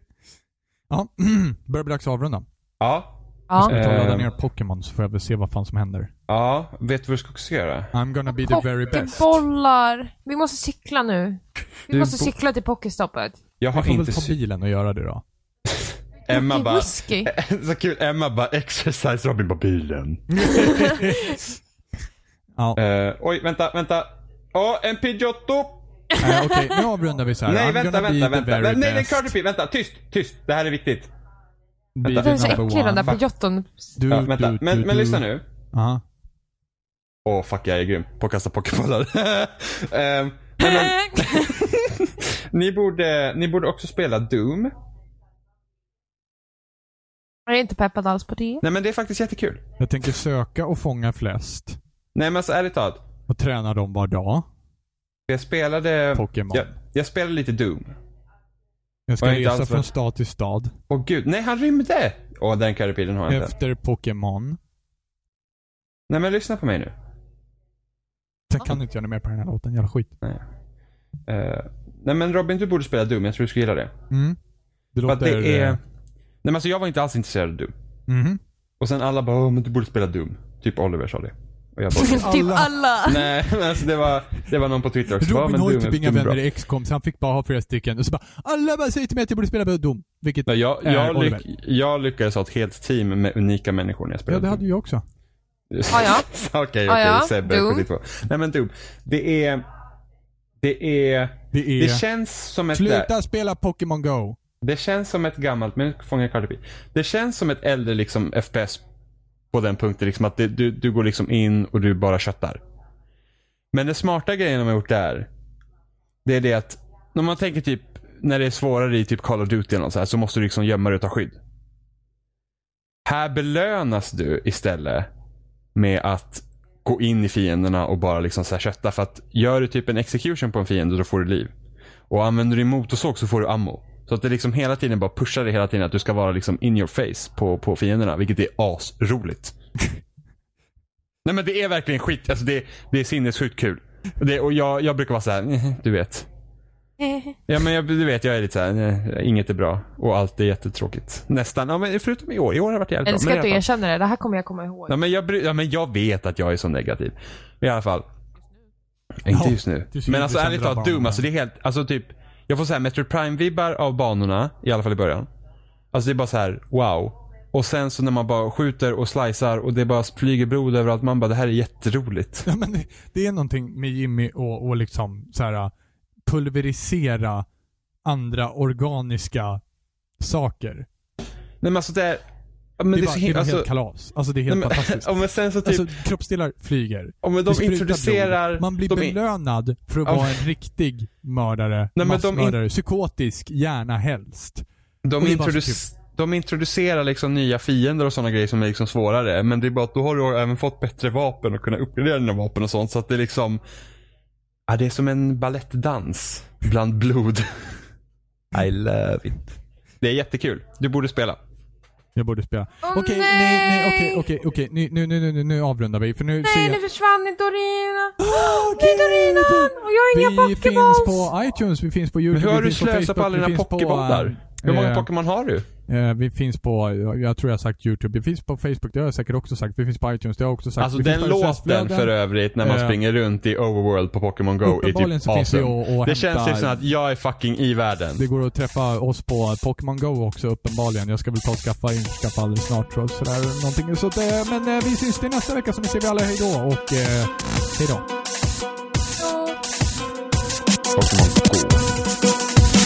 [SPEAKER 3] ja, börjar bli dags att avrunda.
[SPEAKER 2] Ja,
[SPEAKER 1] Ja.
[SPEAKER 3] Jag tar och laddar
[SPEAKER 2] Ehm.
[SPEAKER 3] ner Pokémon så får jag väl se vad fan som händer.
[SPEAKER 2] ja. Vet du vad du ska också göra?
[SPEAKER 3] I'm gonna be
[SPEAKER 2] typ
[SPEAKER 3] the very best.
[SPEAKER 1] Hockeybollar. Vi måste cykla nu. Vi
[SPEAKER 2] Du
[SPEAKER 1] måste
[SPEAKER 2] bo-
[SPEAKER 1] cykla till pokestoppet.
[SPEAKER 2] Jag har
[SPEAKER 3] Jag får
[SPEAKER 2] inte
[SPEAKER 3] väl ta
[SPEAKER 2] sy-
[SPEAKER 3] bilen och göra det då.
[SPEAKER 2] Emma
[SPEAKER 1] Dricker
[SPEAKER 2] bara... eh,
[SPEAKER 1] whisky.
[SPEAKER 2] så kul, Emma bara exercise Robin på bilen.
[SPEAKER 3] Ja,
[SPEAKER 2] Eh, oj, vänta, vänta. Åh, en Pidgeotto!
[SPEAKER 3] eh, okej. Nu avrundar vi så här.
[SPEAKER 2] Nej,
[SPEAKER 3] I'm
[SPEAKER 2] vänta,
[SPEAKER 3] gonna be
[SPEAKER 2] vänta,
[SPEAKER 3] the
[SPEAKER 2] vänta.
[SPEAKER 3] very
[SPEAKER 2] Nej, det är
[SPEAKER 3] best.
[SPEAKER 2] Cardi Vänta, tyst, tyst. Det här är viktigt.
[SPEAKER 3] Be
[SPEAKER 2] Vänta.
[SPEAKER 3] the
[SPEAKER 1] Den är så
[SPEAKER 3] number
[SPEAKER 1] äcklig den där
[SPEAKER 3] one.
[SPEAKER 1] Pidgeotton.
[SPEAKER 3] Du,
[SPEAKER 2] Ja, vänta.
[SPEAKER 3] du,
[SPEAKER 2] Men,
[SPEAKER 3] du,
[SPEAKER 2] men
[SPEAKER 3] du.
[SPEAKER 2] lyssna nu.
[SPEAKER 3] Ja.
[SPEAKER 2] Åh, fuck, jag är grym på att kasta pokébollar. Ehm, men, men, ni, borde, ni borde också spela Doom.
[SPEAKER 1] Jag är inte peppad alls på det.
[SPEAKER 2] Nej, men det är faktiskt jättekul.
[SPEAKER 3] Jag tänker söka och fånga flest.
[SPEAKER 2] Nej, men alltså ärligt talat.
[SPEAKER 3] Och träna dem var dag.
[SPEAKER 2] Jag spelade...
[SPEAKER 3] Pokémon.
[SPEAKER 2] Jag, jag spelade lite Doom.
[SPEAKER 3] Jag ska
[SPEAKER 2] Och jag är inte
[SPEAKER 3] resa
[SPEAKER 2] alls
[SPEAKER 3] från
[SPEAKER 2] rädd.
[SPEAKER 3] stad till stad.
[SPEAKER 2] Åh gud, nej han rymde! Åh, den currypilen har jag inte.
[SPEAKER 3] Efter Pokémon.
[SPEAKER 2] Nej men lyssna på mig nu.
[SPEAKER 3] Sen kan du inte göra något mer på den här låten. Jävla skit.
[SPEAKER 2] Nej. Eh, nej men Robin, du borde spela Doom. Jag tror du skulle gilla det.
[SPEAKER 3] Mm. Det
[SPEAKER 2] För att
[SPEAKER 3] låter...
[SPEAKER 2] det är...
[SPEAKER 3] eh,
[SPEAKER 2] Nej men alltså jag var inte alls intresserad av Doom.
[SPEAKER 3] mhm.
[SPEAKER 2] Och sen alla bara, "Åh, men du borde spela Doom. Typ Oliver sa det. Och jag bara,
[SPEAKER 1] typ alla.
[SPEAKER 2] nej men alltså det var, det var någon på Twitter också. "Ja,
[SPEAKER 3] Robin
[SPEAKER 2] men
[SPEAKER 3] har ju
[SPEAKER 2] Doom är-
[SPEAKER 3] typ inga
[SPEAKER 2] Doom är
[SPEAKER 3] vänner
[SPEAKER 2] bra."
[SPEAKER 3] i XCOM så han fick bara ha flera stycken. Och så bara, alla bara säger till mig att jag borde spela Doom. Vilket...
[SPEAKER 2] Nej, jag,
[SPEAKER 3] Är
[SPEAKER 2] jag,
[SPEAKER 3] Eh, Oliver.
[SPEAKER 2] lyck, jag lyckades ha ett helt team med unika människor när jag
[SPEAKER 3] Ja,
[SPEAKER 2] spelade
[SPEAKER 3] det hade ju jag också.
[SPEAKER 1] Ah, ja.
[SPEAKER 2] Okej, okej.
[SPEAKER 1] Ah, ja.
[SPEAKER 2] Sebbe,
[SPEAKER 1] Doom.
[SPEAKER 2] 72. Nej men Doom. Det är, det är,
[SPEAKER 3] Det är...
[SPEAKER 2] det känns som ett...
[SPEAKER 3] Sluta spela Pokémon Go.
[SPEAKER 2] Det känns som ett gammalt, men nu fångar jag Cardi B. Det känns som ett äldre liksom FPS på den punkten. Liksom att det, du, du går liksom in och du bara köttar. Men den smarta grejen de har gjort där. Det är det att när man tänker typ när det är svårare i typ Call of Duty eller något så, här, så måste du liksom gömma dig och ta skydd. Här belönas du istället med att gå in i fienderna och bara liksom så här kötta. För att gör du typ en execution på en fiende då får du liv. Och använder du din motorsåg så får du ammo. Så att det liksom hela tiden bara pushar dig hela tiden att du ska vara liksom in your face på, på fienderna. Vilket är asroligt. Nej men det är verkligen skit. Alltså det, det är sinnessjukt kul. Och Det, och jag, jag brukar vara så här, "Nej, du vet. Ja men jag, du vet, jag är lite så här, "Nej, inget är bra. Och allt är jättetråkigt. Nästan, ja men förutom i år. I år har det varit jävligt bra.
[SPEAKER 1] Älskar
[SPEAKER 2] Men i
[SPEAKER 1] att du
[SPEAKER 2] alla fall.
[SPEAKER 1] erkänner det. Det här kommer jag komma ihåg.
[SPEAKER 2] Ja men, jag, bry- ja men jag vet att jag är så negativ. Men I alla fall.
[SPEAKER 3] Ja,
[SPEAKER 2] Inte just nu.
[SPEAKER 3] det är så
[SPEAKER 2] Men alltså
[SPEAKER 3] intressant
[SPEAKER 2] ärligt
[SPEAKER 3] att dra
[SPEAKER 2] talat, Doom,
[SPEAKER 3] banorna.
[SPEAKER 2] alltså det är helt, alltså typ. Jag får såhär Metro Prime-vibbar av banorna, i alla fall i början. Alltså det är bara så här: wow. Och sen så när man bara skjuter och slicear och det bara flyger blod överallt. Man bara, det här är jätteroligt.
[SPEAKER 3] Ja, men det, det är någonting med Jimmy och, och liksom så här, pulverisera andra organiska saker.
[SPEAKER 2] Nej men alltså det är, ja, men
[SPEAKER 3] Det
[SPEAKER 2] det
[SPEAKER 3] är,
[SPEAKER 2] är
[SPEAKER 3] bara,
[SPEAKER 2] så himla, alltså.
[SPEAKER 3] det är helt kalas. Alltså det är
[SPEAKER 2] Nej,
[SPEAKER 3] helt
[SPEAKER 2] men,
[SPEAKER 3] fantastiskt.
[SPEAKER 2] ja, men sen så typ,
[SPEAKER 3] Alltså kroppsdelar flyger.
[SPEAKER 2] ja, men
[SPEAKER 3] Det
[SPEAKER 2] de
[SPEAKER 3] sprutar
[SPEAKER 2] introducerar.
[SPEAKER 3] blod. Man blir
[SPEAKER 2] de in-
[SPEAKER 3] belönad för att
[SPEAKER 2] Ja.
[SPEAKER 3] vara en riktig mördare,
[SPEAKER 2] men de
[SPEAKER 3] massmördare, psykotisk, gärna helst.
[SPEAKER 2] De,
[SPEAKER 3] Och det är bara typ- så
[SPEAKER 2] introduc- de introducerar liksom nya fiender och sådana grejer som är liksom svårare. Men det är bara att då har du även fått bättre vapen och kunnat uppgradera dina vapen och sånt. Så att det är liksom... Ja, det är som en balettdans bland blod. I love it. Det är jättekul. Du borde spela.
[SPEAKER 3] Jag borde spela.
[SPEAKER 1] Åh,
[SPEAKER 3] okej, nej, nej, okej, okej, okej. Nu, nu, nu, nu, nu avrundar vi. För nu ser
[SPEAKER 1] Nej,
[SPEAKER 3] jag...
[SPEAKER 1] nu försvann Dorina.
[SPEAKER 3] Åh,
[SPEAKER 1] Nej, Dorinan!
[SPEAKER 3] gud!
[SPEAKER 1] Och jag har inga
[SPEAKER 3] Vi finns
[SPEAKER 1] Pokéballs!
[SPEAKER 3] på iTunes, vi finns på
[SPEAKER 2] Men
[SPEAKER 3] Youtube,
[SPEAKER 2] hur har
[SPEAKER 3] vi
[SPEAKER 2] du
[SPEAKER 3] finns på
[SPEAKER 2] slösat på
[SPEAKER 3] Facebook,
[SPEAKER 2] alla
[SPEAKER 3] vi
[SPEAKER 2] dina
[SPEAKER 3] finns på,
[SPEAKER 2] pokébollar?
[SPEAKER 3] eh,
[SPEAKER 2] Hur många
[SPEAKER 3] eh,
[SPEAKER 2] Pokémon har du?
[SPEAKER 3] Eh, vi finns på, jag, jag tror jag har sagt YouTube. Vi finns på Facebook, det har jag säkert också sagt. Vi finns på iTunes, det har jag också sagt.
[SPEAKER 2] Alltså
[SPEAKER 3] vi finns
[SPEAKER 2] den
[SPEAKER 3] på
[SPEAKER 2] låten
[SPEAKER 3] RSS-flöden.
[SPEAKER 2] för övrigt när man
[SPEAKER 3] Eh.
[SPEAKER 2] springer runt i Overworld på Pokémon Go är
[SPEAKER 3] Uppenbarligen
[SPEAKER 2] typ
[SPEAKER 3] så finns det
[SPEAKER 2] awesome.
[SPEAKER 3] ju att- att
[SPEAKER 2] det känns
[SPEAKER 3] hämta-
[SPEAKER 2] typ som att jag är fucking i världen.
[SPEAKER 3] Det går att träffa oss på Pokémon Go också uppenbarligen. Jag ska väl ta och skaffa införskaffa alldeles snart tror jag. Sådär, någonting. Så att, eh, men eh, vi syns till nästa vecka så nu säger vi alla hej då och eh, hej då.
[SPEAKER 1] Ja.
[SPEAKER 2] Pokémon Go.